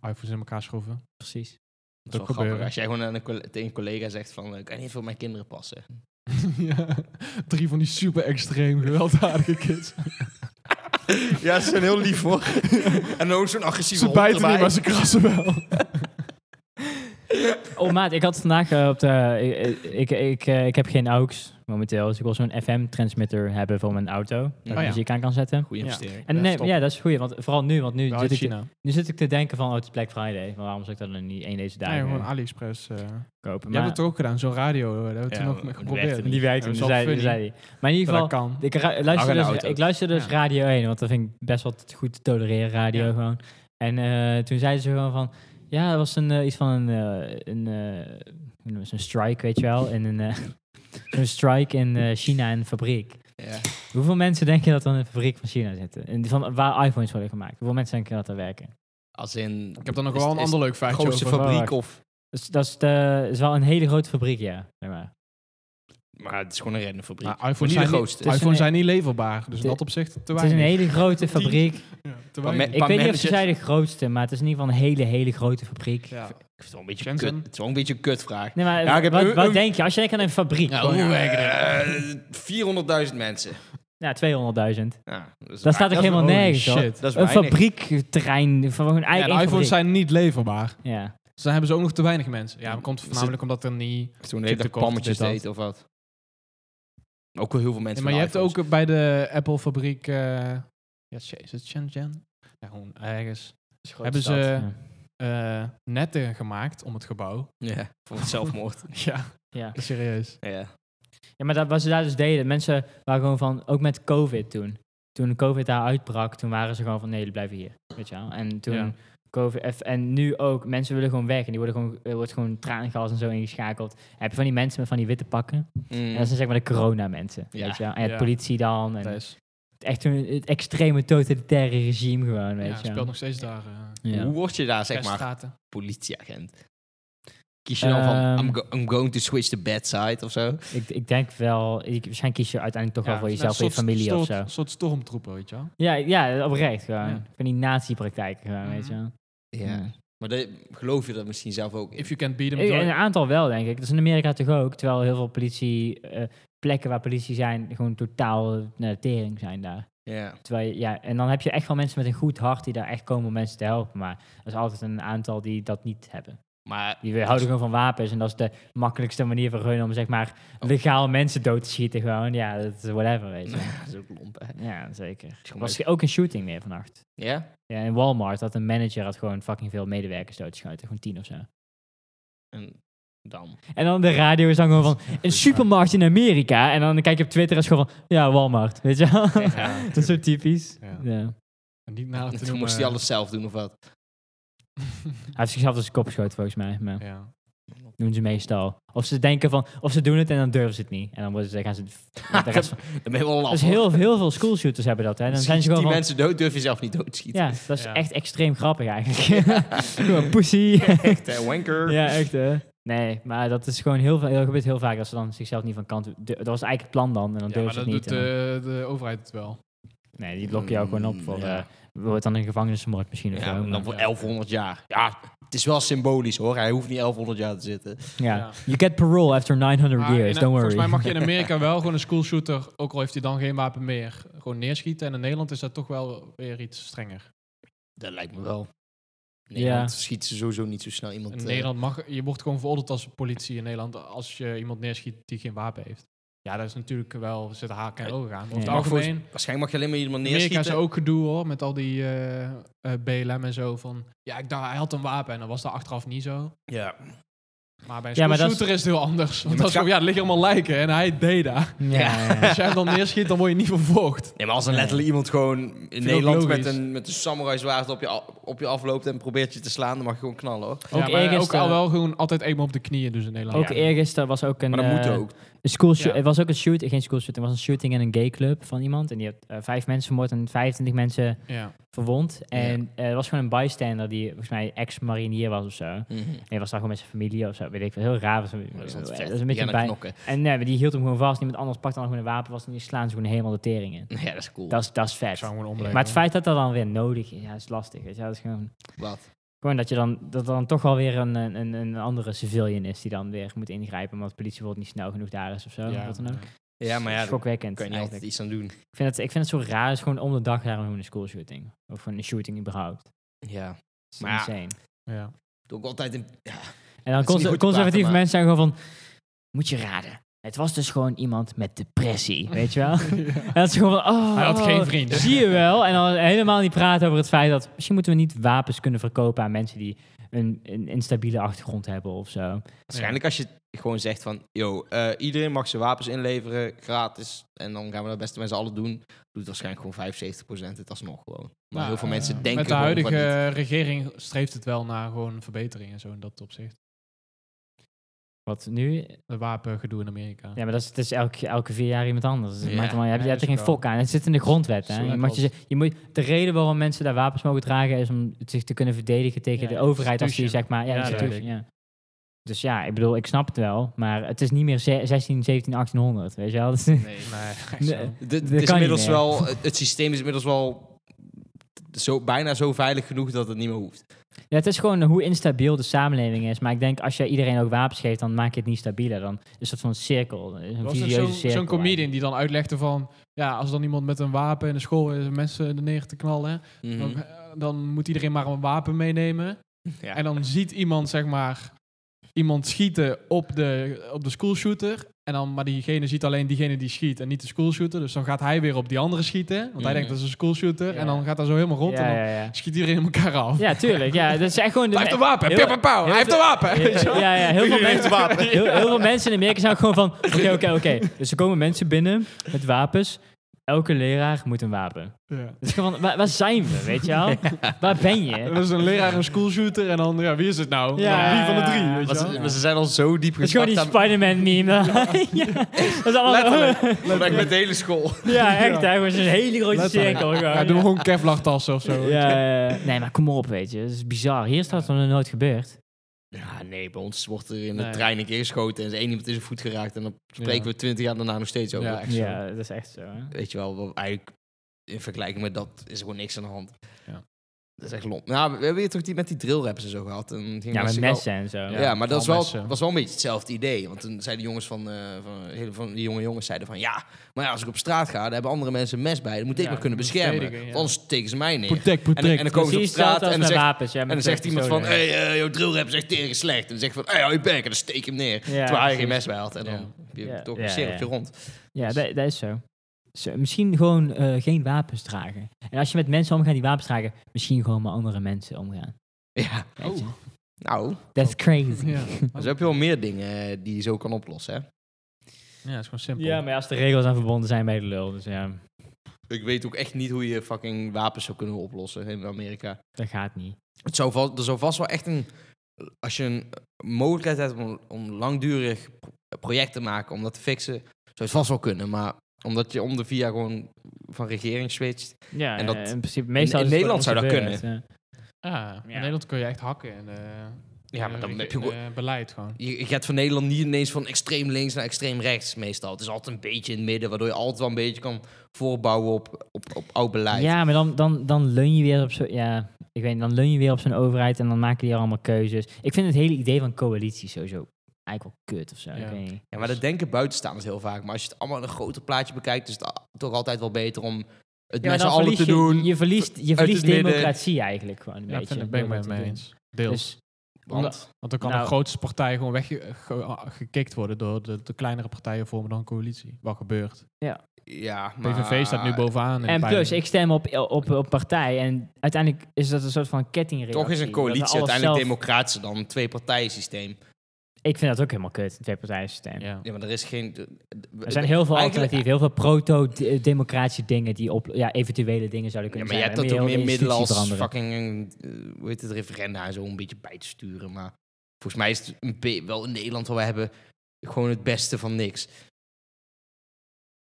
iPhones in elkaar schroeven.
Precies.
Dat is wel
Dat gebeuren.
grappig. Als jij gewoon aan een, coll- tegen een collega zegt van, eh, kan je niet voor mijn kinderen passen?
ja, drie van die super extreem gewelddadige kids.
ja, ze zijn heel lief hoor. en dan ook zo'n agressieve
ze bijten niet, maar ze krassen wel.
Oh maat, ik had vandaag eh, op de... Ik, ik, ik, eh, ik heb geen AUX momenteel, dus ik wil zo'n FM-transmitter hebben voor mijn auto. Dat ik
Oh ja.
muziek aan kan zetten.
Goeie
Ja.
investering.
En
Ja, Nou,
nee,
stop.
ja, dat is goed, want vooral nu, want nu
Ja,
zit,
uit
ik,
China.
nu zit ik te denken van, oh, het is Black Friday. Maar waarom zou ik dat dan niet één deze
Nee,
dagen
gewoon AliExpress. eh.
kopen?
Jij hebt
Maar,
het toch ook gedaan, zo'n radio. eh, Dat hebben we
Ja,
toen
maar
ook mee
het werkte
geprobeerd.
niet.
die werkt
Ja,
hem,
dat is wel
zei,
funny.
zei hij. Maar in ieder
Dat
geval,
kan.
Ik, ra- luister
in de
dus,
auto.
ik luister dus
Ja.
Radio 1, want dat vind ik best wel t- goed te tolereren, radio
Ja.
gewoon. En eh, toen zeiden ze gewoon van... Ja, dat was een, eh, iets van een... eh, een eh, hoe noemen ze een strike, weet je wel. In een, eh, een strike in eh, China in een fabriek.
Ja.
Hoeveel mensen denk je dat er in een fabriek van China zitten? En van, waar iPhones worden gemaakt. Hoeveel mensen denk je dat er werken?
Als in...
Ik heb dan nog
Is-
wel een
is
ander leuk feitje
grootste
over.
fabriek of...
Dus dat is, de, is wel een hele grote fabriek, ja. Zeg maar.
Maar het is gewoon een rennenfabriek.
Maar
Maar
Nou, iPhones
niet de
zijn niet,
grootste.
Het is een-
iPhones zijn niet leverbaar, dus in
Het-
dat opzicht te
Het is een
weinig.
hele grote fabriek.
Ja, te
Maar
weinig.
met-
Ik weet niet of
managers.
ze zei de grootste, maar het is in ieder geval een hele, hele grote fabriek.
Ja.
Ik vind het wel een beetje
Shenzhen.
kut- Het is wel een beetje een kutvraag.
Nee, maar
Ja, ik heb
wat,
een-
wat
een-
denk je? Als je denkt aan een fabriek.
Ja,
gewoon-
hoe werken er? 400.000 Eh, mensen.
Ja, 200.000.
Ja, dat is
Daar staat ook
Dat is-
helemaal
holy
nergens op.
shit.
Dat is
Een
weinig.
fabriekterrein van gewoon
Ja,
eigen
de
één
iPhones
fabriek.
zijn niet leverbaar.
Ja.
Dus dan hebben ze ook nog te weinig mensen. Ja, dat komt
Ze-
voornamelijk omdat er niet...
Toen heeft
Chiptekort,
pammetjes
dit, dat.
deed of wat. Ook wel heel veel
Ja,
mensen
maar je
van
hebt
de iPhones.
ook bij de Apple-fabriek... eh, ja, shit, is het Shenzhen? Ja, gewoon ergens. Hebben ze
Ja.
eh, netten gemaakt om het gebouw?
Ja, voor het zelfmoord.
Ja,
Ja.
serieus.
ja.
ja, maar dat, wat ze daar dus deden, mensen waren gewoon van, ook met COVID toen. Toen COVID daar uitbrak, toen waren ze gewoon van, nee, jullie blijven hier. Weet je wel? En toen...
Ja.
COVID, eff- en nu ook, mensen willen gewoon weg. En die worden gewoon, er wordt gewoon traangas en zo ingeschakeld. Heb je van die mensen met van die witte pakken? En dat zijn zeg maar de corona-mensen.
Ja.
Weet je wel? En de
Ja.
politie dan. En
Dat is,
echt een, het extreme totalitaire regime gewoon,
ja,
weet je.
speelt nog steeds daar. eh
Ja.
Mm. Hoe word je daar, zeg maar,
kerststraten.
politieagent? Kies je dan van,
Ehm.
I'm, go- I'm going to switch the bad side of zo?
Ik, ik denk wel, ik, waarschijnlijk kies je uiteindelijk toch
Ja,
wel
nou,
voor
het is
jezelf, voor je
net een
familie
soort,
of zo.
Een soort stormtroepen, weet je wel.
Ja, ja, oprecht gewoon.
Ja. Mhm.
Van die nazi-praktijken gewoon, weet je wel.
Ja.
Mm.
Maar dat- geloof je dat misschien zelf ook? in?
If you can't beat them,
Ik-
join-
Eh, Een aantal wel, denk ik. Dat is in Amerika toch ook, terwijl heel veel politie, eh, plekken waar politie zijn, gewoon totaal eh, naar de tering zijn daar.
Ja.
Terwijl je- ja, en dan heb je echt wel mensen met een goed hart die daar echt komen om mensen te helpen. Maar er is altijd een aantal die dat niet hebben.
Maar
Die houden gewoon van wapens. En dat is de makkelijkste manier voor hun om zeg maar
Oh.
legaal mensen dood te schieten. Gewoon, ja, dat is whatever, weet je.
dat is ook lomp, hè?
Ja, zeker.
is
Er
gewoon
was ook een shooting meer vannacht.
Ja?
Ja, in Walmart had een manager had gewoon fucking veel medewerkers doodgeschoten. Gewoon tien of zo.
En dan?
En dan de radio is dan gewoon van, een supermarkt in Amerika. En dan kijk je op Twitter en is gewoon van, ja, Walmart, weet je wel.
Ja.
dat is zo typisch.
Ja.
Ja.
En Niet na
En toen moest hij alles zelf doen of wat?
Hij heeft zichzelf als kop geschoten volgens mij. Maar
ja.
doen ze meestal. Of ze denken van, of ze doen het en dan durven ze het niet. En dan worden ze, gaan ze de rest van-
Dan ben je wel laf,
Dus
hoor.
heel, heel veel schoolshooters hebben dat. Hè. Dan
Schiet
zijn
je
ze gewoon
die
van,
mensen dood, durf je zelf niet dood te schieten.
Ja, dat is
Ja.
echt extreem grappig eigenlijk. Gewoon pussy.
Echt, hè, wanker.
ja, echt hè. Nee, maar dat is gewoon heel, veel, dat gebeurt heel vaak dat ze dan zichzelf niet van kant... du- Dat was eigenlijk het plan dan en dan
Ja,
durven
maar
ze het
dat
niet.
doet
en dan-
de, de overheid het wel.
nee, die blokken jou gewoon op voor...
eh, mm, Ja.
eh, wordt dan een gevangenismoord misschien of
Ja,
zo.
en dan
maar-
voor
ja.
1100 jaar. Ja, het is wel symbolisch hoor. Hij hoeft niet 1100 jaar te zitten.
ja.
Ja.
You get parole after 900
Maar
years,
in-
don't worry.
Volgens mij mag je in Amerika wel gewoon een schoolshooter, ook al heeft hij dan geen wapen meer, gewoon neerschieten. En in Nederland is dat toch wel weer iets strenger.
Dat lijkt me wel. Nederland schiet ze sowieso niet zo snel iemand.
In
eh,
Nederland mag... Je wordt gewoon veroordeeld als politie in Nederland als je iemand neerschiet die geen wapen heeft. Ja, dat is natuurlijk wel... Zit haken en ogen aan. Maar Over
Ja.
het
Mag volgens-
algemeen...
waarschijnlijk mag je alleen maar iemand
Amerika
neerschieten.
is ook gedoe hoor, met al die eh, eh, BLM en zo. Van, ja, ik dacht, hij had een wapen en dan was dat achteraf niet zo.
Ja.
Maar bij een
Ja, maar dat
shooter is het heel anders. Want
maar
dat is
het
gewoon, ja, er liggen allemaal lijken en hij deed dat.
Ja, ja, ja.
Als jij hem dan neerschiet, dan word je niet vervolgd.
Nee, maar als dan letterlijk iemand gewoon in
ik
Nederland
ook
met
logisch.
een, met een samurai zwaard op je, a- op je afloopt en probeert je te slaan, dan mag je gewoon knallen hoor.
Ook
Ook, ja, maar ook
eergisteren-
al wel gewoon altijd eenmaal op de knieën dus in Nederland.
Ook
Ja.
eergisteren was ook een...
Maar dat moet
eh,
ook.
Een school shoo-
Ja.
Er was ook een shooting, geen school shooting, er was een shooting in een gayclub van iemand. En die had eh, vijf mensen vermoord en 25 mensen
Ja.
verwond. En eh, er was gewoon een bystander die volgens mij ex-marinier was of zo. En
Mhm.
hij was daar gewoon met zijn familie of zo, weet ik veel. Heel raar. Dat
Maar
is,
dat is
dat is een beetje
bij.
bij. En nee, maar die hield hem gewoon vast. Niemand anders pakte dan gewoon een wapen vast en die slaan ze gewoon helemaal de tering in.
Ja, dat is cool.
Dat is, dat is
Ik
vet.
Mm. zou hem gewoon omleggen.
Maar het feit dat dat dan weer nodig is, ja, is lastig. Weet je. Dat is gewoon,
Wat?
gewoon dat je dan, dat er dan toch wel weer een, een, een- een andere civilian is die dan weer moet ingrijpen. Omdat de politie bijvoorbeeld niet snel genoeg daar is of zo.
Ja.
of wat dan ook.
Ja, maar ja, daar
Schokwekkend.
kan je niet altijd
eigenlijk.
iets aan doen.
Ik, vind het, ik vind het zo raar. Het is gewoon om de dag daar gewoon een schoolshooting. Of een shooting überhaupt. Het
Ja.
is
Maar ja,
insane.
Ja.
Doe ik altijd een... Ja.
En dan
is niet
cons-
goed te
conservatieve
praten, maar-
mensen zijn gewoon van... Moet je raden. Het was dus gewoon iemand met depressie, weet je wel? En dat is gewoon van, oh,
Hij had geen vriend.
Zie je wel. En dan helemaal niet praten over het feit dat... Misschien moeten we niet wapens kunnen verkopen aan mensen die een, een instabiele achtergrond hebben of zo.
Waarschijnlijk als je gewoon zegt van... Yo, eh, iedereen mag zijn wapens inleveren, gratis. En dan gaan we dat beste met z'n allen doen. Doet waarschijnlijk gewoon 75% het alsnog gewoon. Maar
Nou,
heel veel
eh,
mensen denken
Met de
gewoon van
huidige
niet.
regering streeft het wel naar gewoon verbetering en zo in dat opzicht.
Wat nu?
De wapengedoe in Amerika.
Ja, maar dat is, het is elke, elke vier jaar iemand anders. Dus het
Ja,
maakt allemaal, je hebt, je
ja,
hebt er geen
is wel.
fok aan. Het zit in de grondwet. Hè?
Zo
Je
net
moet
als-
je, ze- je moet, de reden waarom mensen daar wapens mogen dragen... is om het zich te kunnen verdedigen tegen
Ja,
de
ja,
overheid. Als die,
institution.
zeg maar, ja,
Ja,
institution, ja. Dus ja, ik bedoel, ik snap het wel. Maar het is niet meer ze- 16, 17, 1800, weet je wel? Dus, Dat is-
Nee,
Nee.
zo.
De- het is
dat kan niet
inmiddels
meer.
wel, het, het systeem is inmiddels wel zo, bijna zo veilig genoeg dat het niet meer hoeft.
Ja, het is gewoon hoe instabiel de samenleving is. Maar ik denk, als je iedereen ook wapens geeft, dan maak je het niet stabieler. Dan is dat zo'n cirkel, een
Er was ook
visieuze
zo'n-
cirkel.
zo'n comedian die dan uitlegde van... Ja, als dan iemand met een wapen in de school is mensen er neer te knallen...
Mhm.
dan, eh, dan moet iedereen maar een wapen meenemen.
Ja.
En dan ziet iemand, zeg maar... Iemand schieten op de, op de schoolshooter. En dan, maar diegene ziet alleen diegene die schiet en niet de schoolshooter. Dus dan gaat hij weer op die andere schieten. Want hij
Mhm.
denkt dat is een schoolshooter.
Ja.
En dan gaat hij zo helemaal rond.
Ja,
en dan
ja, ja.
schiet iedereen elkaar af.
ja, tuurlijk. Ja, dat is echt gewoon...
Hij heeft een wapen.
Heel-
Pip, pip, pauw.
heel
Hij heeft een wapen. Weet je wel?
Ja, ja, heel veel
Iedereen
mensen...
heeft een wapen.
Heel, heel veel mensen in Amerika zijn ook gewoon van... Oké, oké, oké. Dus er komen mensen binnen met wapens. Elke leraar moet een wapen.
Ja.
Dus gewoon van, waar, waar zijn we, weet je wel? Waar ben je?
Dat is een leraar, een schoolshooter. En dan, ja, wie is het nou?
Ja.
Wie van de drie, weet je
Maar
wel?
ze, maar ze zijn al zo diep
Dat is gewoon
gestart
die
aan-
Spider-Man meme. Ja. Dat is allemaal...
Letterlijk. Letterlijk met de hele school.
Ja, echt. Hè? Gewoon zo'n hele grote
Letterlijk.
cirkel. gewoon,
Ja, doe gewoon Kevlar tassen of zo.
Ja, ja, ja. nee, maar kom op, weet je. Dat is bizar. Hier is dat nog nooit gebeurd.
Ja, nee, bij ons wordt er in de
Nee.
trein een keer geschoten en is één iemand in zijn voet geraakt. En dan spreken we twintig jaar daarna nog steeds over.
Ja, echt zo.
Ja, dat is echt zo. Hè?
Weet je wel, wel, eigenlijk in vergelijking met dat is er gewoon niks aan de hand.
Ja.
Dat is echt lomp. Nou, we hebben hier toch die met die drillrappers en zo gehad. En toen gingen
Ja, met
mensen wel-
messen en zo.
Ja,
Ja,
maar dat was
vooral
wel,
messen.
was wel een beetje hetzelfde idee. Want toen zeiden de jongens van, eh, van, hele- van die jonge jongens zeiden van ja, maar ja, als ik op straat ga, daar hebben andere mensen een mes bij. Dan moet ik
Ja,
me kunnen
moet
beschermen.
verdedigen, ja.
Want anders tikken ze mij neer.
Protect,
en, dan-
protect.
en dan komen ze op
Precies
straat
hetzelfde als
en dan
met
zegt,
wapens. Ja,
en dan zegt iemand van, hey, eh, jouw drillrap zegt tegen slecht. En dan zegt van, hey, hou je bek. En dan steek je hem neer.
Ja,
terwijl hij geen mes
precies.
bij had. En dan heb je
Ja.
toch
Ja,
een cirkeltje
ja.
rond.
Ja, dat, dat is zo. Zo, misschien gewoon eh, geen wapens dragen. En als je met mensen omgaat die wapens dragen, misschien gewoon met andere mensen omgaan.
Ja, Oh.
Weet je.
nou,
That's crazy.
Ja.
zo heb je wel meer dingen eh, die je zo kan oplossen, hè?
ja, is gewoon simpel.
Ja, maar als de regels aan verbonden zijn bij de lul, dus ja,
Ik weet ook echt niet hoe je fucking wapens zou kunnen oplossen in Amerika.
dat gaat niet.
Het zou vast, er zou vast wel echt een... Als je een mogelijkheid hebt om, om langdurig project te maken, om dat te fixen, zou het vast wel kunnen. Maar omdat je om de vier jaar gewoon van regering switcht...
Ja,
En dat-
eh, in principe, meestal
in
is het
Nederland
gewoon
zou dat
ongebeurd, ja.
Ja, Ah, in
Ja.
Nederland kun je echt hakken. En, eh,
Ja, maar dan
eh,
heb je gewoon-
eh, beleid gewoon.
Je, je gaat van Nederland niet ineens van extreem links naar extreem rechts meestal. Het is altijd een beetje in het midden, waardoor je altijd wel een beetje kan voorbouwen op, op, op oud beleid.
Ja, maar dan, dan, dan leun je weer op zo'n... Ja, ik weet niet, dan leun je weer op zo'n overheid en dan maken die er allemaal keuzes. Ik vind het hele idee van coalitie sowieso eigenlijk wel kut of zo.
Ja.
Ik weet niet.
Ja, maar dat denken buitenstaanders heel vaak. Maar als je het allemaal in een groter plaatje bekijkt, is het a- toch altijd wel beter om Het
Ja,
met z'n
dan
allen
verlies
te
je-
doen.
Je verliest, je
het
verliest
midden.
democratie eigenlijk gewoon een
Ja,
beetje.
vind ik ben ik
door
met
dat
me
te doen.
eens. Deels.
Dus
want
Want dan kan
Nou.
de grootste partij gewoon weggekikt worden door de, de kleinere partijen vormen dan een coalitie. Wat gebeurt?
ja, maar...
PVV staat nu bovenaan. in de
En
peilingen.
plus, ik stem op, op, op partij. En uiteindelijk is dat een soort van kettingreactie.
Toch is een
dat we
coalitie
alles
uiteindelijk
zelf-
democratischer dan een twee-partijen-systeem.
Ik vind dat ook helemaal kut, een tweepartijensysteem.
Ja.
Ja, maar er is geen...
Er zijn heel veel
Eigenlijk-
alternatieven, heel veel proto-democratische dingen die op ja, eventuele dingen zouden
Ja,
kunnen
maar je hebt
zijn.
dat
Dan
ook
moet je
meer middelen
heel de
als
institutie veranderen.
fucking, eh, hoe heet het, referenda en zo een beetje bij te sturen. Maar volgens mij is het een be- wel in Nederland wat we hebben gewoon het beste van niks.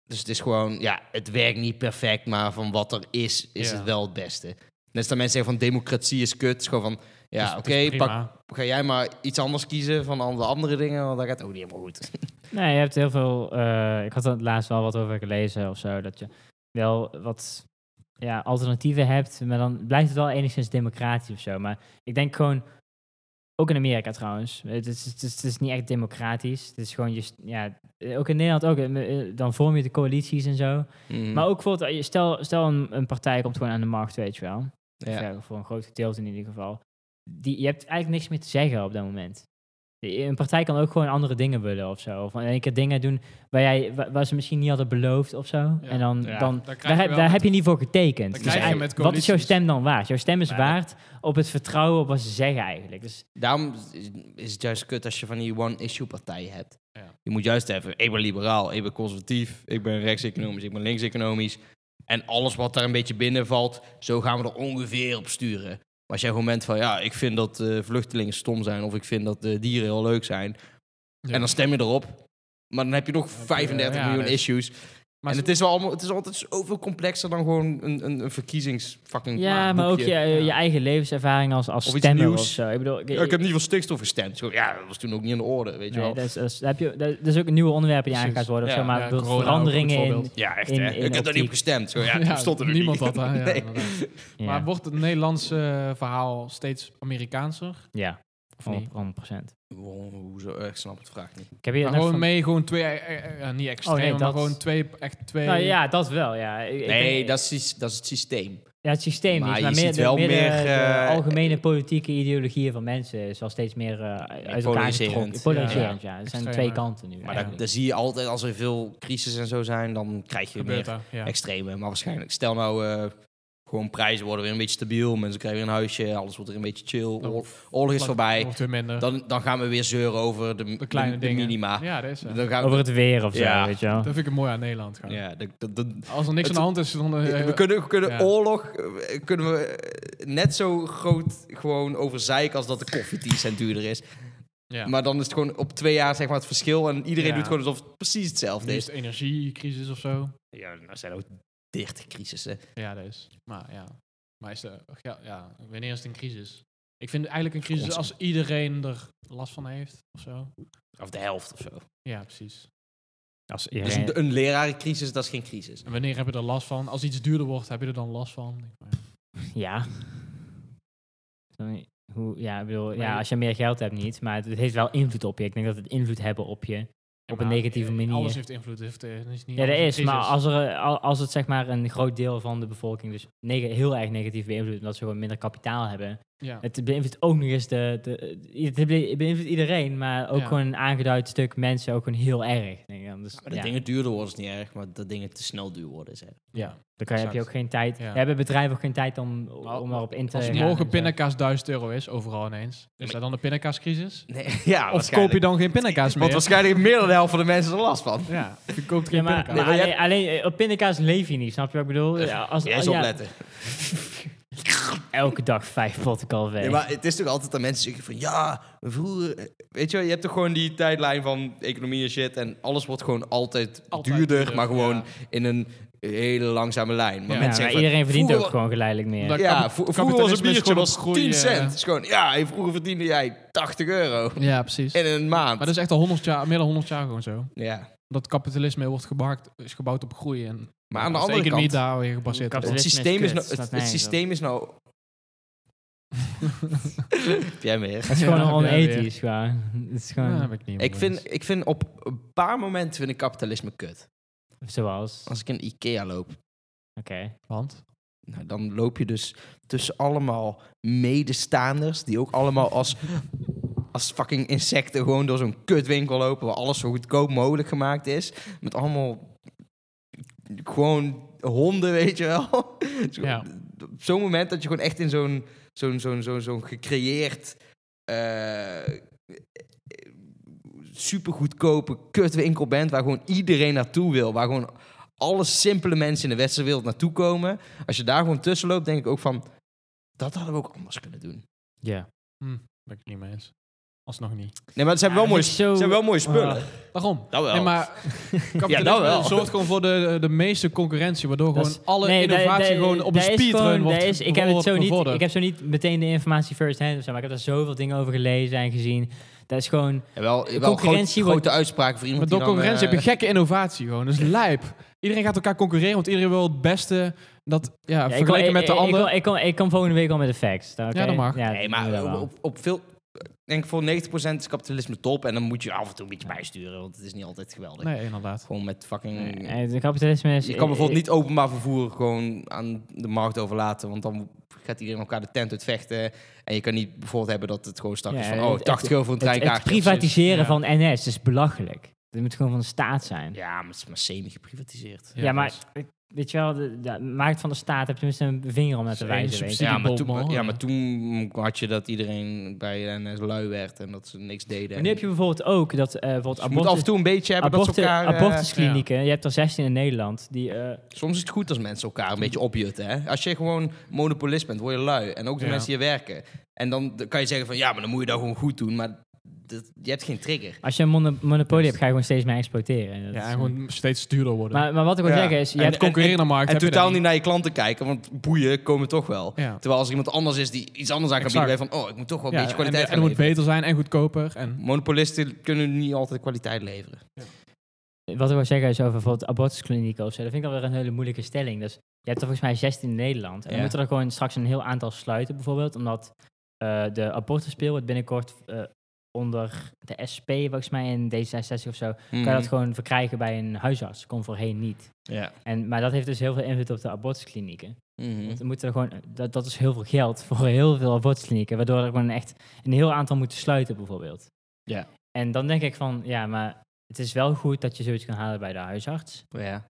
Dus het is gewoon, ja, het werkt niet perfect, maar van wat er is, is
Ja.
het wel het beste. Net als dat mensen zeggen van democratie is kut. Het is gewoon van, ja,
Dus het
oké,
is
pak-
prima.
ga jij maar iets anders kiezen van al de andere dingen, want dat gaat ook niet helemaal goed.
Nee, je hebt heel veel. eh, ik had er laatst wel wat over gelezen of zo. Dat je wel wat ja, alternatieven hebt. Maar dan blijft het wel enigszins democratisch of zo. Maar ik denk gewoon. Ook in Amerika trouwens. Het is, het is, het is niet echt democratisch. Het is gewoon. Je, st- ja, eh, ook in Nederland ook. eh, eh, Dan vorm je de coalities en zo.
Mm,
Maar ook bijvoorbeeld. eh, je- Stel, stel een, een partij komt gewoon aan de macht, weet je wel.
ja.
Of, eh, voor een groot gedeelte in ieder geval. Die, je hebt eigenlijk niks meer te zeggen op dat moment. Die- Een partij kan ook gewoon andere dingen willen of zo. Of in één keer dingen doen waar, jij, wa- waar, ze misschien niet hadden beloofd of zo. En dan,
Ja,
dan
daar krijg
daar,
je
heb,
wel
daar
met-
heb je niet voor getekend. Dus
krijg je
eigenlijk,
met
wat is jouw
coalities.
stem dan waard? Jouw stem is
Maar dat-
waard op het vertrouwen op wat ze zeggen eigenlijk. Dus
Daarom is- is het juist kut als je van die one-issue-partijen hebt.
Ja.
Je moet juist even, ik ben liberaal, ik ben conservatief, ik ben rechts-economisch, ik ben links-economisch. En alles wat daar een beetje binnen valt, zo gaan we er ongeveer op sturen. Maar als jij gewoon bent van, ja, ik vind dat eh, vluchtelingen stom zijn, of ik vind dat eh, dieren heel leuk zijn.
Ja.
En dan stem je erop. Maar dan heb je nog
je,
35
ja,
miljoen
nee.
issues.
Maar
en het is, wel allemaal, het is altijd zoveel complexer dan gewoon een, een, een verkiezingsfucking
ja, maar ook
boekje.
je, eh, je eigen levenservaring als, als
Of iets
stemmer
nieuws.
of zo. Ik bedoel, ik-
Ja, ik heb niet voor stikstof gestemd. Zo, Ja, dat was toen ook niet in de orde, weet je
nee,
wel.
dat, is, dat, is- daar heb je, dat, dat is ook een nieuwe onderwerp die aan
Precies.
gaat worden. Of
Ja,
zo, maar
ja,
ik bedoel,
corona ook een goed
veranderingen in...
voorbeeld.
Ja, echt
in-
hè.
in
ik heb daar niet
optiek.
op gestemd. Zo, ja,
Ja,
toen stond er ook
niemand
niet.
had dat. Ja,
Nee.
inderdaad.
Ja,
Maar wordt het Nederlandse eh, verhaal steeds Amerikaanser?
ja
Of niet?
100%.
Wow, hoezo? Ik snap het vraag niet.
Ik heb hier
Maar
net
gewoon
van-
mee, gewoon twee, eh, eh, eh, niet extreem,
Oh, nee,
maar
dat-
gewoon twee, echt twee.
Nou ja, dat wel, ja. Ik- ik
Nee,
denk-
dat is, iets- dat is het systeem.
ja, het systeem
maar
is,
je
maar meer,
ziet
de,
wel
meer de-
meer,
de
eh,
algemene politieke ideologieën van mensen is wel steeds meer eh, uit elkaar
Polariserend.
getrokken. Polariserend, ja. Er zijn
Extremer.
twee kanten nu.
Maar
eigenlijk.
dat, dat zie je altijd als er veel crisis en zo zijn, dan krijg je
gebeurt
meer
daar. Ja.
extreme. Maar waarschijnlijk, stel nou, eh, gewoon prijzen worden weer een beetje stabiel, mensen krijgen weer een huisje, alles wordt weer een beetje chill,
Dan
oor- oorlog is
vlak-
voorbij.
Wordt weer minder.
Dan, dan gaan we weer zeuren over de,
de kleine
de
dingen.
minima.
Ja, dat is het.
Dan gaan we,
Over het weer of zo,
Ja.
weet je wel.
Dat vind ik het mooi aan Nederland. Gaan.
ja, dat- dat- dat-
Als er niks
Het-
aan de hand is, dan... eh,
we kunnen, we kunnen
ja.
oorlog eh, kunnen we eh, net zo groot gewoon overzeiken als dat de koffie 10 cent duurder is.
ja.
Maar dan is het gewoon op twee jaar zeg maar het verschil. En iedereen
Ja.
doet gewoon alsof het precies hetzelfde
Nu is
is.
het energiecrisis of zo.
Ja, nou zijn ook 30 crisissen.
Ja, dat is. Maar ja. Maar is de, ja, ja, wanneer is het een crisis? Ik vind eigenlijk een crisis
Onzin.
als iedereen er last van heeft of zo.
Of de helft of zo.
Ja, precies.
Als
Dus
iedereen-
een, een lerarencrisis, dat is geen crisis.
En wanneer heb je er last van? Als iets duurder wordt, heb je er dan last van? Ik denk, maar ja.
Ja. Dan- Hoe, ja, ik bedoel,
Maar je-
ja, als je meer geld hebt niet, maar het, het heeft wel invloed op je. Ik denk dat het invloed hebben op je.
Ja,
Op een
maar eh,
negatieve manier.
Alles heeft invloed. Heeft, eh, is niet
Ja, dat
alles een
is. Maar
crisis.
als, er, eh, al- als het zeg maar een groot deel van de bevolking dus neg- heel erg negatief beïnvloedt, omdat ze gewoon minder kapitaal hebben.
Ja.
Het beïnvloedt ook nog eens de... de het be- beïnvloedt iedereen, maar ook
Ja.
gewoon een aangeduid stuk mensen ook gewoon heel erg. Denk ik dan. Dus,
Maar dat
ja,
dingen duurder worden is niet erg, maar dat dingen te snel duur worden is erg.
ja.
dan kan, je- heb je
exact.
ook geen tijd.
Ja.
Hebben bedrijven ook geen tijd om,
Maar-
om erop in te
Als
gaan en
morgen
zo.
pindakaas 1000 euro is, overal ineens. Is dat dan de pindakaascrisis?
Nee, ja,
Of koop je dan geen pindakaas meer?
Want waarschijnlijk heeft meer dan de helft van de mensen er last van.
Ja, je koopt geen
Ja, maar,
pindakaas.
maar
Nee, maar
alleen, alleen, eh, op pindakaas leef je niet, snap je wat ik bedoel? Ja, als,
Jij is
ja,
opletten.
Elke dag vijf potten kalver.
Nee, maar het is toch altijd dat mensen zeggen van ja, vroeger. eh, Weet je wel, je hebt toch gewoon die tijdlijn van economie en shit. En alles wordt gewoon altijd,
Altijd
duurder,
duurder,
maar gewoon
ja.
in een hele langzame lijn. Maar
Ja,
Ja,
mensen
maar
zeggen
iedereen
van,
verdient ook
vroeger-
gewoon geleidelijk meer.
Dat-
Ja, vro-
Kapi-
vroeger was een
kapitalisme is
biertje
gewoon
was
op groei,
10
eh.
cent. Het is gewoon, ja, hey, vroeger verdiende jij 80 euro
Ja, precies.
in een maand.
Maar dat is echt al 100 jaar, meer dan 100 jaar gewoon zo.
ja.
Dat kapitalisme wordt gebouwd, is gebouwd op groei. En
Maar aan de
als
andere
economie
kant,
daar weer gebaseerd
het
op.
Kapitalisme is
systeem is,
kut,
nou,
staat
het, het
nergens op.
systeem is nou... Heb jij meer?
Het is gewoon
Ja, ja,
onethisch, gewoon. Het is gewoon...
Ja, heb ik
Ik
niet mee eens.
vind, ik vind op een paar momenten vind ik kapitalisme kut.
Zoals...
Als ik in Ikea loop,
Want?
Nou, dan loop je dus tussen allemaal medestaanders, die ook allemaal als, als fucking insecten gewoon door zo'n kutwinkel lopen, waar alles zo goedkoop mogelijk gemaakt is. Met allemaal gewoon honden, weet je wel. Zo-
Ja.
Op zo'n moment dat je gewoon echt in zo'n zo'n zo'n zo'n zo'n gecreëerd, eh super goedkope kutwinkel bent, waar gewoon iedereen naartoe wil, waar gewoon alle simpele mensen in de westerse wereld naartoe komen. Als je daar gewoon tussen loopt, denk ik ook van... Dat hadden we ook anders kunnen doen.
Ja.
Ben ik het niet mee eens. Alsnog niet.
Nee, maar het zijn,
Ja,
wel,
dat
mooie,
vind ik zo-
het zijn wel mooie spullen.
Ah.
Waarom?
dat wel.
Nee, maar
Ja,
kapitalisme
dat wel.
zorgt gewoon voor de, de meeste concurrentie, waardoor
Dat
gewoon alle
Nee, daar-
innovatie
daar-
gewoon op een
daar is gewoon-
speedrun
daar
wordt
is- ik heb het zo niet,
bevorderd.
Ik heb zo niet meteen de informatie first hand of zo, maar ik heb daar zoveel dingen over gelezen en gezien. Dat is gewoon...
Ja, wel, wel
concurrentie
groot-
wordt-
grote uitspraak voor
Maar
iemand
door
die dan,
concurrentie
eh,
heb je gekke innovatie gewoon. Dat is lijp. Iedereen gaat elkaar concurreren, want iedereen wil het beste. Dat, ja,
Ja, ik
vergeleken
wil-
met de
ik- ik
ander.
wil- Ik kom, ik kom volgende week al met de facts. oké?
Ja, dat mag.
Nee,
doen we
maar
dan wel.
op, op, op veel... Ik denk voor 90% is kapitalisme top. En dan moet je af en toe een beetje bijsturen. Want het is niet altijd geweldig.
nee, inderdaad.
Gewoon met fucking...
Nee, Het Eh, kapitalisme is...
je kan bijvoorbeeld niet openbaar vervoer gewoon aan de markt overlaten. Want dan gaat iedereen elkaar de tent uitvechten. En je kan niet bijvoorbeeld hebben dat het gewoon straks
Ja,
is van... Oh,
het-
80 euro voor een
Het, het
treinkaartje. of zo.
privatiseren
Ja.
van NS is belachelijk. Dat moet gewoon van de staat zijn. Ja,
Ja, maar het is maar semi-geprivatiseerd.
Ja,
maar...
dus-
Weet je wel, de, de- maak het van de staat, heb je tenminste een vinger om naar te
Dat is één
wijzen. weet je.
subsidie.
Ja maar,
Bob, man.
toen, ja, maar toen had je dat iedereen bij NS lui werd en dat ze niks deden.
Maar nu heb je bijvoorbeeld ook dat eh bijvoorbeeld
Dus je moet af en toe een beetje hebben dat ze
abortus,
elkaar... eh,
abortusklinieken, je hebt er 16 in Nederland, die... eh,
soms is het goed als mensen elkaar
Hm.
een beetje opjutten. Hè? Als je gewoon monopolist bent, word je lui. En ook de
Ja.
mensen die hier werken. En dan d- kan je zeggen van, ja, maar dan moet je dat gewoon goed doen. Maar dat, je hebt geen trigger.
als je een mono- monopolie
dus-
hebt, ga je gewoon steeds meer exploiteren. Dat
Ja,
is- eh,
en gewoon steeds duurder worden.
maar, maar wat ik wil
Ja.
zeggen is, je
en
hebt
de concurrerende markt
en
heb je
totaal
dat
niet naar je klanten kijken, want boeien komen toch wel.
Ja.
Terwijl als er iemand anders is die iets anders aan kan
Exact.
bieden, ben je van, oh, ik moet toch wel een
Ja,
beetje
en,
kwaliteit
en
gaan
het moet
leveren.
beter zijn en goedkoper. En,
Monopolisten kunnen niet altijd kwaliteit leveren.
Wat ik wil zeggen is over bijvoorbeeld abortusklinieken of zo. Dat vind ik alweer een hele moeilijke stelling. Dus je hebt er volgens mij 16 in Nederland.
Ja.
En dan moeten er gewoon straks een heel aantal sluiten bijvoorbeeld. Omdat eh, de abortuspeel wordt binnenkort eh, onder de SP volgens mij in D66 of zo. Kan je dat
Mhm.
gewoon verkrijgen bij een huisarts. Kon voorheen niet.
Ja.
En, maar dat heeft dus heel veel invloed op de abortusklinieken.
Mhm.
Want er moeten er gewoon, dat, dat is heel veel geld voor heel veel abortusklinieken. Waardoor er gewoon echt een heel aantal moeten sluiten bijvoorbeeld.
Ja.
En dan denk ik van, ja, maar het is wel goed dat je zoiets kan halen bij de huisarts.
Ja.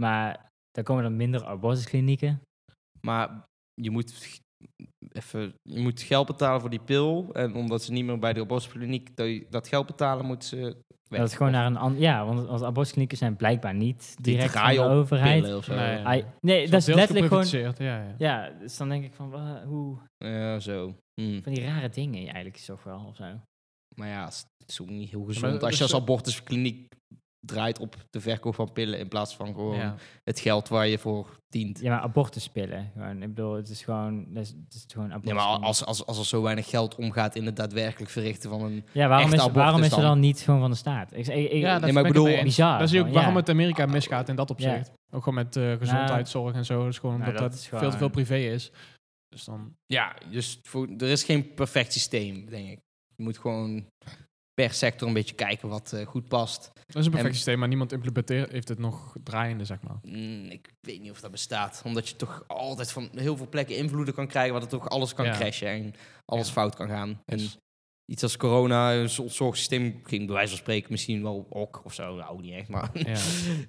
Maar dan komen er minder abortusklinieken.
Maar je moet, g- even, je moet geld betalen voor die pil. En omdat ze niet meer bij de abortuskliniek dat- dat geld betalen, moeten ze weg.
Dat het gewoon naar een ander... Ja, want, want abortusklinieken zijn blijkbaar niet
Die
direct van
draaien
de
op
overheid.
pillen of zo.
Nee.
Ai- nee,
Zo
dat is
deels
letterlijk gewoon...
geprivatiseerd, Ja, ja.
Ja, dus dan denk ik van, wa- hoe...
Ja, zo. Hm.
Van die rare dingen eigenlijk is toch wel, of zo.
Maar ja, het is ook niet heel
maar
gezond.
dat
Als je
is
als
zo-
abortuskliniek draait op de verkoop van pillen in plaats van gewoon
Ja.
het geld waar je voor dient.
Ja, maar abortuspillen. Gewoon, ik bedoel, het is gewoon... Het is, het is gewoon
Nee, maar
abortuskliniek.
als, als, als er zo weinig geld omgaat in het daadwerkelijk verrichten van een...
Ja, waarom
Echte
is, waarom
abortus
is er dan
dan?
niet gewoon van de staat? Ik, ik, ik,
Ja,
nee, maar
dat ben
ik
ik
bedoel,
het mee eens.
bizar.
Dat is ook
gewoon,
waarom
ja.
het Amerika misgaat in dat opzicht. Ook gewoon met eh, gezondheidszorg en zo. Dus gewoon
Nou,
omdat dat,
dat is gewoon-
veel te veel privé is. Dus dan...
Ja, dus voor, er is geen perfect systeem, denk ik. Je moet gewoon per sector een beetje kijken wat eh, goed past.
Dat is een perfect
En-
systeem, maar niemand implementeert, heeft het nog draaiende, zeg maar.
Mm, ik weet niet of dat bestaat. Omdat je toch altijd van heel veel plekken invloeden kan krijgen... waar het toch alles kan
Ja.
crashen en alles
Ja.
fout kan gaan. En
Dus-
iets als corona, eh, ons zorgsysteem ging bij wijze van spreken misschien wel ok of zo. Nou, ook niet echt, maar
Ja.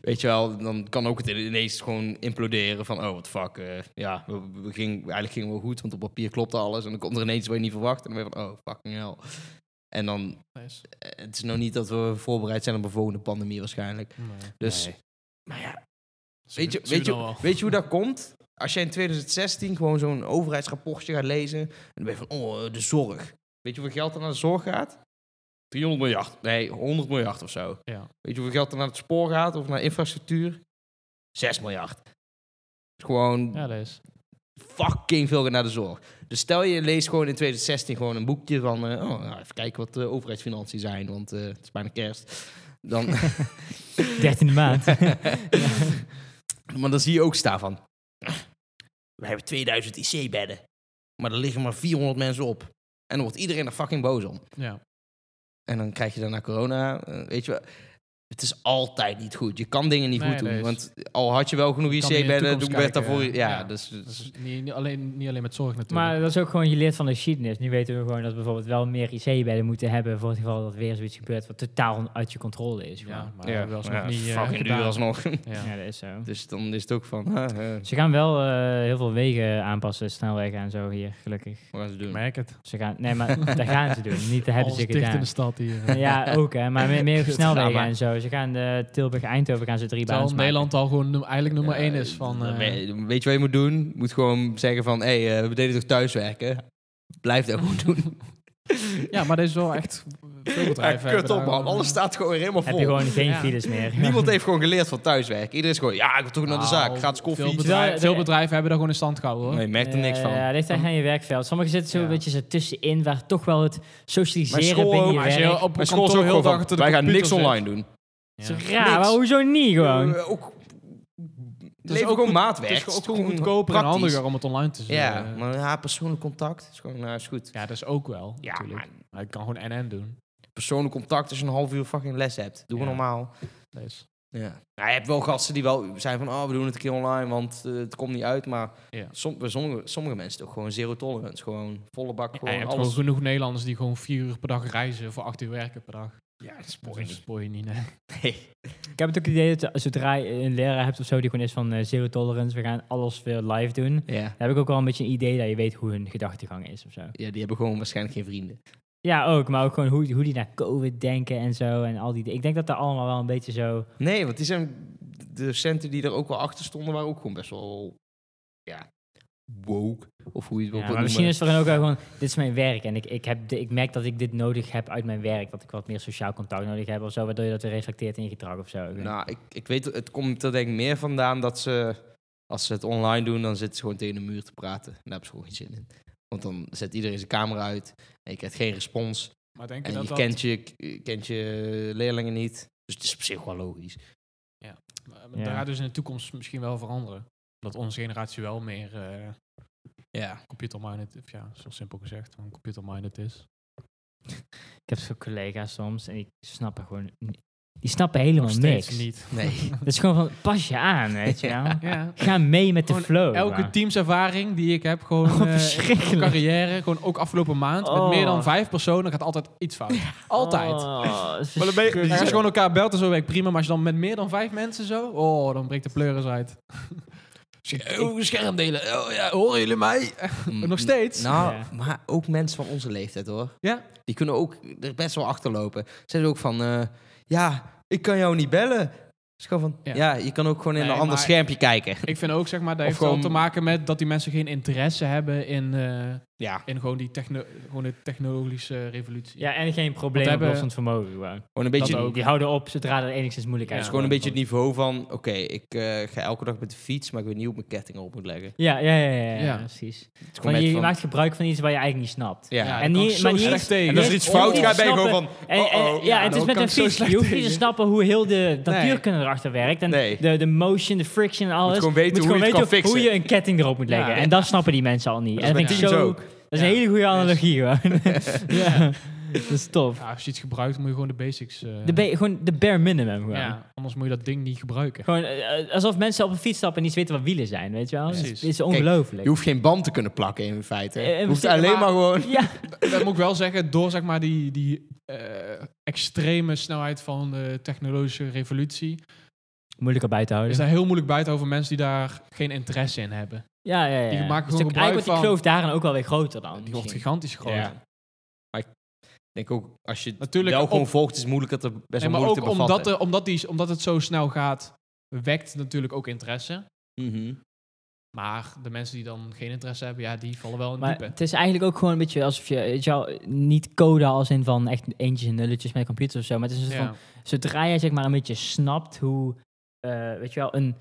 weet je wel, dan kan ook het ineens gewoon imploderen van... oh, wat fuck, eh, ja, we, we gingen, eigenlijk gingen we goed, want op papier klopte alles... en dan komt er ineens wat je niet verwacht en dan ben je van, oh, fucking hell. En dan,
Nice.
eh, het is nog niet dat we voorbereid zijn op een volgende pandemie waarschijnlijk.
Nee.
Dus,
Nee.
maar ja,
Zie-
Weet je,
zie
weet,
dan
je,
wel.
weet je hoe dat komt? Als jij in 2016 gewoon zo'n overheidsrapportje gaat lezen. en dan ben je van, oh, eh, de zorg. Weet je hoeveel geld er naar de zorg gaat? 300 miljard. Nee, 100 miljard of zo.
Ja.
Weet je hoeveel geld er naar het spoor gaat of naar infrastructuur? 6 miljard. Dus Gewoon
Ja, dat is.
fucking veel gaat naar de zorg. Dus stel je leest gewoon in 2016 gewoon een boekje van... eh, oh, nou, even kijken wat de overheidsfinanciën zijn, want eh, het is bijna kerst. Dan,
13e maand.
Maar dan zie je ook staan van... We hebben 2000 IC-bedden. Maar er liggen maar 400 mensen op. En dan wordt iedereen er fucking boos om.
Ja.
En dan krijg je daarna corona. eh, weet je wel. Het is altijd niet goed. Je kan dingen niet
Nee,
goed doen.
nee, is-
Want al had je wel genoeg
kan niet
IC
in
bij
de
de
toekomst
Doenbert
kijken,
daarvoor. Ja,
ja.
Dus, dus-
Niet, niet alleen, niet alleen met zorg natuurlijk.
Maar dat is ook gewoon, je leert van de geschiedenis. Nu weten we gewoon dat we bijvoorbeeld wel meer IC-bedden moeten hebben... voor het geval dat weer zoiets gebeurt wat totaal uit je controle is.
ja,
gewoon.
maar dat was nog
Ja,
niet eh,
fucking duur
gedaan.
alsnog.
Ja.
Ja, dat is zo.
Dus dan is het ook van, ah, eh,
Ze gaan wel eh, heel veel wegen aanpassen, snelwegen en zo hier, gelukkig.
we gaan ze
Ik
doen.
merk het.
Ze gaan, nee, maar dat gaan ze doen. Niet te hebben
Alles
ze
dicht in
gedaan.
de stad hier.
Ja, ook hè, maar meer, meer op snelwegen
Drama.
en zo. Ze gaan de Tilburg-Eindhoven gaan ze drie
Terwijl
banen
Nederland al gewoon num- eigenlijk nummer
Ja,
één is van...
dan
eh,
ben je- weet je wat je moet doen? Je moet gewoon zeggen van, hé, hey, eh, we deden toch thuiswerken? Blijf dat gewoon doen.
ja, maar dat is wel echt veel bedrijven.
Ja, kut
hebben
op
daar eh,
man,
gewoon-
alles staat gewoon weer helemaal
Heb
vol.
je gewoon geen
Ja.
files meer.
Niemand heeft gewoon geleerd van thuiswerken. Iedereen is gewoon, ja, ik wil toch naar de zaak.
Nou,
Gratis koffie.
Veel
Terwijl
bedrijven,
er-
veel bedrijven hebben daar gewoon in stand gehouden hoor.
Nee, je merkt er
Eh,
niks van.
Ja, dit zijn aan je werkveld. Sommigen zitten zo
Ja.
een beetje zo tussenin, waar toch wel het socialiseren
Maar school
binnen
ook,
je
Maar als je
werk...
op
Mijn
een
school is
kantoor
ook
heel
gewoon
dag achter
van,
de
wij gaan
computer
niks
zit.
online doen.
Dat is
Ja.
raar,
Niks.
maar hoezo niet gewoon?
Eh, ook,
Het is
leef
ook
gewoon
goed-
maatwerk.
Het is ook gewoon
Gewoon
goedkoper en
praktisch.
handiger om het online te zien.
Ja,
Ja,
maar ja, persoonlijk contact is gewoon, nou is goed.
ja dat is ook wel
Ja,
natuurlijk.
maar
Maar ik kan gewoon NN doen.
persoonlijk contact als je een half uur fucking les hebt. Doe we
Ja.
normaal.
Dat is-
Ja. Nou, je hebt wel gasten die wel zijn van, oh, we doen het een keer online, want eh, het komt niet uit. Maar
Ja.
som- bij sommige, sommige mensen toch gewoon zero tolerance. Gewoon volle bak,
Ja,
gewoon
je hebt
alles.
gewoon genoeg Nederlanders die gewoon vier uur per dag reizen voor acht uur werken per dag.
Ja, dat is
Dat
mooi.
spoor je niet, nee.
Nee.
Ik heb het ook het idee dat zodra je een leraar hebt of zo die gewoon is van eh, zero tolerance, we gaan alles weer live doen.
Ja.
Dan heb ik ook wel een beetje een idee dat je weet hoe hun gedachtegang is of zo.
ja, die hebben gewoon waarschijnlijk geen vrienden.
Ja, ook. Maar ook gewoon hoe, hoe die naar COVID denken en zo. En al die di- Ik denk dat daar allemaal wel een beetje zo...
Nee, want die zijn, de docenten die er ook wel achter stonden, waren ook gewoon best wel, ja, woke. Of hoe je het wil
Ja, maar
noemen.
misschien is het voor hen ook wel gewoon... Dit is mijn werk en ik, ik, heb de- ik merk dat ik dit nodig heb uit mijn werk. Dat ik wat meer sociaal contact nodig heb of zo. Waardoor je dat weer reflecteert in je gedrag of zo. Ik weet-
Nou, ik, ik weet, het komt er denk ik meer vandaan dat ze, als ze het online doen, dan zitten ze gewoon tegen de muur te praten. En daar hebben ze gewoon geen zin in. Want dan zet iedereen zijn camera uit en je krijgt geen respons.
Maar denk je
En
dat
je
dat...
kent je, je kent je leerlingen niet. Dus het is op zich wel logisch.
Maar
Ja.
Dat gaat dus in de toekomst misschien wel veranderen. Dat onze generatie wel meer eh
Ja.
computer-minded, of ja, zo simpel gezegd, gewoon computer-minded is.
Ik heb zo'n collega's soms en die snappen gewoon... ni- Die snappen helemaal
Nog steeds
niks.
niet.
Nee.
Dat is gewoon van, pas je aan, weet je wel.
Ja.
Ga mee met de
Gewoon
flow.
Elke
maar.
teamservaring die ik heb, gewoon
Oh,
eh, in mijn
verschrikkelijk.
carrière, gewoon ook afgelopen maand,
Oh.
met meer dan vijf personen gaat altijd iets fout. Altijd.
Oh, dat is
Maar dan ben je-
Ja, als je
verschrikkelijk.
gewoon elkaar belt en zo werkt prima, maar als je dan met meer dan vijf mensen zo, oh, dan breekt de pleuris uit. Oh, schermdelen. Oh ja, horen jullie mij? Nog steeds?
Nou,
Ja.
maar ook mensen van onze leeftijd hoor.
Ja.
Die kunnen ook er best wel achterlopen. Ze zeggen ook van, eh, ja, ik kan jou niet bellen. Dus gewoon van,
Ja.
ja. je kan ook gewoon in
Nee,
een ander
maar-
schermpje kijken.
Ik vind ook, zeg maar, dat
Of
heeft
gewoon-
wel te maken met dat die mensen geen interesse hebben in, eh,
Ja,
in gewoon die techno gewoon de technologische revolutie.
Ja, en geen
Want
probleem
hebben-
oplossend vermogen gewoon.
gewoon een beetje
Dat ook.
Die houden op zodra er enigszins moeilijkheid
Het
Ja,
is gewoon een beetje
wordt.
het niveau van, oké, ik eh, ga elke dag met de fiets, maar ik weet niet hoe ik mijn ketting erop moet leggen.
Ja, ja, ja, ja, ja,
Ja.
precies.
Het is
Van,
gewoon net
je
van-
maakt gebruik van iets waar je eigenlijk niet snapt.
ja.
Ja,
En,
en
dat kan
niet-
ik zo
maar niet
slecht
eens-
tegen.
en
als er
je-
iets
om-
fout
om
gaat, ben je
snappen-
gewoon van,
En,
oh,
en-
oh.
ja,
Ja,
het
dat
is met
kan
een
ik zo
fiets.
slecht
Je hoeft niet te
tegen.
snappen hoe heel de natuurkunde erachter werkt. En
Nee.
de, de motion, de friction en alles.
Moet gewoon weten
Je
hoe je het kan
hoe je
fixen.
een ketting erop moet leggen.
Ja.
En dat snappen die mensen al niet.
Dat
en
is
dat
met
vind ik
teams
zo...
ook.
Dat is een
Ja.
hele goede
Dus-
analogie gewoon. ja, dat is tof.
Ja, als je iets gebruikt, moet je gewoon de basics... eh,
De ba- gewoon de bare minimum gewoon.
ja, anders moet je dat ding niet gebruiken.
Gewoon eh, eh, alsof mensen op een fiets stappen en niet eens weten wat wielen zijn, weet je wel? Het is,
Precies.
is
je
ongelooflijk.
hoeft geen band te kunnen plakken in feite.
Eh,
Je hoeft
precies,
alleen
maar-
maar gewoon...
Ja,
dat moet ik wel zeggen, door zeg maar die, die eh, extreme snelheid van de technologische revolutie,
moeilijk op buiten
is
houden.
daar heel moeilijk buiten over mensen die daar geen interesse in hebben.
Ja, ja, ja.
Die maken
Dus
gewoon
ook-
gebruik
eigenlijk wordt die kloof
van-
daarin ook wel weer groter dan.
Die wordt
misschien.
gigantisch groot.
Ja. Maar ik denk ook, als je het
Natuurlijk
wel gewoon
op-
volgt, is het moeilijk dat er best
Nee,
wel
maar
moeilijk
ook
te bevatten.
omdat, de, omdat, die, omdat het zo snel gaat, wekt natuurlijk ook interesse.
Mhm.
Maar de mensen die dan geen interesse hebben, ja, die vallen wel in
Maar
diepe.
het is eigenlijk ook gewoon een beetje alsof je, weet je wel, niet code als in van echt eentjes en nulletjes met computers of zo. Maar het is een soort
Ja.
van, zodra jij zeg maar een beetje snapt hoe, eh, weet je wel, een,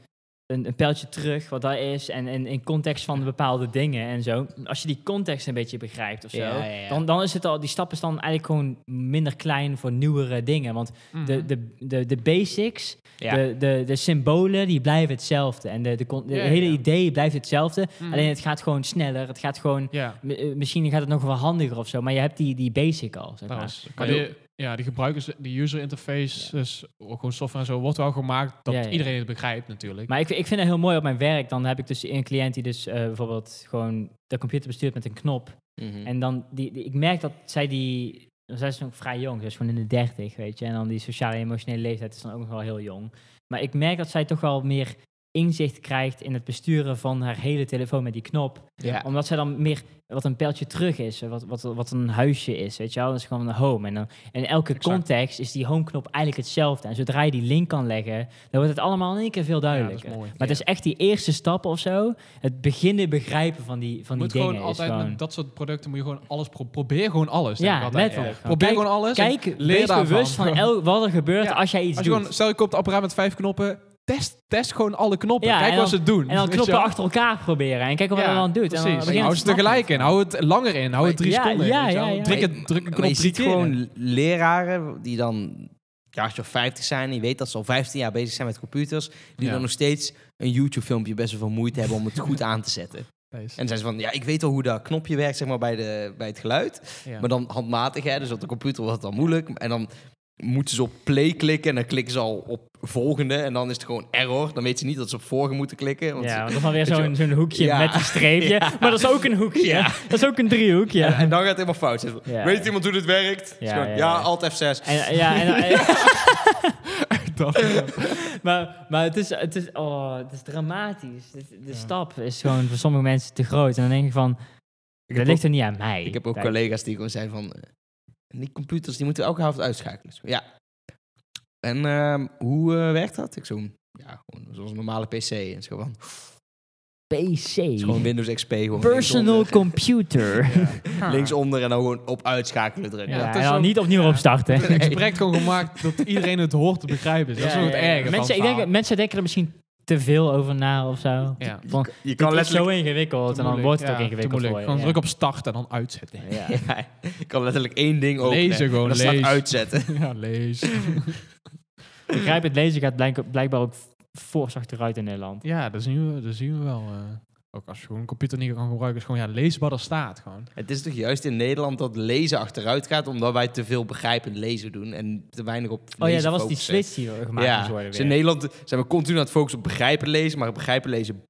een, een pijltje terug wat dat is en en in context van bepaalde dingen en zo. Als je die context een beetje begrijpt of zo,
Ja, ja, ja.
Dan, dan is het al, die stap is dan eigenlijk gewoon minder klein voor nieuwere dingen. Want
Mhm.
de, de, de, de basics,
Ja.
de, de, de symbolen, die blijven hetzelfde. En de, de, con- de
Ja, ja,
hele
ja.
idee blijft hetzelfde.
Mhm.
Alleen het gaat gewoon sneller. Het gaat gewoon,
Ja,
m- eh, misschien gaat het nog wel handiger of zo. Maar je hebt die, die basic al. Zeg maar.
trouwens.
Maar
Kan je, ja, die gebruikers, die user interface, dus ook gewoon software en zo, wordt wel gemaakt dat
Ja, ja.
iedereen het begrijpt natuurlijk.
Maar ik, ik vind het heel mooi op mijn werk. Dan heb ik dus een cliënt die dus eh, bijvoorbeeld gewoon de computer bestuurt met een knop.
Mhm. Hm.
En dan, die, die- ik merk dat zij die, zij is nog vrij jong, ze is gewoon in de dertig, weet je. En dan die sociale en emotionele leeftijd is dan ook nog wel heel jong. Maar ik merk dat zij toch wel meer inzicht krijgt in het besturen van haar hele telefoon met die knop.
ja.
Omdat zij dan meer wat een pijltje terug is, wat, wat, wat een huisje is, weet je wel. Dat is gewoon een home. En dan, in elke
Exact.
context is die home-knop eigenlijk hetzelfde. En zodra je die link kan leggen, dan wordt het allemaal in één keer veel
ja, dat
duidelijker.
is mooi.
maar het is echt die eerste stap of zo. Het beginnen begrijpen van die, van die
Je moet
dingen
gewoon altijd
is gewoon...
met dat soort producten moet je gewoon alles pro- probeer gewoon alles. denk ik
Ja,
altijd.
letterlijk.
Ja.
Probeer
Kijk-
gewoon alles. en
Kijk, wees
daarvan.
bewust van el- wat er gebeurt
Ja,
als jij iets
Als je
doet.
gewoon, stel je koopt een apparaat met vijf knoppen, test, test gewoon alle knoppen.
Ja,
Kijk
en
wat
dan-
ze doen.
en dan
weet je
knoppen
wel.
achter elkaar proberen. En kijken wat
Ja,
er dan doet. En dan
Precies.
begin je
hou
te
ze
snappen.
tegelijk in. Hou het langer in. Hou het drie
Ja,
seconden
ja,
in. weet je
ja,
wel.
ja.
Druk,
Maar-
het, druk een
maar
knop
je
drie
ziet
keer in.
gewoon leraren die dan ja, als je 50 zijn, je weet dat ze al 15 jaar bezig zijn met computers, die
Ja.
dan nog steeds een YouTube-filmpje best wel veel moeite hebben om het goed aan te zetten. En dan zijn ze van, ja, ik weet al hoe dat knopje werkt, zeg maar, bij, de, bij het geluid.
Ja.
Maar dan handmatig, hè, dus op de computer was het dan moeilijk. En dan moeten ze op play klikken en dan klikken ze al op volgende. En dan is het gewoon error. Dan weet ze niet dat ze op vorige moeten klikken. Want
Ja, want dat is dan weer zo'n zo'n hoekje
Ja.
met een streepje.
Ja.
Maar dat is ook een hoekje.
Ja.
Dat is ook een driehoekje.
en, en dan gaat het helemaal fout. Ze
Ja.
van, Weet iemand hoe dit werkt? Ja,
Ja,
gewoon, ja,
ja, ja.
Alt F6.
En, eh, ja, en, en-
Dat, ja.
maar maar het, is, het, is, oh, het is dramatisch. De, de stap is gewoon voor sommige mensen te groot. En dan denk je van,
Ik
dat
heb ook-
ligt er niet aan mij.
Ik heb ook
Kijk.
collega's die gewoon zijn van... eh, Die computers die moeten we elke avond uitschakelen. Ik zo, Ja. En ehm, hoe eh, werkt dat? Ik zo... Ja, gewoon zoals een normale PC. En zo van... Het
PC.
is gewoon Windows XP. Gewoon
Personal
linksonder,
computer.
linksonder en dan gewoon op uitschakelen drukken.
Ja,
dat
en
is
dan
ook-
niet opnieuw
ja.
opstarten.
Het gesprek gewoon gemaakt dat iedereen het hoort te begrijpen. Dat is
Ja,
ook het
ja, ja.
erge.
Mensen, ik
van
denk,
het
dat mensen denken er misschien te veel over na of zo.
verhaal. Ja. Nou,
Van,
Je
dit
kan
is zo
letterlijk...
ingewikkeld
Te
en dan
moeilijk,
wordt het ook
ja, te
ingewikkeld
moeilijk.
voor je.
Gewoon
ja.
druk op start en dan uitzetten.
Ja.
Ja, je kan letterlijk één ding openen.
Lezen gewoon,
en dan staat
lezen.
uitzetten.
Ja, lees.
Begrijp het lezen gaat blijk- blijkbaar ook fors achteruit in Nederland.
Ja, dat zien we, dat zien we wel. eh. ook als je gewoon een computer niet kan gebruiken, is gewoon ja, lees wat er staat. Gewoon.
Het is toch juist in Nederland dat lezen achteruit gaat... omdat wij te veel begrijpend lezen doen... en te weinig op
Oh ja,
lezen
dat was die
focussen.
switch die er gemaakt moest
Ja,
worden
dus
weer.
in Nederland zijn we continu aan het focussen op begrijpen lezen, maar begrijpen lezen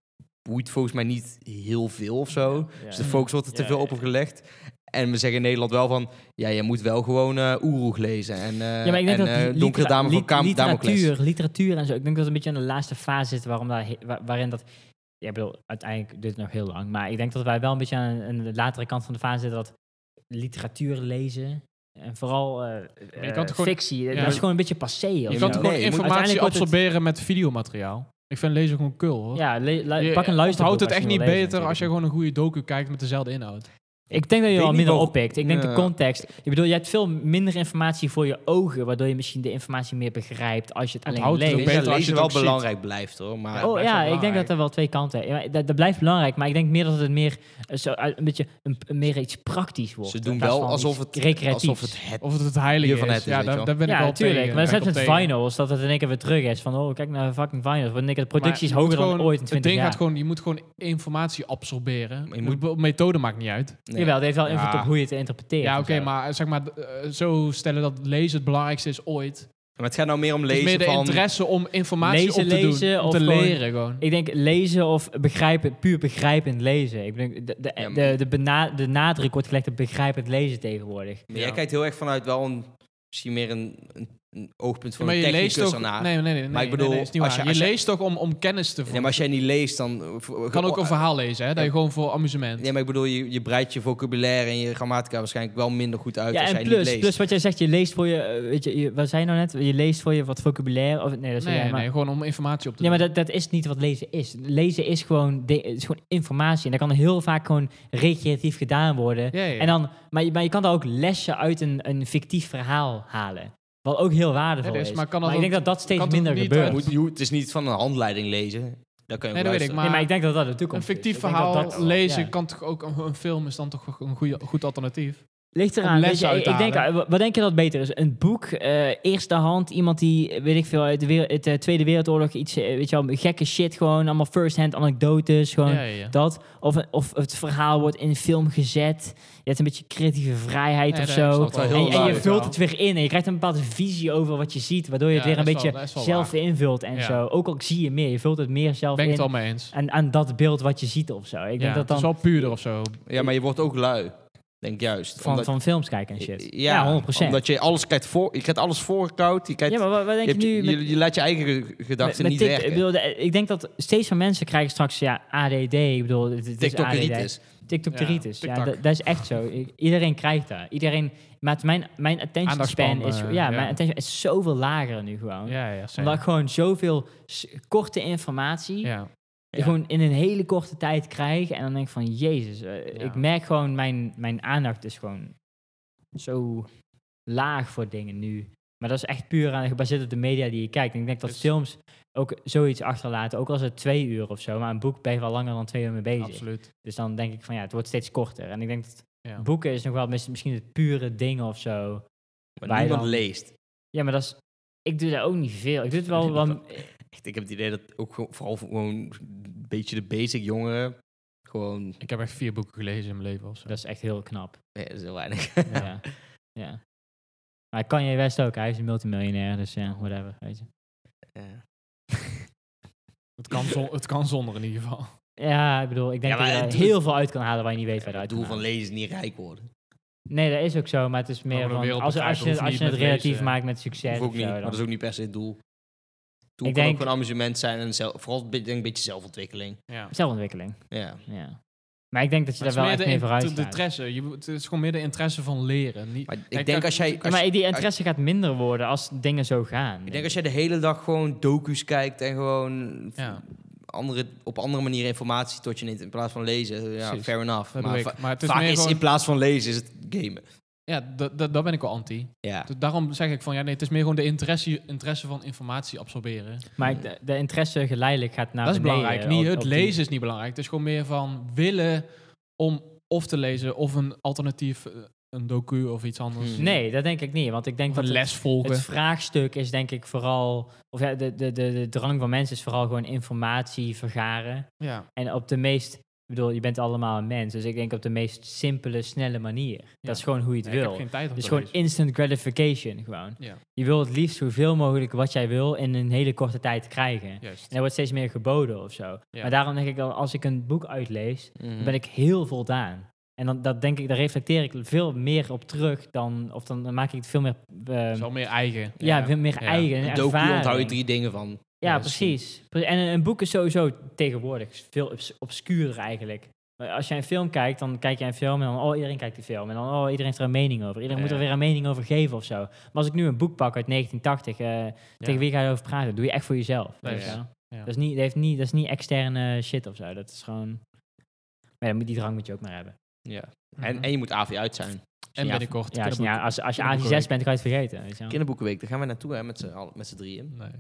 boeit volgens mij niet heel veel of zo.
Ja.
Dus de focus wordt er te
Ja,
veel
ja,
op gelegd. En we zeggen in Nederland wel van, ja, je moet wel gewoon eh Oeroeg lezen en, eh
Ja, maar ik denk
en
dat
eh,
litera-
Donkere Dame van
lit-
Kamer Damocles.
literatuur, literatuur en zo. Ik denk dat het een beetje aan de laatste fase zit waarom daar, he- wa- waarin dat... Ja, ik bedoel, uiteindelijk duurt het nog heel lang. Maar ik denk dat wij wel een beetje aan, aan de latere kant van de fase zitten dat literatuur lezen... En vooral eh, eh,
kan het gewoon-
fictie,
ja,
dat
maar-
is gewoon een beetje passé. of
Je
zo.
kan
het
gewoon
nee, je moet-
informatie
uiteindelijk wordt het-
absorberen met videomateriaal. Ik vind lezen gewoon cool hoor.
Ja, le- lu-
Je
pak een luisterboek.
Houdt
als
het
je
echt
wil
niet beter
lezen
als je
natuurlijk.
gewoon een goede docu kijkt met dezelfde inhoud.
Ik denk dat je
Weet
al
niet
minder
wel-
oppikt. Ik denk de
Ja.
context. Ik bedoel, je hebt veel minder informatie voor je ogen, waardoor je misschien de informatie meer begrijpt als je het
Want
alleen
houdt het
Ik
leest.
denk
beter
dat
als
lezen
je het
wel
ook ziet.
belangrijk blijft hoor, maar
dat
Oh
blijft
ja,
wel
ik denk dat er wel twee kanten. Ja, maar dat, dat blijft belangrijk, maar ik denk meer dat het meer eh, zo, uit- een beetje een, een meer iets praktisch wordt.
ze
in
doen
plaats
wel
van
alsof
iets
het,
recreatiefs.
alsof het het...
Of het het heilige
Hiervan
is.
het is,
ja,
weet je
daar,
wel.
daar ben ik
ja,
wel
tuurlijk.
tegen.
Maar
Daar
zelfs
ben ik
met
wel tegen.
finals, dat het in één keer weer terug is. Van, oh, kijk naar fucking finals. Want in één keer de productie is
Maar je
hoger
moet
dan
gewoon-
ooit in 20
het ding
jaar.
Gaat gewoon, je moet gewoon informatie absorberen.
Maar je
De
moet-
be- methode maakt niet uit.
Nee.
Jawel, het heeft wel
Ja.
invloed op hoe je het interpreteert.
ja,
en
oké,
zo.
maar zeg maar, eh, zo stellen dat lezen het belangrijkste is ooit.
Maar het gaat nou meer om
Het is meer
lezen
de
van...
interesse om informatie
Lezen,
op te
lezen
doen. Om
of
te
gewoon-
leren gewoon.
Ik denk lezen of begrijpen, puur begrijpend lezen. Ik denk, de, de,
Ja, maar-
de, de, bena- de nadruk wordt gelegd op begrijpend lezen tegenwoordig.
Maar jij
Ja.
kijkt heel erg vanuit wel een, misschien meer een, een, een oogpunt van
maar
een
je leest
technicus
toch...
ernaar.
Nee, nee, nee. nee,
Maar ik
nee,
bedoel,
nee, is niet
als
waar.
je-
je,
als je-
leest toch om, om kennis te...
Nee, maar als Oh, eh, jij niet leest, dan...
Je kan ook een verhaal lezen, hè? Dat je gewoon voor amusement...
Nee, maar ik bedoel, je, je breidt je vocabulaire en je grammatica waarschijnlijk wel minder goed uit
Ja,
als
en
jij niet
plus,
leest.
plus wat jij zegt, je leest voor je, eh, weet je, je- wat zei je nou net? Je leest voor je wat vocabulaire. Of, nee, dat zei
nee,
jij, maar,
nee, gewoon om informatie op te
Ja,
doen.
maar dat, dat is niet wat lezen is. Lezen is gewoon, de- is gewoon informatie. En dat kan heel vaak gewoon recreatief gedaan worden.
Ja, ja.
En dan, maar, je, maar je kan daar ook lessen uit een, een fictief verhaal halen. Wat ook heel waardevol
Ja, dat
is.
is- maar kan dat
ik
ook-
denk dat dat steeds
kan toch
minder
niet
gebeurt.
uit-
Moet- je hoeft- het is niet van een handleiding lezen. Dat kan je
Nee,
ook
dat weet ik,
luisteren.
maar...
nee, maar ik denk dat dat de toekomst
een fictief
is. Ik denk
verhaal
dat dat-
lezen
ja.
kan toch ook... Een, een film is dan toch ook een goede, goed alternatief?
Ligt
Om
eraan.
les
Weet je,
uit
ik
te
ik denk,
halen.
eh, wat denk je dat beter is? Een boek, eh eerste hand, iemand die, eh, weet ik veel, uit de, wereld, uit de Tweede Wereldoorlog iets, eh, weet je wel, gekke shit gewoon, allemaal first-hand anekdotes, gewoon
Ja, ja, ja.
dat. Of, of het verhaal wordt in een film gezet. Je hebt een beetje creatieve vrijheid
Nee,
of
dat
zo.
snap
Dat
ik
wel heel
En,
wel.
en je
duidelijk
vult het weer in en je krijgt een bepaalde visie over wat je ziet, waardoor je
Ja,
het weer een
dat is wel-
beetje
dat is wel
zelf invult en
Ja.
zo. Ook al zie je meer, je vult het meer zelf
Ben ik
in
het al mee eens.
aan, aan dat beeld wat je ziet of zo. Ik
ja,
denk dat
het is
dan
wel puurder of zo.
Ja, maar je wordt ook lui. Denk ik juist.
van,
Omdat-
van films kijken en shit.
Ja,
Ja, 100%.
Omdat je alles krijgt voor, je krijgt alles voorgekoud. Je krijgt,
ja, maar wat, wat denk
je,
je,
hebt-
nu
je,
met,
je laat je eigen ge-
met,
gedachten
met
niet
Tik-
werken.
Ik, bedoel, de- ik denk dat steeds meer mensen krijgen straks ja, ADD. Ik bedoel, het, het
TikTok
is ADD.
is.
TikTok-teritis.
Ja,
Ja,
TikTok.
dat, dat is echt zo. I- Iedereen krijgt dat. Iedereen, maar mijn, mijn attention span
Aandachtspan,
is,
eh,
ja,
ja.
mijn attention is zoveel lager nu gewoon.
Ja, ja,
Omdat ik
zeker.
gewoon zoveel s- korte informatie
Ja.
Ja.
gewoon in een hele korte tijd krijg. En dan denk ik van, jezus, eh,
Ja.
ik merk gewoon, mijn, mijn aandacht is gewoon zo laag voor dingen nu. Maar dat is echt puur aan, gebaseerd op de media die je kijkt. En ik denk dat
Dus-
films ook zoiets achterlaten, ook als het twee uur of zo. Maar een boek ben je wel langer dan twee uur mee bezig.
Absoluut.
Dus dan denk ik van, ja, het wordt steeds korter. En ik denk dat
Ja.
boeken is nog wel mis- misschien het pure ding of zo.
Maar
Wij
niemand
dan.
leest.
Ja, maar dat is... Ik doe daar ook niet veel. Ik doe het wel... wel
Echt, ik heb het idee dat ook gewoon- vooral gewoon een beetje de basic jongeren gewoon...
Ik heb echt vier boeken gelezen in mijn leven of zo.
dat is echt heel knap.
Nee, dat is heel weinig.
Ja. ja. Maar Kanye West ook, hij is een multimiljonair, dus ja, whatever, weet je.
Ja.
Het, kan zon- het kan zonder in ieder geval.
Ja, ik bedoel, ik denk
Ja, maar
dat je
het-
er heel veel uit kan halen waar je niet weet waar
Het
je uit
doel
kan
van
halen.
lezen is niet rijk worden.
Nee, dat is ook zo, maar het is meer
maar de
van...
wereld
Als, als je,
begrijpen
als
hoeft
je
niet
het
met
relatief
lezen.
maakt met succes
Hoeft ook
of
niet,
zo,
maar dat
dan...
is ook niet per se het doel. Het doel
Ik
kan
denk-
ook een amusement zijn en zelf, vooral een beetje- een beetje zelfontwikkeling.
Ja.
Zelfontwikkeling,
Ja.
ja. Maar ik denk dat je daar
Het
wel
is meer
echt
de,
mee
in-
vooruit
de, de
gaat.
interesse. Je, moet- het is gewoon meer de interesse van leren. Niet,
Maar ik
Kijk,
denk
dat-
als jij... Als,
maar
je-
die interesse gaat minder worden als dingen zo gaan.
ik denk als jij de hele dag gewoon docu's kijkt en gewoon
ja,
andere, op andere manieren informatie tot je neemt in plaats van lezen. Ja,
Precies.
fair enough.
dat
maar
doe
va-
ik. Maar het is
vaak
meer
is
gewoon,
in plaats van lezen is het gamen.
ja, dat- dat- daar ben ik wel anti.
Ja.
Dus daarom zeg ik van ja, nee, het is meer gewoon de interesse, interesse van informatie absorberen.
Maar ik- de, de interesse geleidelijk gaat naar
dat is
beneden,
belangrijk.
op-
Niet, het
op eh, die-
lezen is niet belangrijk. Het is gewoon meer van willen om of te lezen of een alternatief, eh, een docu of iets anders.
Hmm.
Nee, dat denk ik niet, want ik denk
Of
dat
een
het-
les volgen.
Het vraagstuk is denk ik vooral, of ja, de, de, de, de drang van mensen is vooral gewoon informatie vergaren.
ja,
En op de meest, ik bedoel, je bent allemaal een mens, dus ik denk op de meest simpele, snelle manier. Dat is gewoon hoe je het
Nee, ik heb
wil.
geen tijd om
Dus
te
gewoon
lezen.
instant gratification gewoon.
Ja.
Je wil het liefst zoveel mogelijk wat jij wil in een hele korte tijd krijgen. En
Juist.
er wordt steeds meer geboden of zo.
Ja. Mm.
Maar daarom denk ik dat als ik een boek uitlees,
Mhm.
dan ben ik heel voldaan. En dan dat denk ik, daar reflecteer ik veel meer op terug dan, of dan, dan maak ik het veel meer
Het is
ehm,
wel meer eigen.
ja,
Ja.
veel meer
Ja.
eigen
Een docu
ervaring.
onthoud je drie dingen van.
Ja,
Ja, dat is
precies. Pre- En een een boek is sowieso tegenwoordig veel obs- obscuurder eigenlijk. Maar Als jij een film kijkt, dan kijk jij een film en dan, oh, iedereen kijkt die film. En dan, oh, iedereen heeft er een mening over. Iedereen moet er
Ja.
weer een mening over geven of zo. Maar als ik nu een boek pak uit 1980, eh, tegen wie ga je erover praten? Dat doe je echt voor jezelf.
Nee,
weet je
ja.
wel.
Ja.
Dat, is niet, dat, heeft niet, dat is niet externe shit of zo. Dat is gewoon... Maar ja, moet- die drang moet je ook maar hebben.
Ja.
Mhm.
En, en je moet AV uit zijn.
En
Ja,
binnenkort.
Ja, als, je-
kinderboek.
ja, als, als je
kinderboeken
AG6 bent, dan kan je het vergeten. Weet je wel.
Kinderboekenweek, daar gaan we naartoe hè, met z'n allen- met z'n drieën.
Nee,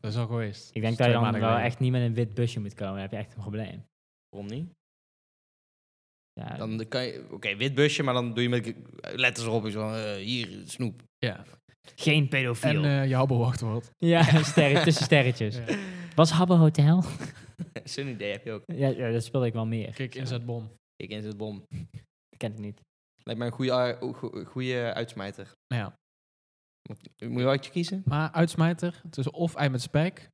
dat is al geweest.
Ik denk
Dat
dat
is
je
twee
dan
maanden
wel
geleden.
echt niet met een wit busje moet komen. Dan heb je echt een probleem.
Waarom niet?
Ja,
Dan kan je, oké, wit busje, maar dan doe je met letters erop. Is van, eh, hier, snoep.
Ja.
Geen pedofiel.
En eh, jouw bewachtwoord.
Ja, sterren, tussen sterretjes.
Ja.
Was Habbo Hotel?
Zo'n idee heb je ook.
ja, ja, dat speelde ik wel meer.
Kijk, inzetbom.
Ik in zit bom.
Dat ken ik niet.
Lijkt mij een goede, goede uitsmijter.
Nou ja.
Moet je wel uitje kiezen?
Maar uitsmijter, het is of ei met spek,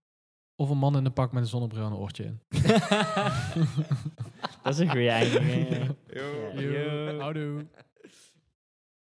of een man in een pak met een zonnebril en een oortje in.
dat is een goede eindiging. ja.
Yo.
Yo.
Houdoe.